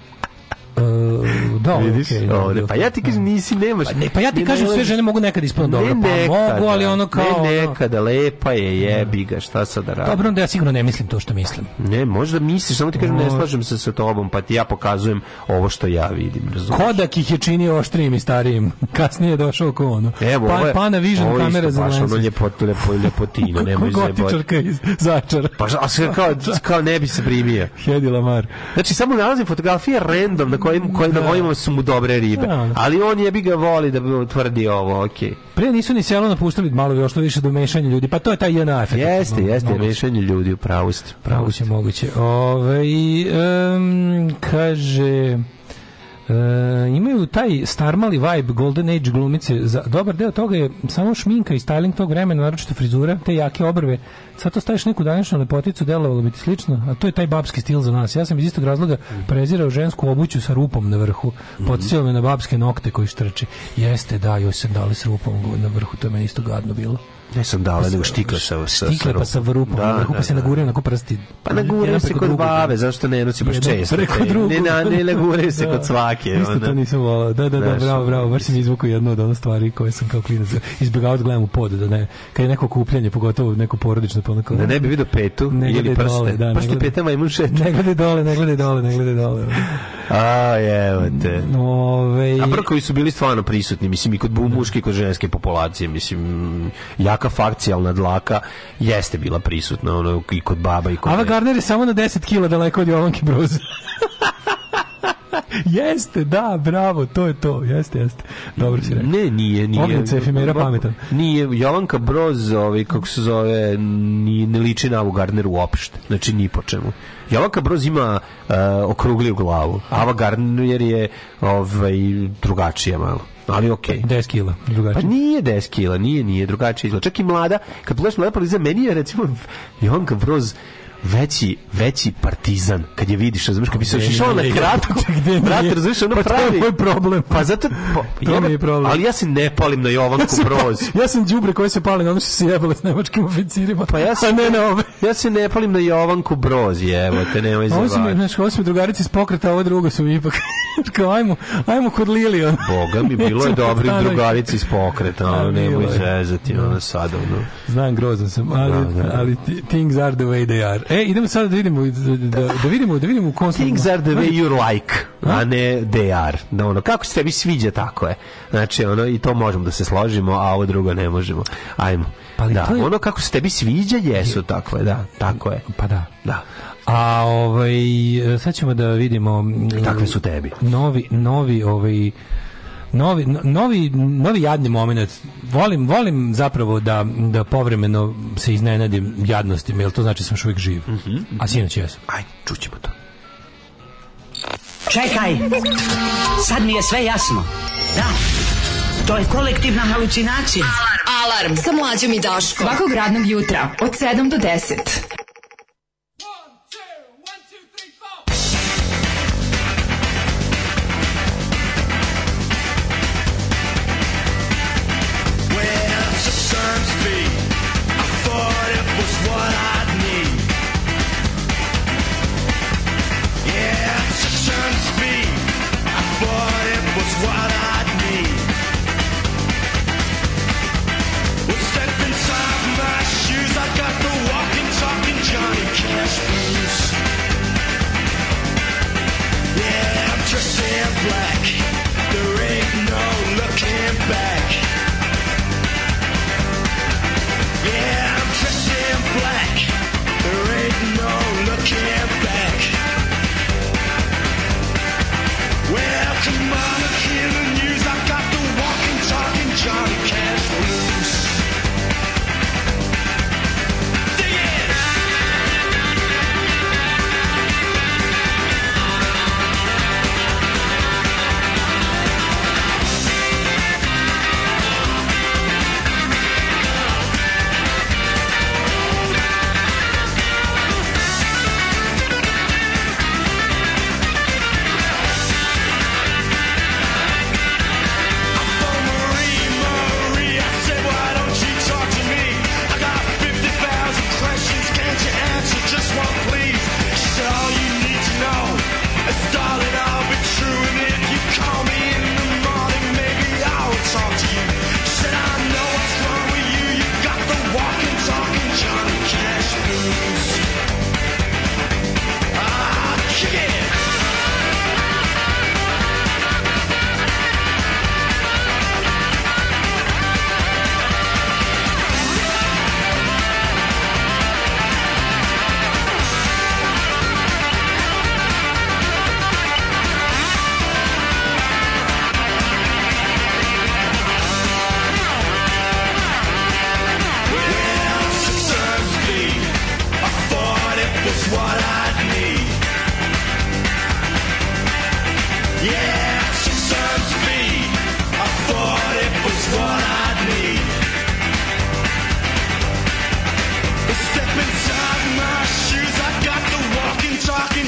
E: da,
F: Vidiš,
E: okej, da,
F: ovde.
E: da,
F: Pa ja ti kažem, nisi, nemaš.
E: Pa ne, pa ja ti kažem, sve žene mogu nekad
F: Ne
E: ispod dobro. Pa
F: nekada,
E: mogu, ali ono kao... ono-
F: Ne nekada, lepa je, jebi ga, šta sad da radim.
E: Dobro, onda ja sigurno ne mislim to što mislim.
F: Ne, možda misliš, samo ti kažem, ne
E: Možda.
F: slažem se sa tobom, pa ti ja pokazujem ovo što ja vidim, razumiješ?
E: Kodak ih je činio oštrijim i starijim. Kasnije je došao ko ono.
F: Evo,
E: pa,
F: ovo je,
E: Pana Vision
F: ovo je
E: kamera
F: isto
E: za
F: baš ono
E: lenses.
F: ljepot, lepo, lepotina, nemoj zajebati.
E: Gotičarka iz Začara.
F: Pa šta, a sve kao, kao ne bi se primio.
E: Hedi Lamar.
F: Znači, samo nalazim fotografije random na kojim, kojim, na kojima su mu dobre ribe.
E: Da.
F: Ali on jebi ga voli da bi utvrdi ovo, okej.
E: Pre nisu ni selo napustili, malo je došlo više do mešanja ljudi. Pa to je taj JNA efekt.
F: Jeste,
E: No,
F: jeste,
E: moguće.
F: rešenje ljudi u pravosti.
E: Moguće, moguće. Ove, i, em, kaže... e, imaju taj starmali vibe Golden Age glumice. Za, dobar deo toga je samo šminka i styling tog vremena, naročito frizura, te jake obrve. Sad to staviš neku današnju lepoticu, delovalo bi ti slično, a to je taj babski stil za nas. Ja sam iz istog razloga prezirao žensku obuću sa rupom na vrhu. Podsjeo me na babske nokte koji štrči. Jeste, da, joj sam dali s rupom na vrhu, to je meni isto gadno bilo.
F: Ne sam dale, nego štikle sa... sa
E: Stikle pa
F: rupom.
E: sa vrupom,
F: Da,
E: na vrhu
F: da,
E: pa se naguraju onako prsti.
F: Pa naguraju se kod bave, zašto ne nosi baš
E: Jedan
F: često?
E: preko
F: te?
E: drugog.
F: Ne, na- ne naguraju se kod svake.
E: Isto
F: ono.
E: to nisam volao. Da, da, da,
F: Znaš,
E: bravo, bravo. Baš si mi izvukao jednu od onih stvari koje sam kao klinac izbegavao da gledam u pod, da ne. Kad je neko kupljanje, pogotovo neko porodično, pa onako...
F: Da ne bi vidio petu
E: Ne
F: ili
E: gledaj
F: prste.
E: dole, da, ne
F: pa što
E: gledaj.
F: peta majmun šeta.
E: Ne gledaj dole, ne gledaj dole, ne gledaj dole. ovaj-
F: A, evo te.
E: Ove,
F: E. A prkovi su bili stvarno prisutni, mislim, i kod bu- muške i kod ženske populacije, mislim, jaka fakcijalna dlaka jeste bila prisutna, ono, i kod baba i kod...
E: Ava
F: ne-
E: Gardner je samo na 10 kila daleko od Jovanke Broza. jeste, da, bravo, to je to. Jeste, jeste. Dobro si rekao.
F: Ne, nije, nije.
E: Ognjica efimera pametan.
F: Nije, Jovanka Broz, ovaj, kako se zove, ni, ne liči na Avu Gardner uopšte. Znači, ni po čemu. Jovanka Broz ima uh, okrugliju glavu. Ava Gardner je ovaj, drugačija malo. Ali okej.
E: 10 kila, drugačije.
F: Pa nije 10 kila, nije, nije, drugačije izgleda. Čak i mlada, kad pogledaš mlada Pariza, meni je recimo Jovanka Broz veći, veći partizan kad je vidiš, razumiješ, kad bi se
E: Gde
F: još išao na
E: nije?
F: kratko,
E: Gde nije?
F: brate, razumiješ, ono
E: Pa to je
F: pravi.
E: moj problem.
F: Pa zato, pa,
E: To mi je problem.
F: ali ja se ne palim na
E: Ja
F: Jovanku
E: sam,
F: Broz.
E: ja sam đubre koji se pali na ono što se jebalo s nemačkim oficirima.
F: Pa ja se
E: A ne na ove.
F: Ja se ne palim na Jovanku Broz, evo te nemoj
E: A Ovo su, mi,
F: zavati.
E: znaš, ovo su mi drugarice iz pokreta, a ovo drugo su mi ipak. Kao, ajmo, ajmo kod Lili. ono.
F: Boga mi, bilo je
E: Nećemo
F: dobrih
E: stanovi.
F: drugarica iz pokreta, ono,
E: A,
F: nemoj
E: bilo je.
F: zezati, ono, sad, ono.
E: Znam, grozan sam, ali,
F: Da, da, da.
E: ali ti- things are the way they are. E, idemo sada da vidimo, da, da, da vidimo, da vidimo u kom smo.
F: Things are the way you like, a ne they are. Da ono, kako se tebi sviđa, tako je. Znači, ono, i to možemo da se složimo, a ovo drugo ne možemo. Ajmo.
E: Pa ali
F: da,
E: to je-
F: ono kako se tebi sviđa, jesu, tako je, da, tako je.
E: Pa da.
F: Da,
E: A ovaj, sad ćemo da vidimo... m,
F: takve su tebi.
E: novi novi ovaj novi no- novi novi jadni momenat. Volim volim zapravo da da povremeno se iznenadim jadnostima, jer to znači da sam još uvijek živ.
F: Mhm.
E: A sinoć jesam.
F: Ajde, čućemo to.
B: Čekaj, sad mi je sve jasno. Da, to je kolektivna halucinacija.
D: Alarm sa mlađom i Daškom.
B: Svakog radnog
D: jutra od 7 do 10.
H: Well, sometimes me, I thought it was what I'd need. Yeah, sometimes me, I thought it was what I'd need. Well, step inside my shoes, I got the walking, talking Johnny Cash blues. Yeah, I'm dressed in black. There ain't no looking back. Yeah, I'm dressed in black. There ain't no looking back. Well, come on and hear the news. I got the walking, talking Johnny Cash blues. Dig it! Yeah, Ah,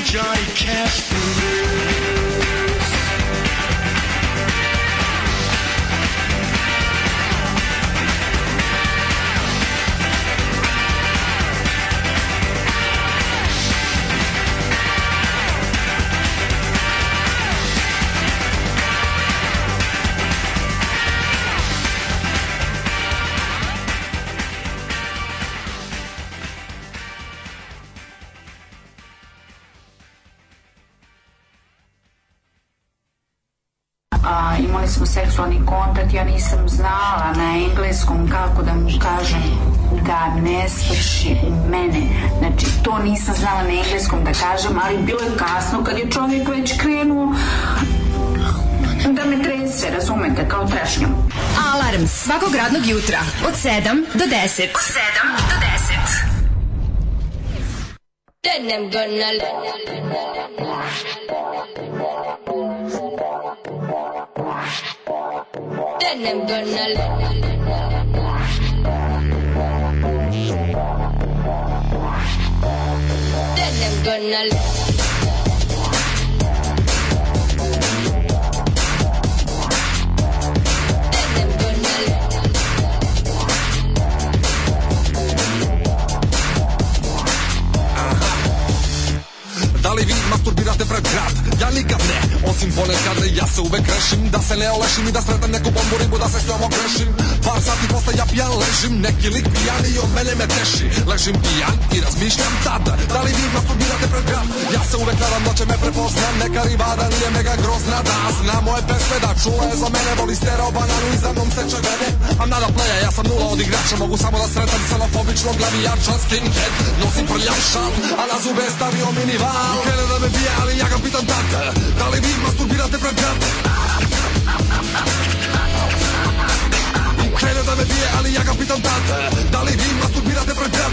P: Johnny Cash blues.
D: A, Pa imali smo seksualni kontakt, ja nisam znala na engleskom kako da mu kažem da ne svrši u mene. Znači, to nisam znala na engleskom da kažem, ali bilo je kasno kad je čovjek već krenuo da me trese, razumete, kao trešnjom.
Q: Alarm svakog radnog jutra od 7 do 10. Od 7 do 10.
R: Then I'm gonna let- Then I'm gonna let- Then I'm gonna let-
H: Da li vi masturbirate pred grad? Ja nikad ne, osim ponekad ja se uvek rešim Da se ne olešim i da sretam neku bombu ribu da se s njom ogrešim Par sati posle ja pijan ležim, neki lik pijan i od mene me teši Ležim pijan i razmišljam tada, da li vi masturbirate pred grad? Ja se uvek nadam da će me prepoznam, neka ribada nije mega grozna Da zna moje pesme da čula je za mene, voli stereo bananu i za mnom seče vene I'm not a player, ja sam nula od igrača, mogu samo da sretam celofobičnog glavijača Skinhead, nosim prljav šal, a na zube je stavio minivan I krene da me bije, ali ja ga pitam tata, da li vi masturbirate pred grad? I krene da me bije, ali ja ga pitam tata, da li vi masturbirate pred grad?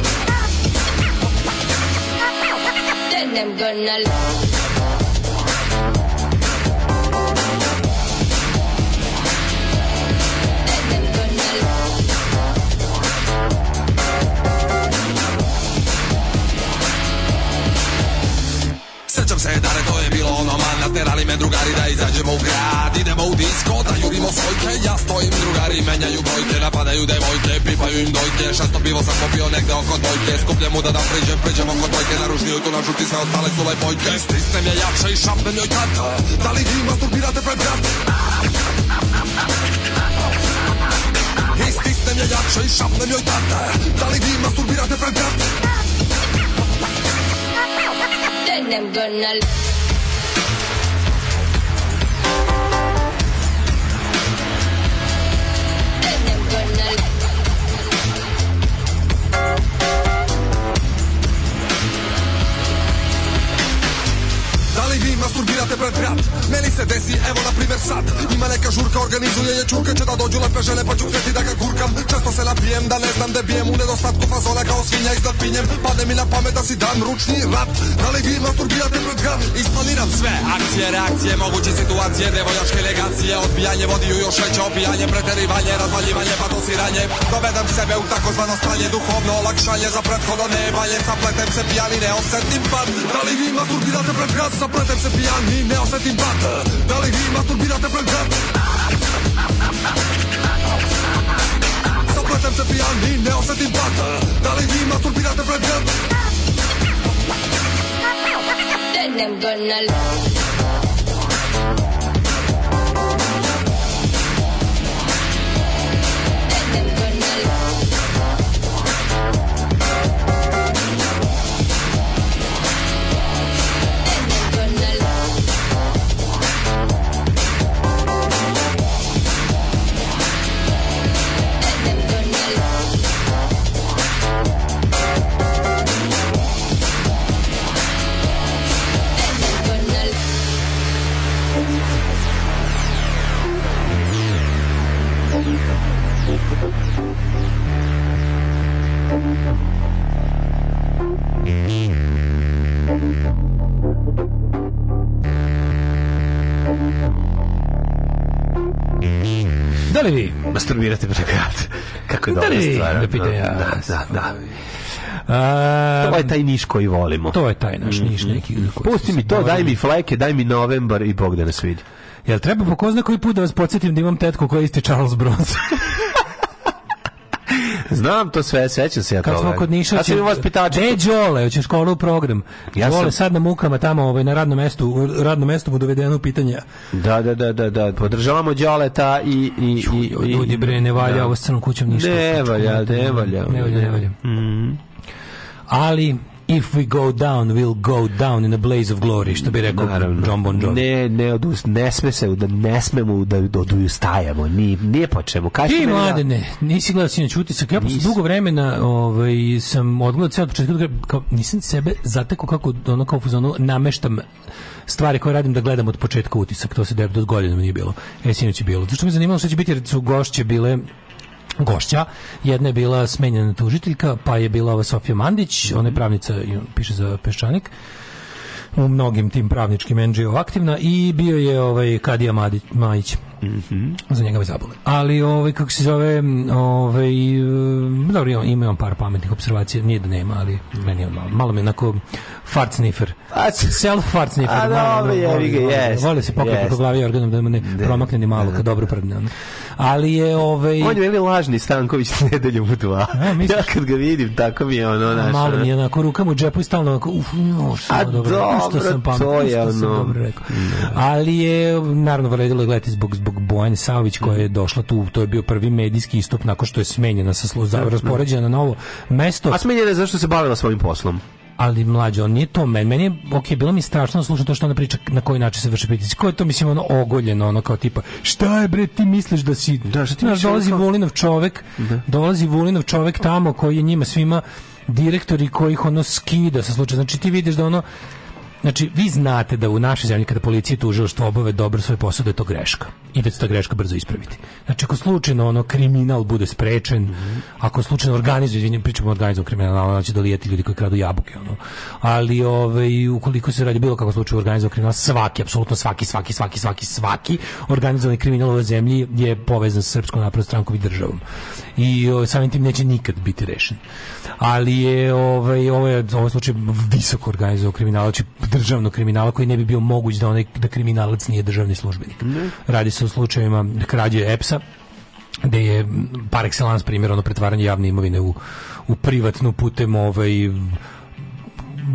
R: Then I'm gonna let-
H: Sećam se dare, to je bilo ono man Naterali me drugari da izađemo u grad Idemo u disko, da jurimo svojke Ja stojim, drugari menjaju brojke Napadaju devojke, pipaju im dojke Šesto pivo sam popio negde oko dvojke Skuplje mu da da priđem, priđem oko dvojke Naružniju tu našu ti sve ostale su lepojke Stisnem je jače i šapnem joj tata Da li vi masturbirate pred brat? I stisnem je jače i šapnem joj tata Da li vi masturbirate pred brat?
R: Then I'm gonna let- Then I'm gonna let-
H: Da li vi masturbirate pred brat? Meni se desi, evo na primer sad Ima neka žurka, organizuje je čurka Će da dođu lepe žene pa ću htjeti da ga gurkam Često se napijem da ne znam gde bijem U nedostatku fazona kao svinja iznad pinjem Pade mi na pamet da si dam ručni rap Da li vi masturbirate pred brat? Isplaniram sve, akcije, reakcije, moguće situacije Devojačke legacije, odbijanje vodiju još veće Opijanje, preterivanje, razvaljivanje, patosiranje Dovedem sebe u takozvano stanje Duhovno olakšanje za prethodno nevanje Sapletem se pijan i ne osetim pad Da li vi masturbirate pred grad? Sapletem se pijan i ne osetim pad Da li vi masturbirate pred grad? Sapletem se pijan i ne osetim pad Da li vi masturbirate pred grad?
R: Then I'm gonna let-
E: Da li vi?
F: Masturbirate pred grad. Kako je
E: Da
F: dobra
E: li vi?
F: stvar. ono.
E: Da pita ja.
F: Da, da, da. to je taj niš koji volimo.
E: Ehm, To je taj naš niš neki.
F: Mhm. Pusti mi to, daj mi fleke, daj mi novembar i Bog da nas vidi.
E: Jel treba po ko zna koji put da vas podsjetim da imam tetku koja je isti Charles Bronson?
F: Znam to sve, sećam se ja
E: Kad
F: toga.
E: smo kod Niša,
F: Ja sam imao vaspitača.
E: De E, Đole, hoće školu u program.
F: Ja
E: Ja
F: sam-
E: Đole sad na mukama tamo, ovaj na radnom mestu, u radnom mestu mu dovedeno u pitanje.
F: Da, da, da, da, da, podržavamo Đoleta i... i, i, i
E: Ljudi bre, ne valja ovo s crnom kućom ništa. Znači,
F: Ne valja, ne valja. Mm.
E: Ne valja, ne valja. Ali if we go down, we'll go down in a blaze of glory, što bi rekao John Bon Jovi.
F: Ne, ne, odus, ne sme se, da ne smemo da, da odustajemo, ni, nije po čemu. Kaži
E: Ti
F: meni, ja-
E: mladene, nisi gledao sinoć utisak, ja posle
F: Nisam.
E: dugo vremena ovaj, sam odgledao cijel početak, do kraja, kao, nisam sebe zatekao kako ono kao u fazonu nameštam stvari koje radim da gledam od početka utisak, to se devet od godina nije bilo. E, sinoć je bilo. Zašto me zanimalo što će biti, jer su gošće bile gošća. Jedna je bila smenjena tužiteljka, pa je bila ova Sofija Mandić, ona je pravnica, i piše za Peščanik u mnogim tim pravničkim NGO aktivna i bio je ovaj Kadija Madić, Majić.
F: Mhm.
E: Za njega me zabole. Ali ovaj kako se zove, m, ovaj m, dobro ima- ima on par pametnih observacija, nije da nema, ali meni je on malo, malo me onako fart sniffer. Self fart sniffer.
F: A
E: malo,
F: dobro,
E: ono,
F: jebi
E: voli-
F: ga,
E: voli-
F: jest,
E: Voli se poklopiti
F: jest.
E: po glavi organom da mu ne promakne ni malo kad dobro prdne. ono. Ali je ovaj e,
F: On je meni lažni Stanković nedeljom u dva.
E: misliš?
F: ja kad ga vidim, tako mi je ono naš.
E: malo
F: ono.
E: mi je onako ruka mu u džepu i stalno onako uf, no, što
F: A
E: dobro, što
F: dobro,
E: sam
F: to
E: pametno,
F: je
E: što sam
F: ono.
E: dobro rekao. Ali je, naravno, vredilo je gledati zbog, zbog Bojane Savić koja je došla tu, to je bio prvi medijski istup nakon što je smenjena sa slu- za- raspoređena na novo mesto.
F: A smenjena je zašto se bavila svojim poslom.
E: Ali mlađe, on nije to meni. Meni je, ok, bilo mi strašno slušati to što ona priča na koji način se vrši pritisak. Ko je to, mislim, ono ogoljeno, ono kao tipa, šta je bre, ti misliš da si... Da,
F: ti misliš,
E: dolazi
F: ono kao-
E: Vulinov čovek, dolazi Vulinov čovek tamo koji je njima svima direktori kojih ono skida sa slučaja. Znači ti vidiš da ono, Znači, vi znate da u našoj zemlji kada policija i tužilaštvo obave dobro svoj posao, da je to greška. I da će se ta greška brzo ispraviti. Znači, ako slučajno ono kriminal bude sprečen, ako slučajno organizuje, izvinjam, pričamo o organizovanom kriminalu, ono će dolijeti ljudi koji kradu jabuke, ono. Ali, ovaj, ukoliko se radi o bilo kakvom slučaju organizovanog kriminala, svaki, apsolutno svaki, svaki, svaki, svaki, svaki organizovani kriminal u ovoj zemlji je povezan sa Srpskom naprednom strankom i državom. I o, samim tim neće nikad biti rešen. Ali je ovaj ovo je ovaj slučaj visoko organizovanog kriminala, znači državnog kriminala koji ne bi bio moguć da onaj da kriminalac nije državni službenik. Radi se o slučajevima krađe EPS-a gde je m, par excellence primjer ono pretvaranje javne imovine u, u privatnu putem ovaj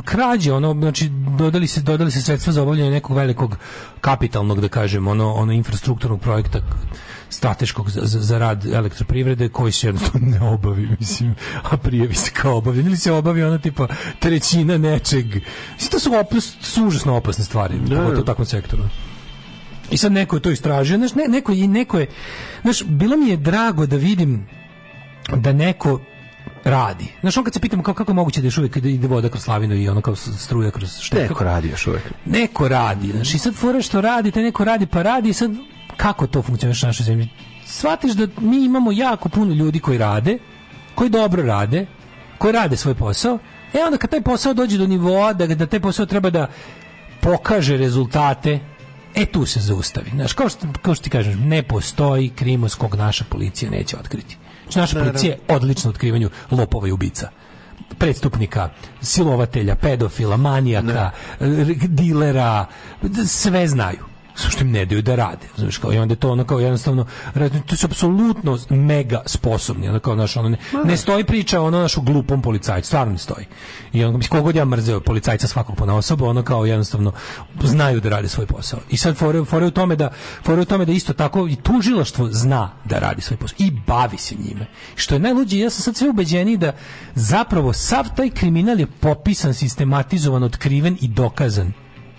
E: krađe, ono, znači dodali se dodali se sredstva za obavljanje nekog velikog kapitalnog, da kažem, ono, ono infrastrukturnog projekta k- strateškog za, za, za rad elektroprivrede koji se jednostavno ne obavi, mislim, a prijevi se kao obavljen ili se obavi ono tipa trećina nečeg. Mislim, to su, opus, su užasno opasne stvari, pogotovo u takvom sektoru. I sad neko je to istražio, znaš, ne, neko, je- neko je, znaš, bilo mi je drago da vidim da neko radi. Znaš, on kad se pitamo kao, kako je moguće da još uvijek ide voda kroz slavinu i ono kao struja kroz štek.
F: Neko radi još uvijek.
E: Neko radi, znaš, i sad fora što radi, taj neko radi pa radi i sad kako to funkcioniš na našoj zemlji? Shvatiš da mi imamo jako puno ljudi koji rade, koji dobro rade, koji rade svoj posao, e onda kad taj posao dođe do nivoa, da, da taj posao treba da pokaže rezultate, e tu se zaustavi. Znaš, kao što, kao što ti kažem, ne postoji krimos kog naša policija neće otkriti. Znači, naša
F: Naravno.
E: policija je odlična u otkrivanju lopova i ubica predstupnika, silovatelja, pedofila, manijaka, r- dilera, d- sve znaju Samo što im ne daju da rade. Znaš, kao, I onda je to ono kao jednostavno, ra- to su apsolutno mega sposobni. Ono kao, znaš, ono, ne, ne stoji priča ono našu glupom policajcu, stvarno ne stoji. I ono, mislim, kogod ja mrzeo policajca svakog po osobu, ono kao jednostavno znaju da rade svoj posao. I sad fore, fore u tome da fore u tome da isto tako i tužilaštvo zna da radi svoj posao i bavi se njime. Što je najluđe, ja sam sad sve ubeđeniji da zapravo sav taj kriminal je popisan, sistematizovan, otkriven i dokazan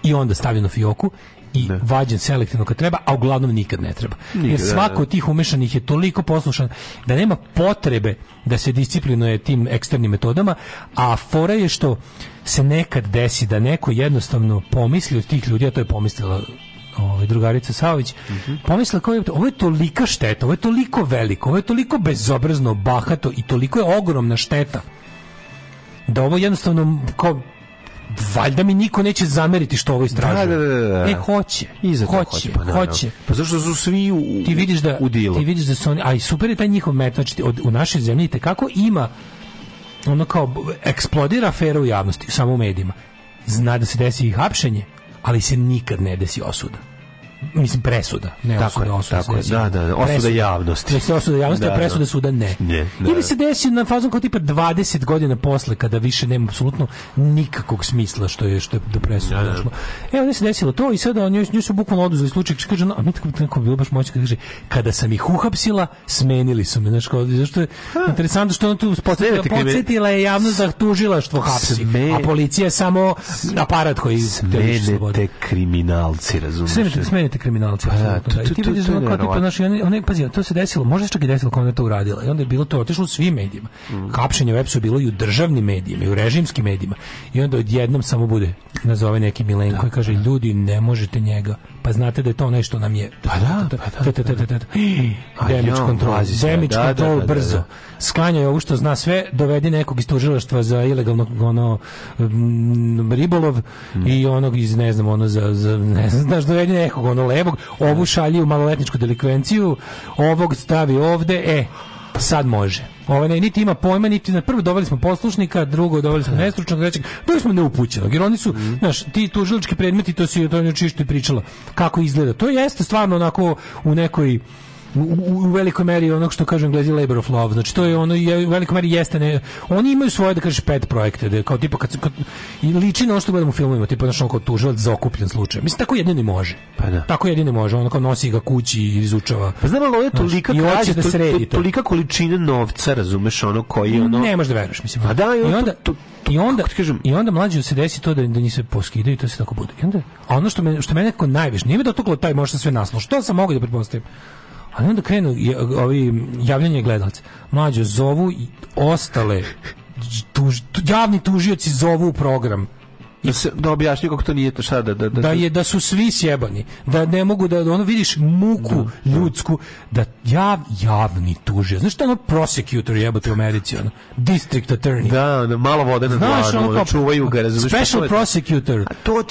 E: i onda stavljen u fioku i vađen selektivno kad treba, a uglavnom nikad ne treba. Jer
F: da,
E: svako
F: da.
E: od tih umešanih je toliko poslušan da nema potrebe da se disciplinuje tim eksternim metodama, a fora je što se nekad desi da neko jednostavno pomisli od tih ljudi, a to je pomislila ovaj, drugarica Savić,
F: Mhm.
E: pomislila kao je, ovo je tolika šteta, ovo je toliko veliko, ovo je toliko bezobrazno, bahato i toliko je ogromna šteta da ovo jednostavno kao valjda mi niko neće zameriti što ovo istražuje.
F: Da, da, da, da, da.
E: E, hoće.
F: I za to
E: hoće,
F: pa naravno.
E: hoće.
F: Pa zašto su svi u,
E: Ti vidiš da
F: u dilu?
E: ti vidiš da su oni, a i super je taj njihov metod, znači od, u našoj zemlji te kako ima ono kao b- eksplodira afera u javnosti, samo u medijima. Zna da se desi i hapšenje, ali se nikad ne desi osuda. Mislim presuda, ne
F: Tako
E: osuda,
F: je,
E: osuda.
F: tako je,
E: se desi.
F: da, da, osuda
E: Presuda.
F: javnosti.
E: Jeste osuda javnosti,
F: Da,
E: a presuda
F: da.
E: suda ne.
F: Ne, da,
E: Ili se desi na fazom kao tipa 20 godina posle kada više nema apsolutno nikakvog smisla što je što je do presude
F: Da, da.
E: došlo. Evo ne se desilo to i sada on nju su bukvalno oduzeli slučaj kaže no, a mi tako tako bilo baš moćno kaže kada sam ih uhapsila smenili su me znači kao zašto je interesantno što on tu podsjetila,
F: Smenite krimin-
E: podsjetila je javnost da tužilaštvo hapsi
F: Sme-
E: a policija je samo aparat koji teoriše slobodu.
F: Menete kriminalci, razumiješ?
E: Smenite, smenite kriminalci.
F: Pa da,
E: apsolutno,
F: to-
E: da. I
F: to-
E: ti
F: to-
E: vidiš
F: to je
E: ono kao tipa,
F: neverovatno.
E: znaš, i oni- oni- pazi, ono, to se desilo, možda se čak i desilo kao ona je to uradila. I onda je bilo to, otišlo u svim medijima.
F: Mm.
E: Hapšenje u EPS-u bilo i u državnim medijima, i u režimskim medijima. I onda odjednom samo bude, nazove neki Milenko i kaže, ljudi, ne možete njega. Pa znate da je to nešto nam je. Pa da,
F: A
E: Damage
F: jao,
E: control,
F: pazi sad,
E: damage
F: da, da, da,
E: control
F: da,
E: brzo.
F: da.
E: Sklanjaj ovo što zna sve, dovedi nekog iz tužilaštva za ilegalno ono mm, ribolov i
F: Mm.
E: onog iz ne znam ono za, za ne znam znaš dovedi nekog ono levog, ovu šalji u maloletničku delikvenciju, ovog stavi ovde, e sad može. Ovaj ne, niti ima pojma, niti na prvo doveli smo poslušnika, drugo doveli smo nestručnog, trećeg, doveli smo neupućenog. Jer oni su,
F: Mm.
E: znaš, ti tužilački predmeti, to si to je ono čisto i pričala, kako izgleda. To jeste stvarno onako u nekoj u, u, u velikoj meri onog što kažu Englezi labor of love. Znači to je ono je, u velikoj meri jeste ne, oni imaju svoje da kažeš pet projekte, da je kao tipa kad, se- kad i liči na ono što gledamo u filmovima, tipa znači kao tužilac za okupljen slučaj. Mislim tako jedini može. Pa da. Tako jedini može, ono kao nosi ga kući i izučava.
F: Pa znam, ali ovo je
E: Znaš,
F: tolika
E: i hoće
F: krađa,
E: da
F: to- to-
E: sredi to.
F: tolika količina novca, razumeš, ono koji ono...
E: Ne možeš da veruješ, mislim.
F: A da, i
E: i
F: ono
E: onda,
F: to-
E: i onda, i onda mlađe se desi to da, da njih se poskidaju i to se tako bude. I onda, a ono što me, što me nekako najviše, nije me dotuklo taj možda sve naslo, što sam mogao da pretpostavim? Ali onda krenu je- ovi javljanje gledalaca. Mlađe zovu i ostale tuž, tu- javni tužioci zovu u program
F: Da, se, da objasni kako to nije to šta da... Da, da,
E: da je da su svi sjebani da ne mogu da ono vidiš muku ljudsku da jav, javni tuže znaš šta je ono prosecutor jebote u Americi ono district attorney
F: da, ono, malo vode na
E: Znaš,
F: dlanu,
E: ono
F: ono,
E: kao
F: čuvaju ga, razumeš? pa to
E: special
F: je-
E: prosecutor,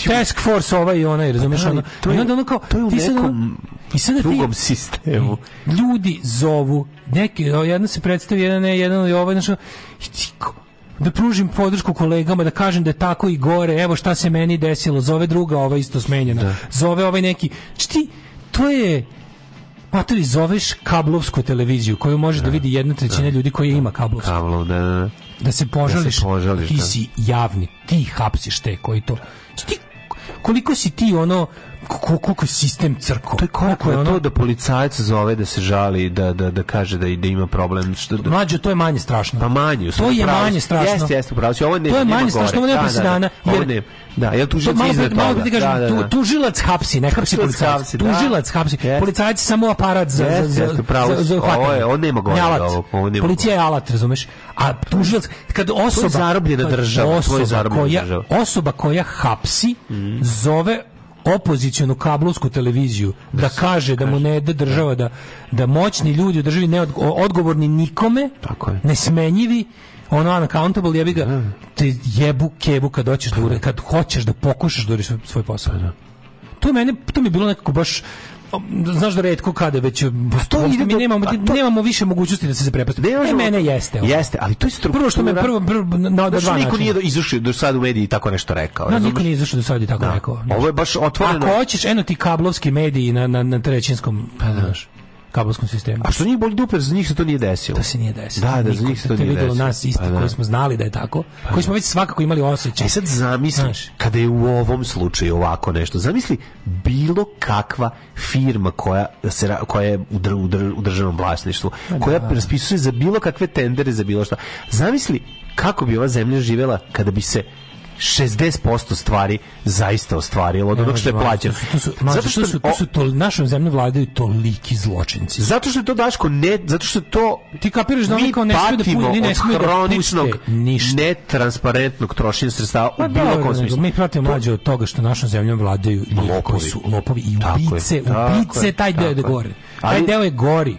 E: task force ovaj i onaj, razumeš?
F: ali
E: ono,
F: Pa to je-
E: I onda ono kao,
F: to je u
E: ti sad ono-
F: nekom
E: i sada
F: drugom
E: ti,
F: sistemu.
E: Ljudi zovu, neki, o, jedan se predstavi, jedan ne, jedan i ovaj, znaš, ono, i ti ko- da pružim podršku kolegama, da kažem da je tako i gore, evo šta se meni desilo, zove druga, ova isto smenjena, zove ovaj neki, znači ti, to je, Matori, zoveš kablovsku televiziju koju može da vidi jedna trećina ljudi koji ima kablovsku
F: Kablo, da, da, da.
E: da se požališ,
F: Da se požališ,
E: ti
F: da.
E: si javni, ti hapsiš te koji to. Ti, koliko si ti ono, ko- koliko je sistem crko? To je ono-
F: Kako je to da policajac zove da se žali, da, da, da kaže da, da ima problem? Što, da,
E: Mlađe, to je manje strašno.
F: Pa manje, u
E: to je
F: pravu si.
E: manje strašno.
F: Jeste, jeste, pravo si. Ovo ne,
E: to je
F: nema gore.
E: manje strašno, ovo nema
F: Da, da, da.
E: presedana.
F: Ovo
E: jer-
F: ne- da, jer tužilac
E: To malo
F: iznad
E: pre- malo
F: toga.
E: pre ti kažem,
F: Da, da, da.
E: tu- tužilac hapsi, ne hapsi
F: Tužilac
E: policajac.
F: hapsi, da.
E: Tužilac hapsi. Policajac je samo aparat za,
F: Jeste,
E: za, za,
F: jeste, pravo
E: za,
F: si.
E: za
F: Ovo
E: hvatanje.
F: je- ovo nema gore
E: Ne alat.
F: od ovog, ovo nema
E: Policija je alat, razumeš? A tužilac, kad osoba...
F: zarobljena
E: kad
F: država, to je
E: osoba
F: zarobljena
E: koja-
F: država.
E: Osoba koja hapsi zove opozicionu kablovsku televiziju da kaže da mu ne da država da da moćni ljudi u državi ne odgovorni nikome nesmenjivi ono unaccountable jebi ga te jebu kebu kad hoćeš
F: Pa
E: da ure- kad hoćeš da pokušaš da uradiš svoj- svoj posao to je mene to mi je bilo nekako baš um, znaš da redko kada već um, uopšte
F: ide
E: mi
F: do-
E: nemamo,
F: pa to-
E: nemamo više mogućnosti da se zaprepastimo. E,
F: možemo-
E: mene jeste. ono.
F: Jeste, ali to je struktura.
E: Prvo što me prvo, prvo na oba
F: Znaš,
E: dva
F: niko
E: načina.
F: nije do- izašao do sad u mediji i tako nešto rekao.
E: No,
F: razumeš?
E: niko nije izašao do sad i tako rekao.
F: Ovo je baš otvoreno. Pa
E: Ako hoćeš, eno ti kablovski mediji na, na, na trećinskom znaš, kablovskom sistemu.
F: A što njih boli dupe, za njih se to nije desilo.
E: To se nije desilo.
F: Da, da, za
E: Niko-
F: njih se to
E: je
F: nije
E: videlo
F: desilo.
E: nas isti
F: Pa da. Pa
E: koji smo znali da je tako, koji smo već svakako imali osjećaj.
F: E sad zamisli, kada je u ovom slučaju ovako nešto, zamisli bilo kakva firma koja, se, ra- koja je u, dr- u dr- u državnom vlasništvu,
E: Pa
F: koja raspisuje za bilo kakve tendere, za bilo šta. Zamisli kako bi ova zemlja živela kada bi se 60% stvari zaista ostvarilo od onog što je plaćeno.
E: To su, mlađe,
F: Zato što,
E: to su, to su to, našom zemljom vladaju toliki zločinci.
F: zato što je to Daško ne, zato što to
E: Ti kapiraš da oni
F: mi
E: kao ne smiju da pu-
F: patimo
E: ni ne
F: od
E: smiju da
F: hroničnog
E: puste
F: netransparentnog trošenja sredstava u bilo
E: Pa dobro,
F: kom
E: nego
F: smislu.
E: Mi pratimo mlađe od toga što našom zemljom vladaju ljudi koji su lopovi i
F: Tako je,
E: ubice,
F: tako
E: ubice,
F: je,
E: taj deo je
F: tako je.
E: gore. Taj
F: Ali-
E: deo je gori.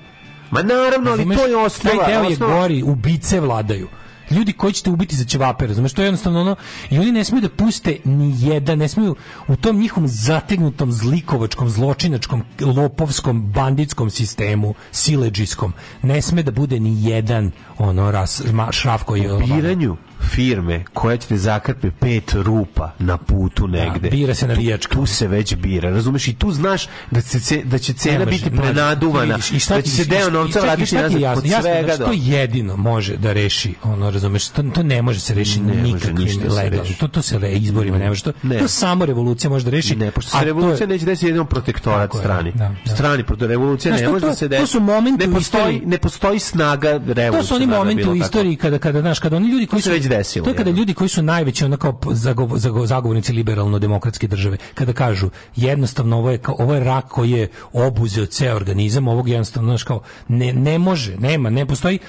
F: Ma naravno, ali
E: Razumeš?
F: to je osnova.
E: Taj deo je
F: osnova-
E: gori, ubice vladaju. ljudi koji ćete ubiti za ćevape, razumeš, to je jednostavno ono, i oni ne smiju da puste ni jedan, ne smiju u tom njihovom zategnutom zlikovačkom, zločinačkom, lopovskom, banditskom sistemu, sileđiskom, ne sme da bude ni jedan ono ras, ma, šraf koji je
F: biranju firme koja će te zakrpe pet rupa na putu negde.
E: bira se navijačka.
F: Tu, tu se već bira, razumeš? I tu znaš da, se, ce- da će cena
E: Ne može,
F: biti
E: mlađe,
F: prenaduvana,
E: ti vidiš, i šta
F: da
E: ti-
F: će se
E: i-
F: deo
E: i-
F: novca
E: i- i-
F: vratiti
E: šta ti je
F: nazad
E: jasno?
F: pod
E: Jasno,
F: svega.
E: znaš,
F: do-
E: to jedino može da reši, ono, razumeš, to, to ne može se reši
F: Ne može ništa
E: nikakvim
F: da se
E: legalnim.
F: reši.
E: To, to se re, izborima ne može. To, to samo revolucija može da reši.
F: Ne, pošto
E: a
F: se
E: to je-
F: revolucija neće desiti jednom protektorat
E: Tako je,
F: strani.
E: da, da.
F: Strani protiv revolucija
E: Znaš,
F: ne
E: to-
F: može
E: to-
F: da se desi.
E: to su momenti
F: ne
E: u
F: postoji,
E: istoriji.
F: ne postoji snaga revolucija.
E: To su oni momenti u istoriji kada kada znaš kada oni ljudi koji
F: To se
E: su
F: već desilo,
E: To je kada
F: jel?
E: ljudi koji su najveći ono kao zagovo- zago- zagovornici liberalno demokratske države kada kažu jednostavno ovo je kao ovo je rak koji je obuzeo ceo organizam ovog jednostavno znaš kao ne ne može nema ne postoji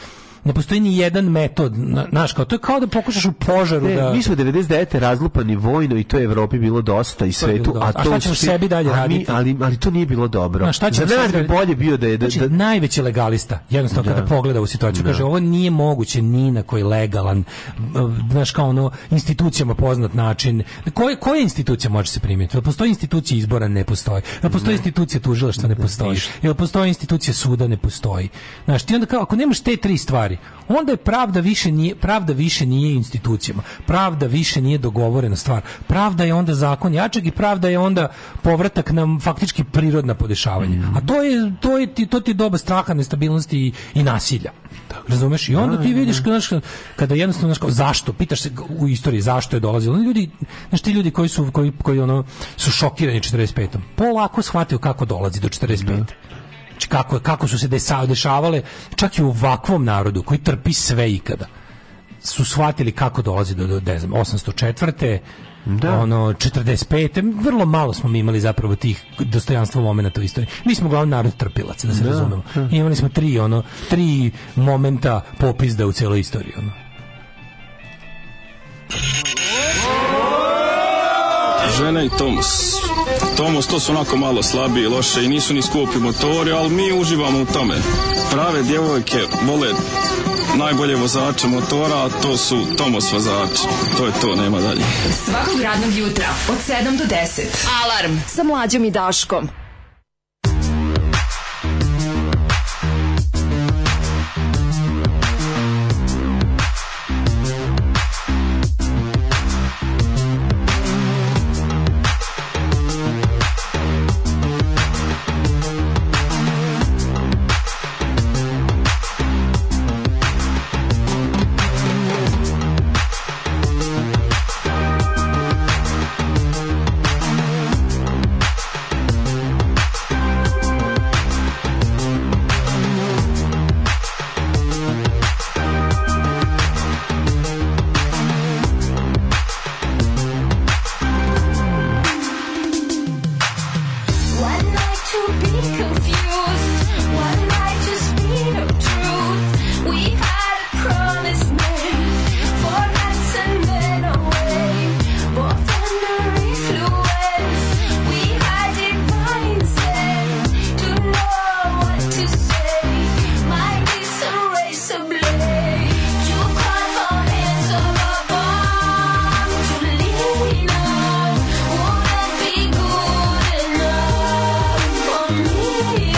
E: ne postoji ni jedan metod na- znaš kao to je kao da pokušaš u požaru
F: Ne,
E: da
F: E, mi smo 99. razlupani vojno i to je Evropi bilo dosta i
E: To je bilo
F: svetu, a
E: dosta. A
F: to
E: šta ćemo
F: u svi-
E: sebi dalje
F: a mi-
E: raditi?
F: Ali, ali to nije bilo dobro.
E: Na šta će
F: Za nas bi bolje bio da je
E: Znači,
F: da, da,
E: najveći legalista jednostavno kada pogleda u situaciju kaže ovo nije moguće ni na koji legalan m, znaš kao ono institucijama poznat način koje koje institucija može se primiti jel postoji institucija izbora ne postoji jel postoji institucija tužilaštva ne postoji jel postoji institucija suda ne postoji znaš ti onda kao ako nemaš te tri stvari onda je pravda više nije pravda više nije institucijama pravda više nije dogovorena stvar pravda je onda zakon jačeg i pravda je onda povratak na faktički prirodna podešavanja a to je to je ti to ti je doba straha nestabilnosti i, i nasilja razumeš i onda ti vidiš znaš, kada jednostavno znaš, kao, zašto pitaš se u istoriji zašto je dolazilo Oni ljudi znaš ti ljudi koji su koji koji ono su šokirani 45 polako shvatio kako dolazi do 45 Znači, kako, kako su se desa- dešavale čak i u ovakvom narodu koji trpi sve ikada su shvatili kako dolazi do, do ne znam, 804. Da. ono 45. vrlo malo smo mi imali zapravo tih dostojanstva momenata u istoriji. Mi smo glavni narod trpilaca, da se
F: Da.
E: razumemo. Imali smo tri ono tri momenta popizda u celoj istoriji ono.
S: Žena i Tomos. Tomos to su onako malo slabiji, loše i nisu ni skupi motori, ali mi uživamo u tome. Prave djevojke vole najbolje vozače motora, a to su Tomos vozači. To je to, nema dalje.
D: Svakog radnog jutra od 7 do 10. Alarm sa mlađom i Daškom.
O: One night to be confused, one night to speak of truth. We had a promise made, four nights and then away. Both under influence, we had divine sense to know what to say. Might be some razor blade to call for hands of a bomb to lean on. Won't that be good enough? for me?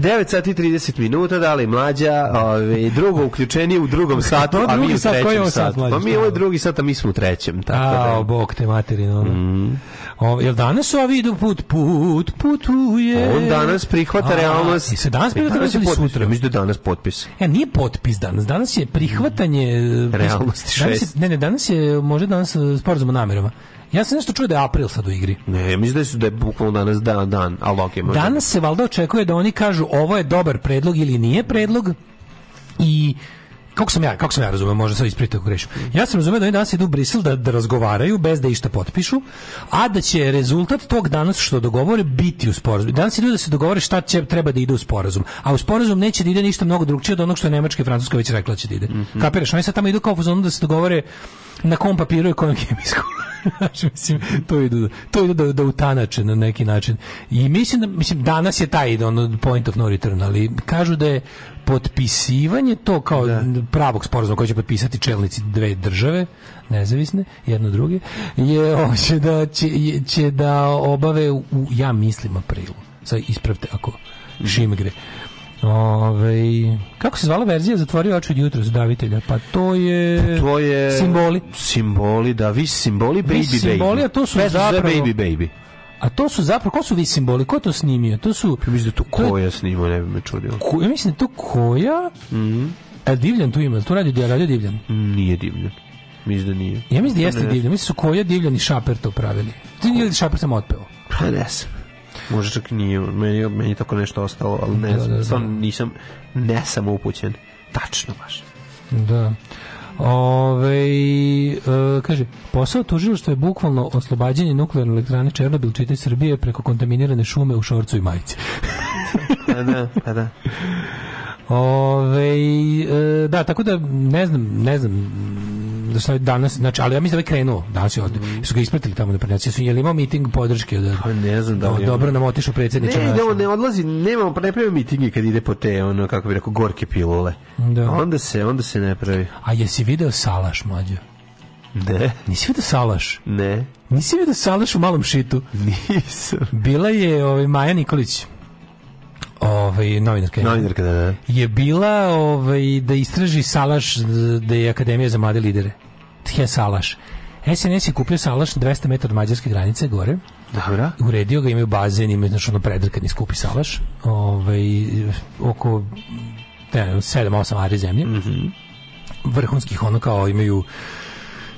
F: 9 sati i 30 minuta, da li mlađa, ove, drugo uključenje u drugom satu,
E: To
F: a mi
E: drugi
F: u
E: sat, koji je
F: trećem
E: ovo sat,
F: satu.
E: mlađe,
F: Pa mi
E: šta?
F: ovo je drugi sat, a mi smo u trećem. Tako Mhm. da.
E: A, bog te materine, ono. O, jel danas ovi idu put, put, putuje?
F: On danas prihvata
E: A,
F: realnost.
E: I se danas prihvata
F: Danas
E: realnost
F: je
E: ili
F: potpis,
E: sutra?
F: Mislim da je danas potpis.
E: E, nije potpis danas, danas je prihvatanje... e,
F: Realnosti
E: danas je-
F: šest.
E: Ne, ne, danas je, možda danas e, sporazum o namerama. Ja sam nešto čuo da je april sad u igri.
F: Ne, mislim da su da je bukvalno danas dan, dan, ali okej, možda.
E: Danas se valjda očekuje da oni kažu ovo je dobar predlog ili nije predlog i kako sam ja, kako sam ja razumeo, možda sad isprite ako grešim. Ja sam razumeo da oni danas idu u Brisel da, da razgovaraju bez da išta potpišu, a da će rezultat tog danas što dogovore biti u sporazumu. Danas idu da se dogovore šta će, treba da ide u sporazum. A u sporazum neće da ide ništa mnogo drugčije od onog što je Nemačka i Francuska već rekla da će da ide. Kapiraš? Oni sad tamo idu kao u fazonu da se dogovore na kom papiru i kojem kemijsku. Znaš, mislim, to idu, to idu da, da utanače na neki način. I mislim da, mislim, danas je taj ono, point of no return, ali kažu da je potpisivanje to kao pravog sporazuma koji će potpisati čelnici dve države, nezavisne, jedno druge, je, ovo, će, da, će, je- će da obave u, ja mislim, aprilu. Sad ispravte ako šimgre. Ove, kako se zvala verzija Zatvorio oči od jutra davitelja? Pa to je...
F: To je...
E: Simboli.
F: Simboli, da, vi simboli, baby,
E: Vi
F: baby.
E: simboli, a to su
F: Pesma se zove
E: zapravo-
F: Baby, baby.
E: A to su zapravo, ko su vi simboli? Ko je to snimio? To su... Ja mislim da to
F: Ko je snimao, ne bi me čudio.
E: Ko, ja mislim da je to koja...
F: Mhm.
E: E, divljan tu ima, tu radi, radi divljan.
F: Nije divljan. Mislim da nije.
E: Ja mislim da jeste
F: Ne.
E: divljan, mislim da su koja divljan i šaper to pravili. Ti ili šaper sam otpeo.
F: Pa ne znam. Možda čak nije, meni, meni je tako nešto ostalo, ali ne
E: Da,
F: znam,
E: da, da.
F: stvarno nisam, ne sam upućen. Tačno baš.
E: Da. Ove, e, kaže, posao tužilaštva je bukvalno oslobađanje nuklearne elektrane Černobil čite Srbije preko kontaminirane šume u šorcu i majici.
F: Pa da, pa da.
E: Ove, e, da, tako da ne znam, ne znam mm, da šta je danas, znači, ali ja mislim da je krenuo danas je od,
F: Mm.
E: su ga ispratili tamo na prnjaci, su, je li imao miting podrške od,
F: Pa ne znam da li
E: do-
F: je
E: dobro
F: imao.
E: nam otišao predsjedniče
F: Ne,
E: naš.
F: ne, on ne odlazi, nemamo, pa ne pravi mitinge kad ide po te, ono, kako bi rekao, gorke pilule.
E: Da.
F: Onda se, onda se ne pravi.
E: A jesi video Salaš, mlađo?
F: Ne,
E: Nisi video Salaš?
F: ne,
E: Nisi video Salaš u malom šitu?
F: nisam.
E: Bila je ovaj, Maja Nikolić, ovaj, novinarka. je.
F: Novinarka, da, da.
E: je bila ovaj, da istraži salaš da je Akademija za mlade lidere. Tje salaš. SNS je kupio salaš 200 metara od mađarske granice gore.
F: Dobra.
E: Uredio ga, imaju bazen, imaju znači ono predrkani skupi salaš. Ovaj, oko ne, 7-8 ari zemlje.
F: Mhm.
E: Vrhunskih ono kao imaju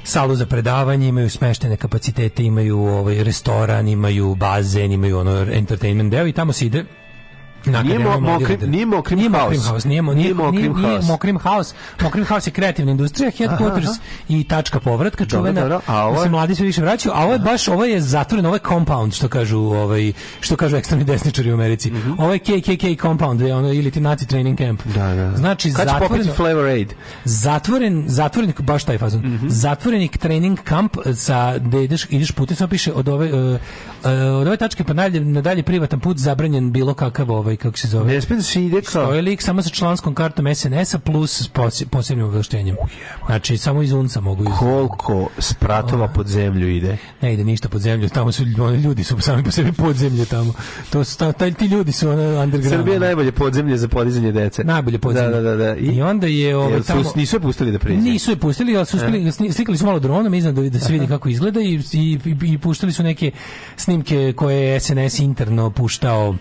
E: salu za predavanje, imaju smeštene kapacitete, imaju ovaj restoran, imaju bazen, imaju ono entertainment deo i tamo se ide na
F: Nije
E: Akademiju
F: mo-
E: mladih
F: mokrim-
E: lidera.
F: nije mokrim
E: Nije mokrim
F: haos.
E: haos, nije, mo-
F: Nije
E: nije,
F: mokrim
E: nije- nije
F: haos.
E: mokrim haos. Mokrim haos je kreativna industrija, headquarters i tačka povratka čuvena.
F: dobro, a ovo
E: da se
F: je-
E: mladi sve više vraćaju, a ovo je baš ovo je zatvoreno, ovo je compound što kažu ovaj što kažu ekstremni desničari u Americi. Ovo je KKK compound, je ono ili ti naci training camp.
F: Mhm. Da, da.
E: Znači
F: Kad će popiti
E: zatvoreno
F: Flavor Aid?
E: zatvoren, zatvoren, baš taj fazon,
F: Mhm.
E: zatvorenik trening kamp sa, gde ideš, ideš putem, samo piše od ove, e, e, od ove tačke pa nadalje, nadalje privatan put zabranjen bilo kakav ovaj, kako se zove,
F: Ne smijem da se ide kao...
E: stoji Ovaj lik samo sa članskom kartom SNS-a plus s posi- posebnim ovlaštenjem.
F: Oh,
E: Znači, samo iz unca mogu iz...
F: Koliko spratova pod zemlju ide?
E: Ne ide ništa pod zemlju, tamo su oni ljudi su sami po sebi pod zemlje tamo. To su, ta, taj- ti ljudi su ono, underground.
F: Srbija je najbolje podzemlje za podizanje dece.
E: Najbolje podzemlje.
F: Da, da, da. da.
E: I onda je ovaj,
F: Jel su-
E: tamo...
F: Nisu je pustili da priđe.
E: Nisu je pustili, ali su uspeli, sni- slikali su malo dronom iznad da, da se vidi kako izgleda i, i, i puštali su neke snimke koje je SNS interno puštao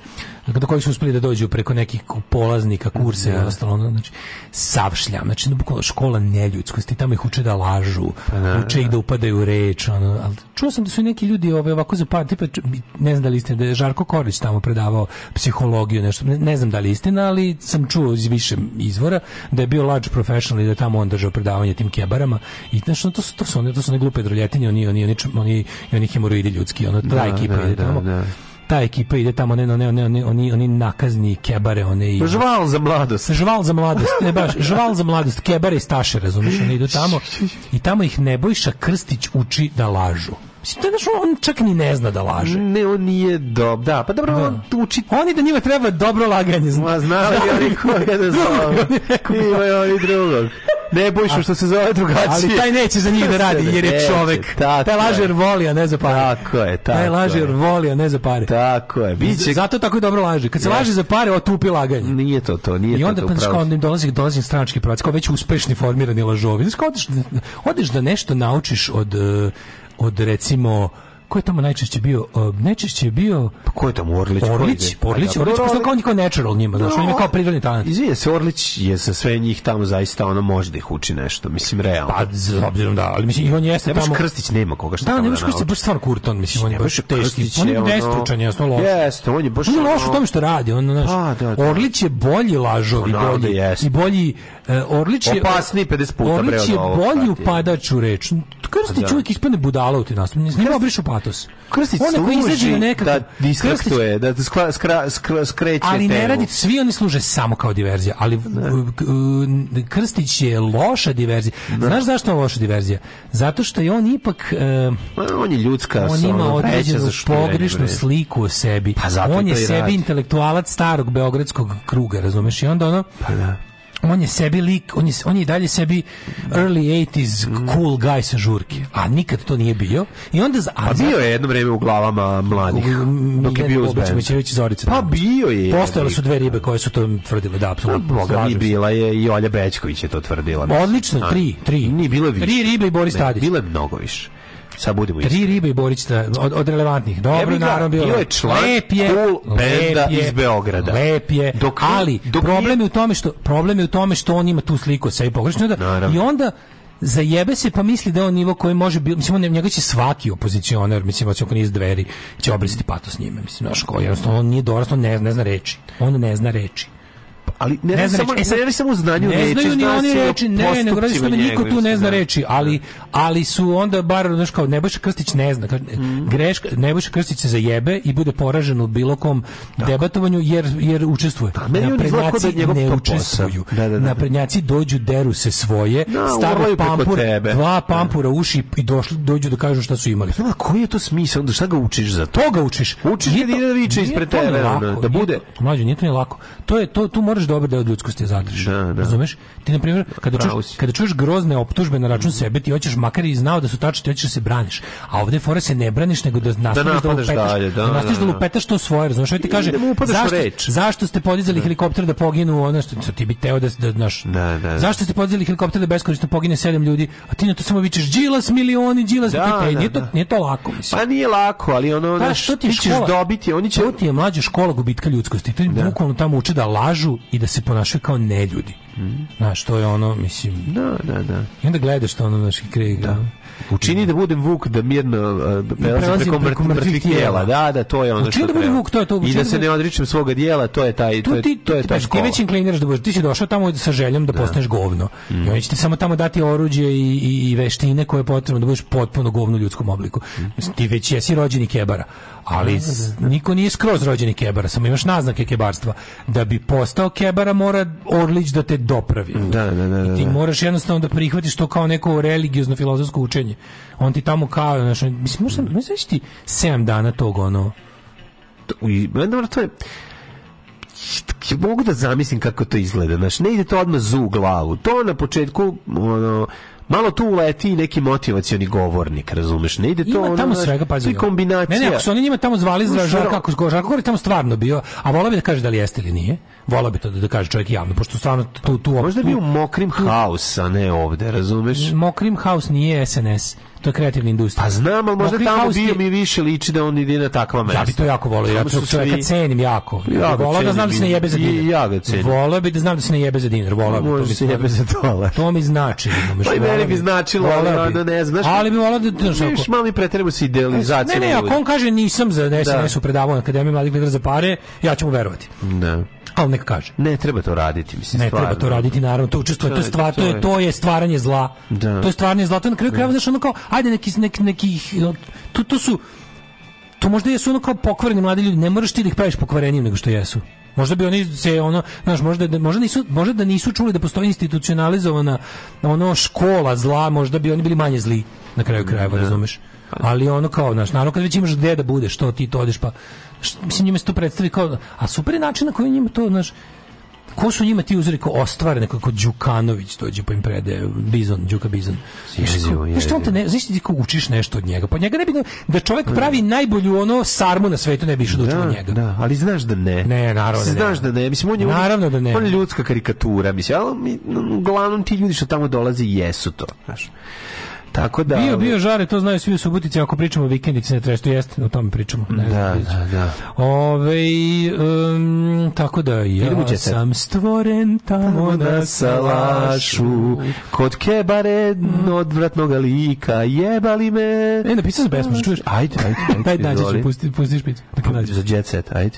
E: do kojih su uspeli da dođu preko nekih ku- polaznika, kurse i ostalo. ono, Znači, sav šljam. Znači, ono, bukvalno škola neljudskosti. Tamo ih uče da lažu, uče ih Pa da upadaju u reč. Ono, ali čuo sam da su i neki ljudi ove, ovako zapad, tipa, č- ne znam da li je istina, da je Žarko Korić tamo predavao psihologiju, nešto, ne, ne znam da li je istina, ali sam čuo iz više izvora da je bio large professional i da je tamo on držao predavanje tim kebarama i znaš, ono, to su, to su, one, to su one glupe droljetine, oni, oni, oni, čm- oni, oni hemoroidi ljudski, ono, ta ekipa ide tamo. Ta ekipa ide tamo, ne, ne, ne, ne, ne, oni, oni nakazni kebare, one i...
F: Žval za mladost.
E: Žval za mladost, ne baš, žval za mladost, kebare i staše, razumiješ, oni idu tamo i tamo ih Nebojša Krstić uči da lažu. Mislim, to je, znaš, on čak ni ne zna da laže.
F: Ne, on nije dob. Da, pa dobro, on uči...
E: Oni da njima treba dobro laganje.
F: Ma znali oni koga da zove. Ima je oni drugog. Ne bojšu što se zove drugačije.
E: Ali taj neće za njih da radi, jer je
F: znači, Neće,
E: čovek.
F: tako
E: Taj
F: je.
E: laže jer voli, a ne za pare.
F: Tako je, tako
E: Taj laže
F: je.
E: jer voli, a ne za pare.
F: Tako je. Biće...
E: Zato tako i dobro laže. Kad se
F: Jeste.
E: laže za pare, otupi laganje.
F: Nije to to, nije
E: I
F: to
E: onda
F: to.
E: pa znaš
F: upravo
E: kao
F: si.
E: onda im dolazi dolazi stranački pravac, kao već uspešni formirani lažovi. Znaš kao odeš, odeš da nešto naučiš od eh, od recimo ko je tamo najčešće bio? Eh, Najčešće je bio
F: Pa ko je tamo Orlić? Ko
E: Orlić,
F: ide?
E: Orlić,
F: Pa da,
E: Orlić,
F: dobro,
E: pošto kao on je kao natural njima, znaš, on ima kao prirodni talent.
F: Izvinite se, Orlić je sa sve njih tamo zaista ono može da ih uči nešto, mislim realno.
E: Pa, s obzirom da, ali mislim, i on jeste
F: Nebojša
E: tamo-
F: Krstić nema koga šta
E: Da,
F: tamo
E: ne možeš
F: da
E: koji se
F: nauči.
E: baš stvarno kurton, mislim, on je baš
F: Nebojša
E: teški.
F: Krstić
E: On je
F: ono-
E: nestručan, jasno loš.
F: Jeste, on je baš
E: On je loš u
F: ono-
E: tome što radi, on, znaš,
F: Pa, da, da.
E: Orlić je bolji lažov i
F: Naravno da
E: bolji,
F: jeste.
E: i bolji, e, Orlić je...
F: Opasniji 50 puta, bre,
E: Orlić
F: od
E: je
F: ovog,
E: bolji
F: brate.
E: upadač u reč. Krstić
F: Pa da.
E: uvijek ispane budala u ti nastup, ne znam, obrišu patos.
F: Krstić
E: On ako izađe na
F: služi
E: nekakav-
F: da
E: Krstić-
F: distraktuje, da skra, skra, skra, skreće
E: ali ne
F: temu.
E: radi svi oni služe samo kao diverzija ali e, k- k- Krstić je loša diverzija znaš zašto je on loša diverzija zato što je on ipak e,
F: Ma, On je ljudska,
E: on
F: sa
E: ima
F: ono, vreća
E: određenu
F: za šljurenje,
E: pogrešnu
F: bre.
E: sliku o sebi
F: Pa zato
E: on
F: to
E: je
F: i
E: sebi
F: radi.
E: intelektualac starog beogradskog kruga razumeš i onda ono
F: Pa
E: on je sebi lik, on je, on je i dalje sebi early 80s cool guy sa žurke, a nikad to nije bio. I onda, za- a
F: Pa
E: za-
F: bio je jedno vreme u glavama mladih,
E: M-
F: dok je
E: Miljan
F: bio uz
E: Bobić,
F: band.
E: Mićević i Zorica.
F: Pa bio je.
E: Postojale su dve ribe koje su to tvrdile, da,
F: Pa,
E: apsolutno.
F: Boga mi
E: slažem se.
F: bila je i Olja Bećković je to tvrdila. mislim.
E: Odlično,
F: A,
E: tri, tri.
F: Nije bilo je više.
E: Tri ribe i Boris
F: Ne,
E: Tadić.
F: Bilo je mnogo više. Sad budemo isti.
E: Tri ribe i Borić da, od, od relevantnih. Dobro,
F: Jebi ga,
E: naravno, bilo
F: bio je član
E: Lep je,
F: cool
E: lep
F: benda
E: je,
F: iz Beograda.
E: Lep je,
F: Dok-
E: ali
F: dok
E: problem je u tome što problem je u tome što on ima tu sliku o sebi pogrešno da,
F: Naravno.
E: i onda zajebe se pa misli da je on nivo koji može biti mislim on njega će svaki opozicionar mislim osim ako nije iz dveri će obrisati pato s njime mislim znaš ko jednostavno on nije dorastao ne, ne zna reči on ne zna reči
F: Ali ne, radi
E: zna
F: samo,
E: reći. E sad,
F: ne radi samo u znanju
E: ne
F: reči,
E: znaju ni
F: zna
E: oni
F: se i o
E: reči, ne, nego radi se o
F: postupcima
E: tome, niko tu ne
F: njegovim, da.
E: zna reči, ali, ali su onda bar, znaš kao, Nebojša Krstić ne zna, kaže,
F: Mhm.
E: greška, Nebojša Krstić se zajebe i bude poražen u bilo kom debatovanju, jer, jer učestvuje.
F: meni on izgleda kao da je
E: Naprednjaci
F: njegov
E: ne
F: to
E: učestvuju.
F: posao. Da, da, da.
E: Naprednjaci dođu, deru se svoje,
F: Da,
E: stave
F: urlaju preko
E: pampur,
F: tebe.
E: dva pampura u uši i došli, dođu da kažu šta su imali.
F: Znam, a koji je to smisao? Onda šta ga učiš za to?
E: To ga učiš.
F: Učiš
E: Nije
F: kad
E: to-
F: ide da viče
E: nije
F: ispred
E: to ni
F: tebe,
E: lako,
F: ono, da
E: nije
F: bude-
E: to- Mlađo, nije to ni lako. To je to tu moraš dobar deo od ljudskosti da zadržiš.
F: Da, da.
E: Razumeš? Ti na primjer kada
F: Pravo
E: čuješ
F: si.
E: kada čuješ grozne optužbe na račun sebe, ti hoćeš makar i znao da su tačne, ti hoćeš da se braniš. A ovde fore se ne braniš nego da nastaviš da,
F: napadaš
E: lupetaš,
F: dalje, da,
E: nastaviš
F: da, da.
E: lupetaš to svoje, razumeš? Ovaj ti
F: I
E: kaže
F: da mu upadaš u
E: zašto,
F: reč.
E: zašto ste podizali helikopter da poginu ono što što ti bi teo da da znaš.
F: Da, da, da.
E: Zašto ste podizali helikopter da beskorisno pogine sedam ljudi, a ti na to samo vičeš Đilas milioni, Đilas,
F: Da,
E: da,
F: da,
E: nije to
F: da.
E: nije to lako, mislim.
F: Pa nije lako, ali ono,
E: Pa,
F: znaš,
E: što ti je
F: ti ćeš
E: škola?
F: dobiti, oni će...
E: To ti je mlađa škola gubitka ljudskosti. To im bukvalno tamo uče da lažu i da se ponašaju kao neljudi. Znaš, to je ono, mislim...
F: Da, da, da.
E: I onda gledaš to ono, znaš, i krije da.
F: Učini da budem Vuk da mirno uh, prelazi
E: prelazim
F: preko,
E: preko
F: mrt- mrtvih tijela. Da, da, to je ono
E: Učini
F: što
E: da budem
F: treba.
E: Vuk, to je to,
F: I
E: učini
F: da
E: da
F: se ne
E: budem-
F: odričem svoga dijela, to je taj, to
E: Tu
F: je,
E: ti,
F: to je
E: ti,
F: ta
E: paš, ti
F: škola.
E: već inkliniraš da budeš, ti si došao tamo sa željom da postaneš govno.
F: Mhm.
E: I oni će ti samo tamo dati oruđe i, i, i veštine koje je potrebno da budeš potpuno govno u ljudskom obliku.
F: Mhm.
E: Mislim, Ti već jesi rođeni kebara, ali s- niko nije skroz rođeni kebara, samo imaš naznake kebarstva. Da bi postao kebara mora Orlić da te dopravi.
F: Da, da, da, da,
E: Ti
F: da.
E: moraš jednostavno da prihvatiš to kao neko religiozno filozofsko učenje. On ti tamo kao, znaš, mislim, možda, možda ti 7 dana tog ono,
F: I, ma, dobro, to je... Mogu da zamislim kako to izgleda, znaš, ne ide to odmah zu u glavu. To na početku, ono, malo tu uleti i neki motivacioni govornik, razumeš? Ne ide to
E: Ima
F: ono,
E: tamo
F: znaš,
E: svega,
F: to
E: pazi.
F: je kombinacija.
E: Ne, ne, ako su oni njima tamo zvali za
F: Znaš,
E: Žarka,
F: ono-
E: ako Žarko Žarko Gori tamo stvarno bio, a vola bi da kaže da li jeste ili nije. Vola bi to da, da kaže čovjek javno, pošto stvarno tu... tu
F: Možda bi u
E: tu-
F: mokrim haus, a ne ovde, razumeš?
E: Mokrim House nije SNS, to je kreativna industrija.
F: Pa znam, ali možda
E: Mokrim
F: tamo
E: House
F: bio
E: je-
F: mi više liči da on ide na takva mesta.
E: Ja bi to jako volio, ja
F: Tamo su
E: tog čovjeka
F: svi-
E: cenim jako.
F: Ja
E: Ja
F: ga
E: bi volao da
F: cenim
E: znam da se
F: i-
E: ne jebe za
F: i
E: dinar.
F: ja ga cenim.
E: Volao bi da znam da se ne jebe za dinar, volao bi. to
F: Može
E: mi
F: se jebe za dolar.
E: To mi znači, razumeš,
F: Pa i meni
E: voleo
F: bi značilo, ali
E: voleo bi.
F: ono, ne znam, znaš-
E: Ali bi volao da... znaš, ako-
F: Viš, malo mi pretrebamo se
E: Ne,
F: idealizacijom.
E: ne, ako on kaže nisam za
F: Da.
E: SNS u predavanju Akademije mladih lidera za pare, ja ću mu verovati.
F: Da.
E: Ali neka kaže.
F: Ne treba to raditi, mislim,
E: Ne
F: stvarno.
E: treba to raditi naravno, to učestvuje, to je stvar, to je to je stvaranje zla.
F: Da.
E: To je stvaranje zla, to je na kraju krajeva znaš ono kao ajde neki neki neki to, to su to možda jesu ono kao pokvareni mladi ljudi, ne moraš ti da ih praviš pokvarenijim nego što jesu. Možda bi oni se ono, znaš, možda, da- možda, nisu, možda da nisu čuli da postoji institucionalizovana ono škola zla, možda bi oni bili manje zli na kraju krajeva, razumeš? Ali ono kao, znaš, naravno kad već imaš gde da budeš, to ti to odeš, pa, š- mislim, njima se to predstavi kao, a super je način na koji njima to, znaš, ko su njima ti uzori ko ostvarene, kako Đukanović dođe pa im predaje, Bizon, Đuka Bizon.
F: Jezivo,
E: Znaš što on te ne, znaš ti kako učiš nešto od njega? Pa njega ne bi, da čovjek pravi najbolju ono sarmu na svetu, ne bi išao da uči od njega.
F: Da, ali znaš da ne.
E: Ne, naravno da ne.
F: Znaš da ne. Mislim, on je,
E: Naravno da ne.
F: On je ljudska karikatura, mislim, ali mi, uglavnom ti ljudi što tamo dolazi jesu to, znaš. Tako da...
E: bio,
F: ovaj,
E: bio žare, to znaju svi u Subotici, ako pričamo o vikendici na treštu, jeste, o tome pričamo. Ne
F: Da,
E: znam,
F: da, da.
E: Ove, um, tako da
F: Idemo u
E: ja
F: jet set.
E: sam stvoren tamo
F: na salašu kod kebare odvratnog lika jebali me e
E: napisao sam pesmu čuješ
F: ajde ajde ajde
E: Daj, nađe ću,
F: izvoli.
E: pusti, pusti špicu. Tako nađe.
F: za jet set ajde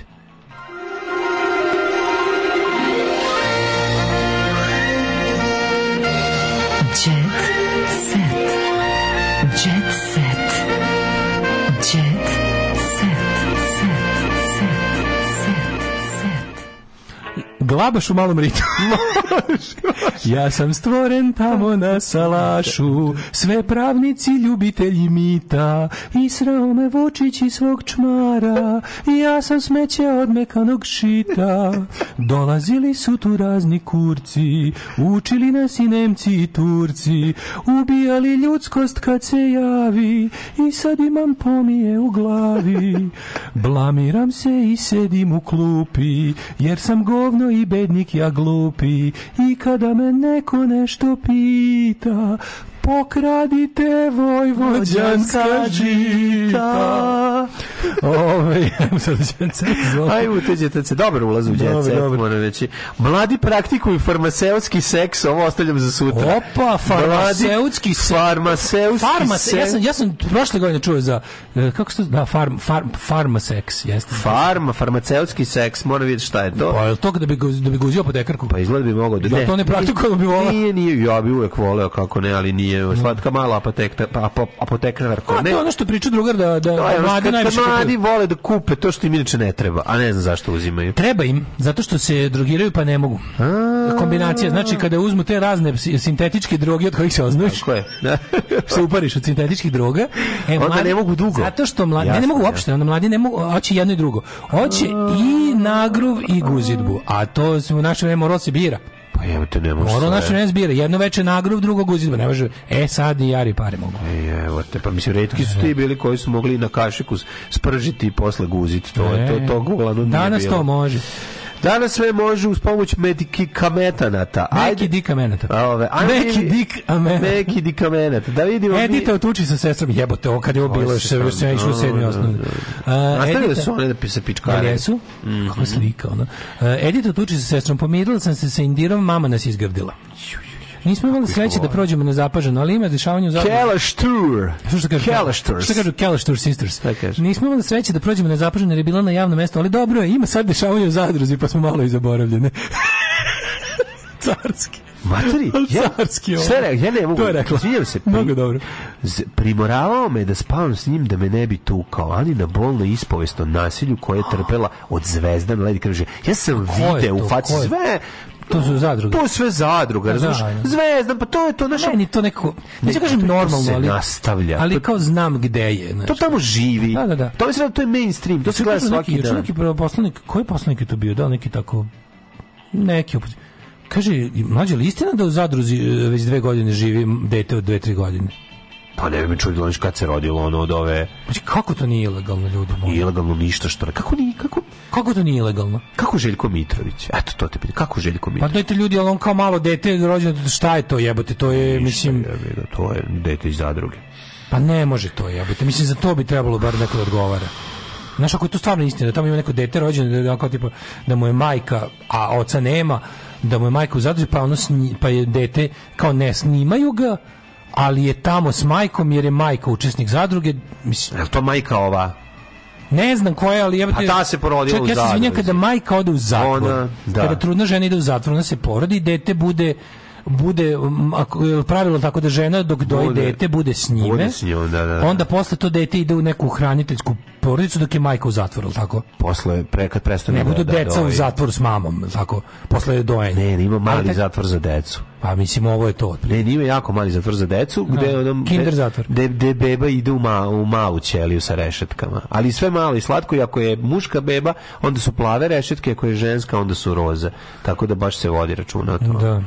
D: Jet set. Jet set. Jet set. Set.
E: Glabaš u malom ritu. ja sam stvoren tamo na salašu, sve pravnici ljubitelji mita, israo me Vučić i svog čmara, ja sam smeće od mekanog šita. Dolazili su tu razni kurci, učili nas i Nemci i Turci, ubijali ljudskost kad se javi, i sad imam pomije u glavi. Blamiram se i sedim u klupi, jer sam govno i bednik ja glupi. I kada me neko nešto pita, pokradite vojvođanska žita. Ove, ajmo sad u jet set, izvolite.
F: Ajmo te jet set, dobro ulaz u jet
E: Dobro,
F: set,
E: dobro.
F: moram reći. Mladi praktikuju farmaceutski seks, ovo ostavljam za sutra.
E: Opa, farmaceutski se...
F: Farmaceutski
E: Farmace, ja sam,
F: seks.
E: ja sam prošle godine čuo za, e, kako se to, da, farm, farm, farmaseks, jeste.
F: Farma, farmaceutski seks, moram vidjeti šta je to.
E: Pa je li to da bi, ga uz- da bi ga uzio po dekarku?
F: Pa izgleda bi mogao da
E: Ja to ne praktikujem, bi volao.
F: Nije, nije, ja bi uvek voleo kako ne, ali nije. Slatka mala apotekta, pa, apo- apotekarka.
E: A to
F: Ne,
E: je ono što priča drugar da, da
F: to je ono što-
E: mladi
F: kad
E: najviše
F: mladi
E: kupuju.
F: vole da kupe to što im inače ne treba, a ne znam zašto uzimaju.
E: Treba im, zato što se drogiraju pa ne mogu. Kombinacija, znači kada uzmu te razne psi- sintetičke droge od kojih se oznojiš,
F: Tako je. Da.
E: se upariš od sintetičkih droga, e,
F: Onda ne mogu dugo.
E: Zato što mladi, ne, ne
F: Jasno,
E: mogu
F: jasno.
E: uopšte, onda mladi ne mogu, hoće jedno i drugo. Hoće i nagruv i guzidbu, a to se u naše vreme moralo se bira.
F: Pa jebote, ne može
E: Moralo u naše
F: sve.
E: vreme se bira, znači, jedno veče nagruv, drugo guzidba, ne može, e sad i jari pare mogu.
F: E, Evo te, pa mislim, retki su ti bili koji su mogli na kašiku s- spržiti i posle guziti. To, je to,
E: E,
F: to uglavnom nije
E: Danas
F: bilo.
E: to može.
F: Danas sve može uz pomoć medikamenata.
E: Neki dika menata.
F: Ove, ajde
E: Neki
F: mi-
E: dik amenata.
F: Neki dikamenat. Da vidimo mi-
E: Edita otuči sa sestrom, jebote, ovo kad je ovo
F: Ovo
E: bilo, još
F: se
E: se još sam
F: stvarno-
E: ja išao u sedmi
F: da,
E: osnovni.
F: da,
E: A,
F: Nastavili
E: Edita-
F: su one da pi- Mhm. se
E: Jel
F: pičkare.
E: jesu? Kako slika, ono. E, Edita otuči sa sestrom, pomirila sam se sa Indirom, mama nas izgrdila. Nismo imali sreće da prođemo nezapaženo, ali ima dešavanje u zapadnoj...
F: Kelashtur.
E: Što što kažu?
F: Kelashtur.
E: Što kažu Kelashtur Sisters?
F: Šta kažu?
E: Nismo imali sreće da prođemo nezapaženo jer je bila na javnom mestu, ali dobro je, ima sad dešavanje u zadruzi, pa smo malo i zaboravljene. Carski.
F: Materi, ja,
E: Carski ovo.
F: sve re- ja ne mogu,
E: To je rekla.
F: izvinjam se, pri-
E: Mnogo dobro.
F: z- primoravao me da spavam s njim da me ne bi tukao, ali na bolno ispovestno nasilju koje je trpela od zvezdan Lady Krviže. Ja sam
E: je
F: video
E: to?
F: u faci
E: Ko je
F: sve,
E: To su zadruge.
F: to je sve zadruga,
E: Da,
F: razumiješ?
E: da.
F: Zvezdan, pa to je to naša...
E: Meni to nekako, neću kažem
F: to- to
E: normalno,
F: se
E: ali,
F: nastavlja.
E: ali
F: To-
E: kao znam gde je. Znači.
F: To tamo živi.
E: Da, da, da.
F: To mislim da to je mainstream, to se gleda svaki
E: neki,
F: dan.
E: Neki poslanik, koji poslanik je to bio? Da, li neki tako, neki opozic. Kaže, mlađe, li istina da u zadruzi e, već dve godine živi dete od dve, tri godine?
F: Pa ne bi me čudilo niš kad se rodilo ono od ove
E: Znači, kako to nije ilegalno, ljudi moji?
F: ilegalno ništa što... Kako, ni, kako,
E: Kako to nije ilegalno?
F: kako Željko Mitrović? Eto, to te pitam. Kako Željko
E: Pa
F: Mitrović?
E: dajte ljudi, ali on kao malo dete rođeno, šta je to jebote? To je, mislim,
F: Jebi ga, to je dete iz zadruge.
E: pa ne može to jebote. Mislim, za to bi trebalo bar neko da odgovara. Znaš, ako je to stvarno istina, da tamo ima neko dete rođeno, da, da, kao, tipa, da mu je majka, a oca nema, da mu je majka u zadruzi, pa, ono sni- pa je dete, kao ne snimaju ga, ali je tamo s majkom jer je majka učesnik zadruge, mislim,
F: Jel to majka ova?
E: ne znam koja, ali jebote...
F: Pa ta se porodila
E: Čak,
F: u
E: ja se izvinjam,
F: zadruzi.
E: kada majka ode u zatvor,
F: Ona, da.
E: kada trudna žena ide u zatvor, ona se porodi i dete bude bude m, ako je pravilo tako da žena dok doji
F: Bude-
E: dete bude s njime.
F: bude s njom, da, da, da.
E: Onda posle to dete ide u neku hraniteljsku porodicu dok je majka u zatvoru, jel tako?
F: Posle, pre, kad prestane
E: Ne
F: da-
E: budu
F: da ovaj-
E: deca u
F: doji.
E: zatvoru s mamom, jel tako? Posle dojenja.
F: Ne, ima
E: Ali
F: mali
E: tak-
F: zatvor za decu.
E: Pa mislim ovo je to.
F: Ne, ima jako mali zatvor za decu, gde
E: Da,
F: ono-
E: kinder zatvor.
F: Gde, gde beba ide u, ma, u malu ćeliju sa rešetkama. Ali sve malo i slatko, i ako je muška beba, onda su plave rešetke, ako je ženska, onda su roze. Tako da baš se vodi računa o tome.
E: Da.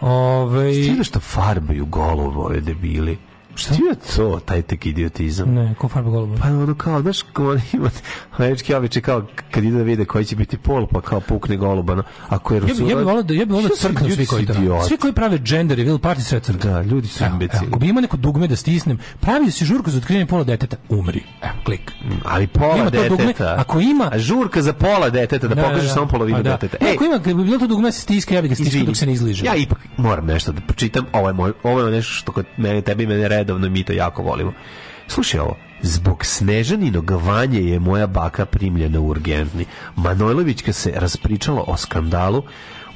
E: Ove...
F: Stiže što farbaju golub ove debili. Šta? je to, taj tek idiotizam?
E: Ne, ko farba golubove?
F: Pa ono kao, znaš, kao ono ima američki običaj kao kad idu da vide koji će biti pol, pa kao pukne golubano. Ako je
E: Ja bi, ja bi volao da, ja bi volao da crknu svi koji to rade. Svi koji prave gender reveal party sve crknu. Da,
F: ljudi su imbecili.
E: Ako bi imao neko dugme da stisnem, pravi si žurku za otkrivanje pola deteta, umri. Evo, klik.
F: Ali pola
E: Ima to
F: deteta.
E: dugme, ako ima...
F: A žurka za pola deteta, da, pokažeš samo polovinu
E: Pa da.
F: deteta. E,
E: Ne, Ako ima, kad bi bilo to dugme da se stiska, ja bi ga stiskao
F: Izvini.
E: dok se ne izliže.
F: Ja ipak moram nešto da pročitam. Ovo je, moj, ovo je nešto što kod mene, tebi i mene redovno i mi to jako volimo. Slušaj ovo. Zbog snežaninog vanje je moja baka primljena u urgentni. Manojlovićka se raspričala o skandalu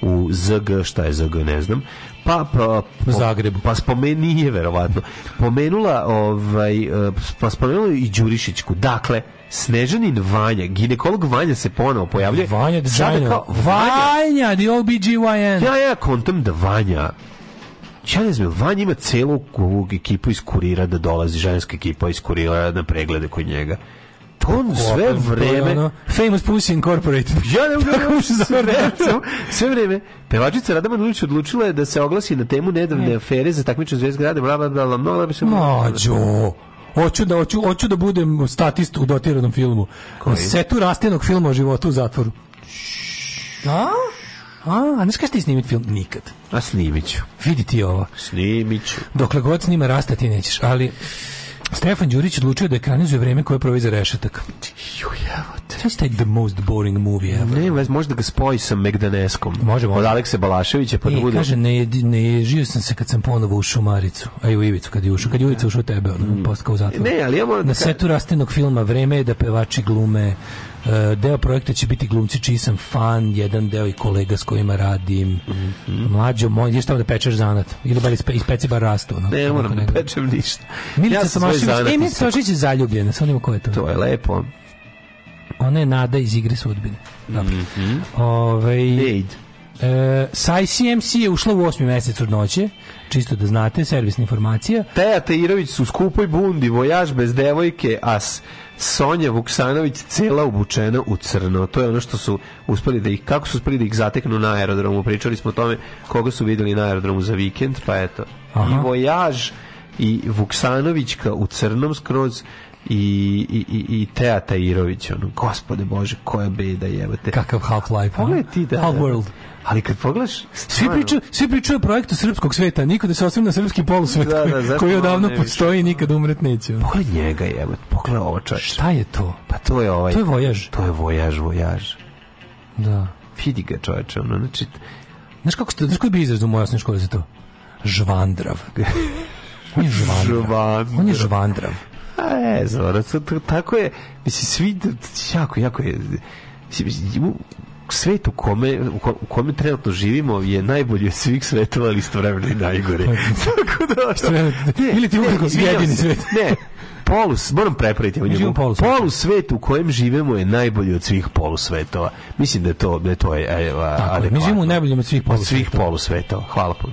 F: u ZG, šta je ZG, ne znam, pa, pa, po-
E: Zagrebu.
F: Pa spomeni, nije verovatno. Pomenula, ovaj, eh, pa spomenula i Đurišićku. Dakle, Snežanin Vanja, ginekolog Vanja se ponovo pojavljuje.
E: Vanja
F: Sada
E: dizajner.
F: kao
E: Vanja, the OBGYN.
F: ja, ja kontam da Vanja ja ne znam, Vanja ima celu ovu ekipu iz kurira da dolazi, ženska ekipa iz kurira na preglede kod njega. To on sve
E: Open, to je
F: vreme...
E: ono, Famous Pussy Incorporated.
F: Ja ne mogu
E: Tako mu se zove.
F: sve, sve vreme. Pevačica Rada Manulić odlučila je da se oglasi na temu nedavne afere za takmičenje zvezde grade, bla, bla, bla, bla, bla, bla, se...
E: Mađo, hoću da, hoću, hoću da budem statist u dotiranom filmu. Na setu rastenog filma o životu u zatvoru. Da? A, a ne skaš ti snimiti film? Nikad.
F: A snimit ću.
E: Vidi ti ovo.
F: Snimit ću.
E: Dokle god snima rasta ti nećeš, ali... Stefan Đurić odlučio da ekranizuje vreme koje provi za rešetak. Znaš taj the most boring movie ever?
F: Ne, vez, možda ga spoji sa Megdaneskom. Može, može. Od Alekse Balaševića, pa da
E: E,
F: bude...
E: kaže, ne, jedi- ne ježio sam se kad sam ponovo ušao u Maricu, a i u Ivicu kad je ušao. Kad je Ivica ušao u tebe, ono, posle kao u zatvor.
F: Mm. Ne, ali ja moram da
E: Na
F: kažem-
E: setu rastenog filma Vreme je da pevači glume. e, Deo projekta će biti glumci čiji sam fan, jedan deo i kolega s kojima radim.
F: Mhm.
E: Mlađo moj, ideš tamo da pečeš zanat. Ili bar ispe, ispeci bar rastu. Ono,
F: Ne, moram
E: Tako
F: da
E: nego.
F: pečem ništa.
E: Milica
F: sam svoj
E: Tomašević,
F: zanat
E: e, Milica
F: istekao.
E: Tomašević je zaljubljena, sa onim ko je to.
F: To je lepo.
E: Ona je nada iz igre sudbine. Dobro.
F: Mhm.
E: Ovaj E, Saj CMC je ušla u osmi mesec od noće, čisto da znate, servisna informacija.
F: Teja Teirović su u skupoj bundi, vojaž bez devojke, a s- Sonja Vuksanović cela obučena u crno. To je ono što su uspeli da ih, kako su uspeli da ih zateknu na aerodromu. Pričali smo o tome koga su videli na aerodromu za vikend, pa eto.
E: Aha.
F: I vojaž i Vuksanovićka u crnom skroz i, i, i, i Teja Teirović. Ono, gospode Bože, koja beda jebate.
E: Kakav Half-Life.
F: Pogledaj ti, da, da.
E: Half-World.
F: Ali kad pogledaš,
E: Svi
F: stvarno-
E: pričaju, svi pričaju o projektu srpskog sveta, niko da se osvrne na srpski polusvet
F: Da, da,
E: koji-
F: zašto
E: koji
F: malo
E: odavno
F: ne više?
E: postoji i nikad umret neće. ono.
F: Pogledaj njega jebate, pogledaj ovo čovječe.
E: Šta je to?
F: Pa to je ovaj...
E: To je vojaž.
F: To je vojaž, vojaž.
E: Da.
F: Vidi ga čoveče, ono, znači...
E: Znaš kako ste, znaš koji bi izraz u mojoj osnovnoj školi za to? Žvandrav. On je žvandrav.
F: Žvandrav.
E: On je žvandrav.
F: A ne znam, ono, to- to- tako je, mislim, svi, d- jako, jako je, mislim, mislim, u- svet u kome, u ko- u kome trenutno živimo je najbolji od svih svetova, ali istovremeno i najgori. tako da, ono,
E: Pa, Sve- ili ti
F: ne,
E: uprkos
F: e, izvinjavam
E: jedini
F: se,
E: svet.
F: ne, polus, moram prepraviti u njemu.
E: Živimo u
F: Polus,
E: polusvetu.
F: svet u kojem živimo je najbolji od svih polusvetova. Mislim da je to, da je to je, e, a-
E: Tako je, mi
F: adekvatno.
E: živimo u najboljem od svih
F: Od
E: polusveta.
F: svih polusvetova. Hvala puno.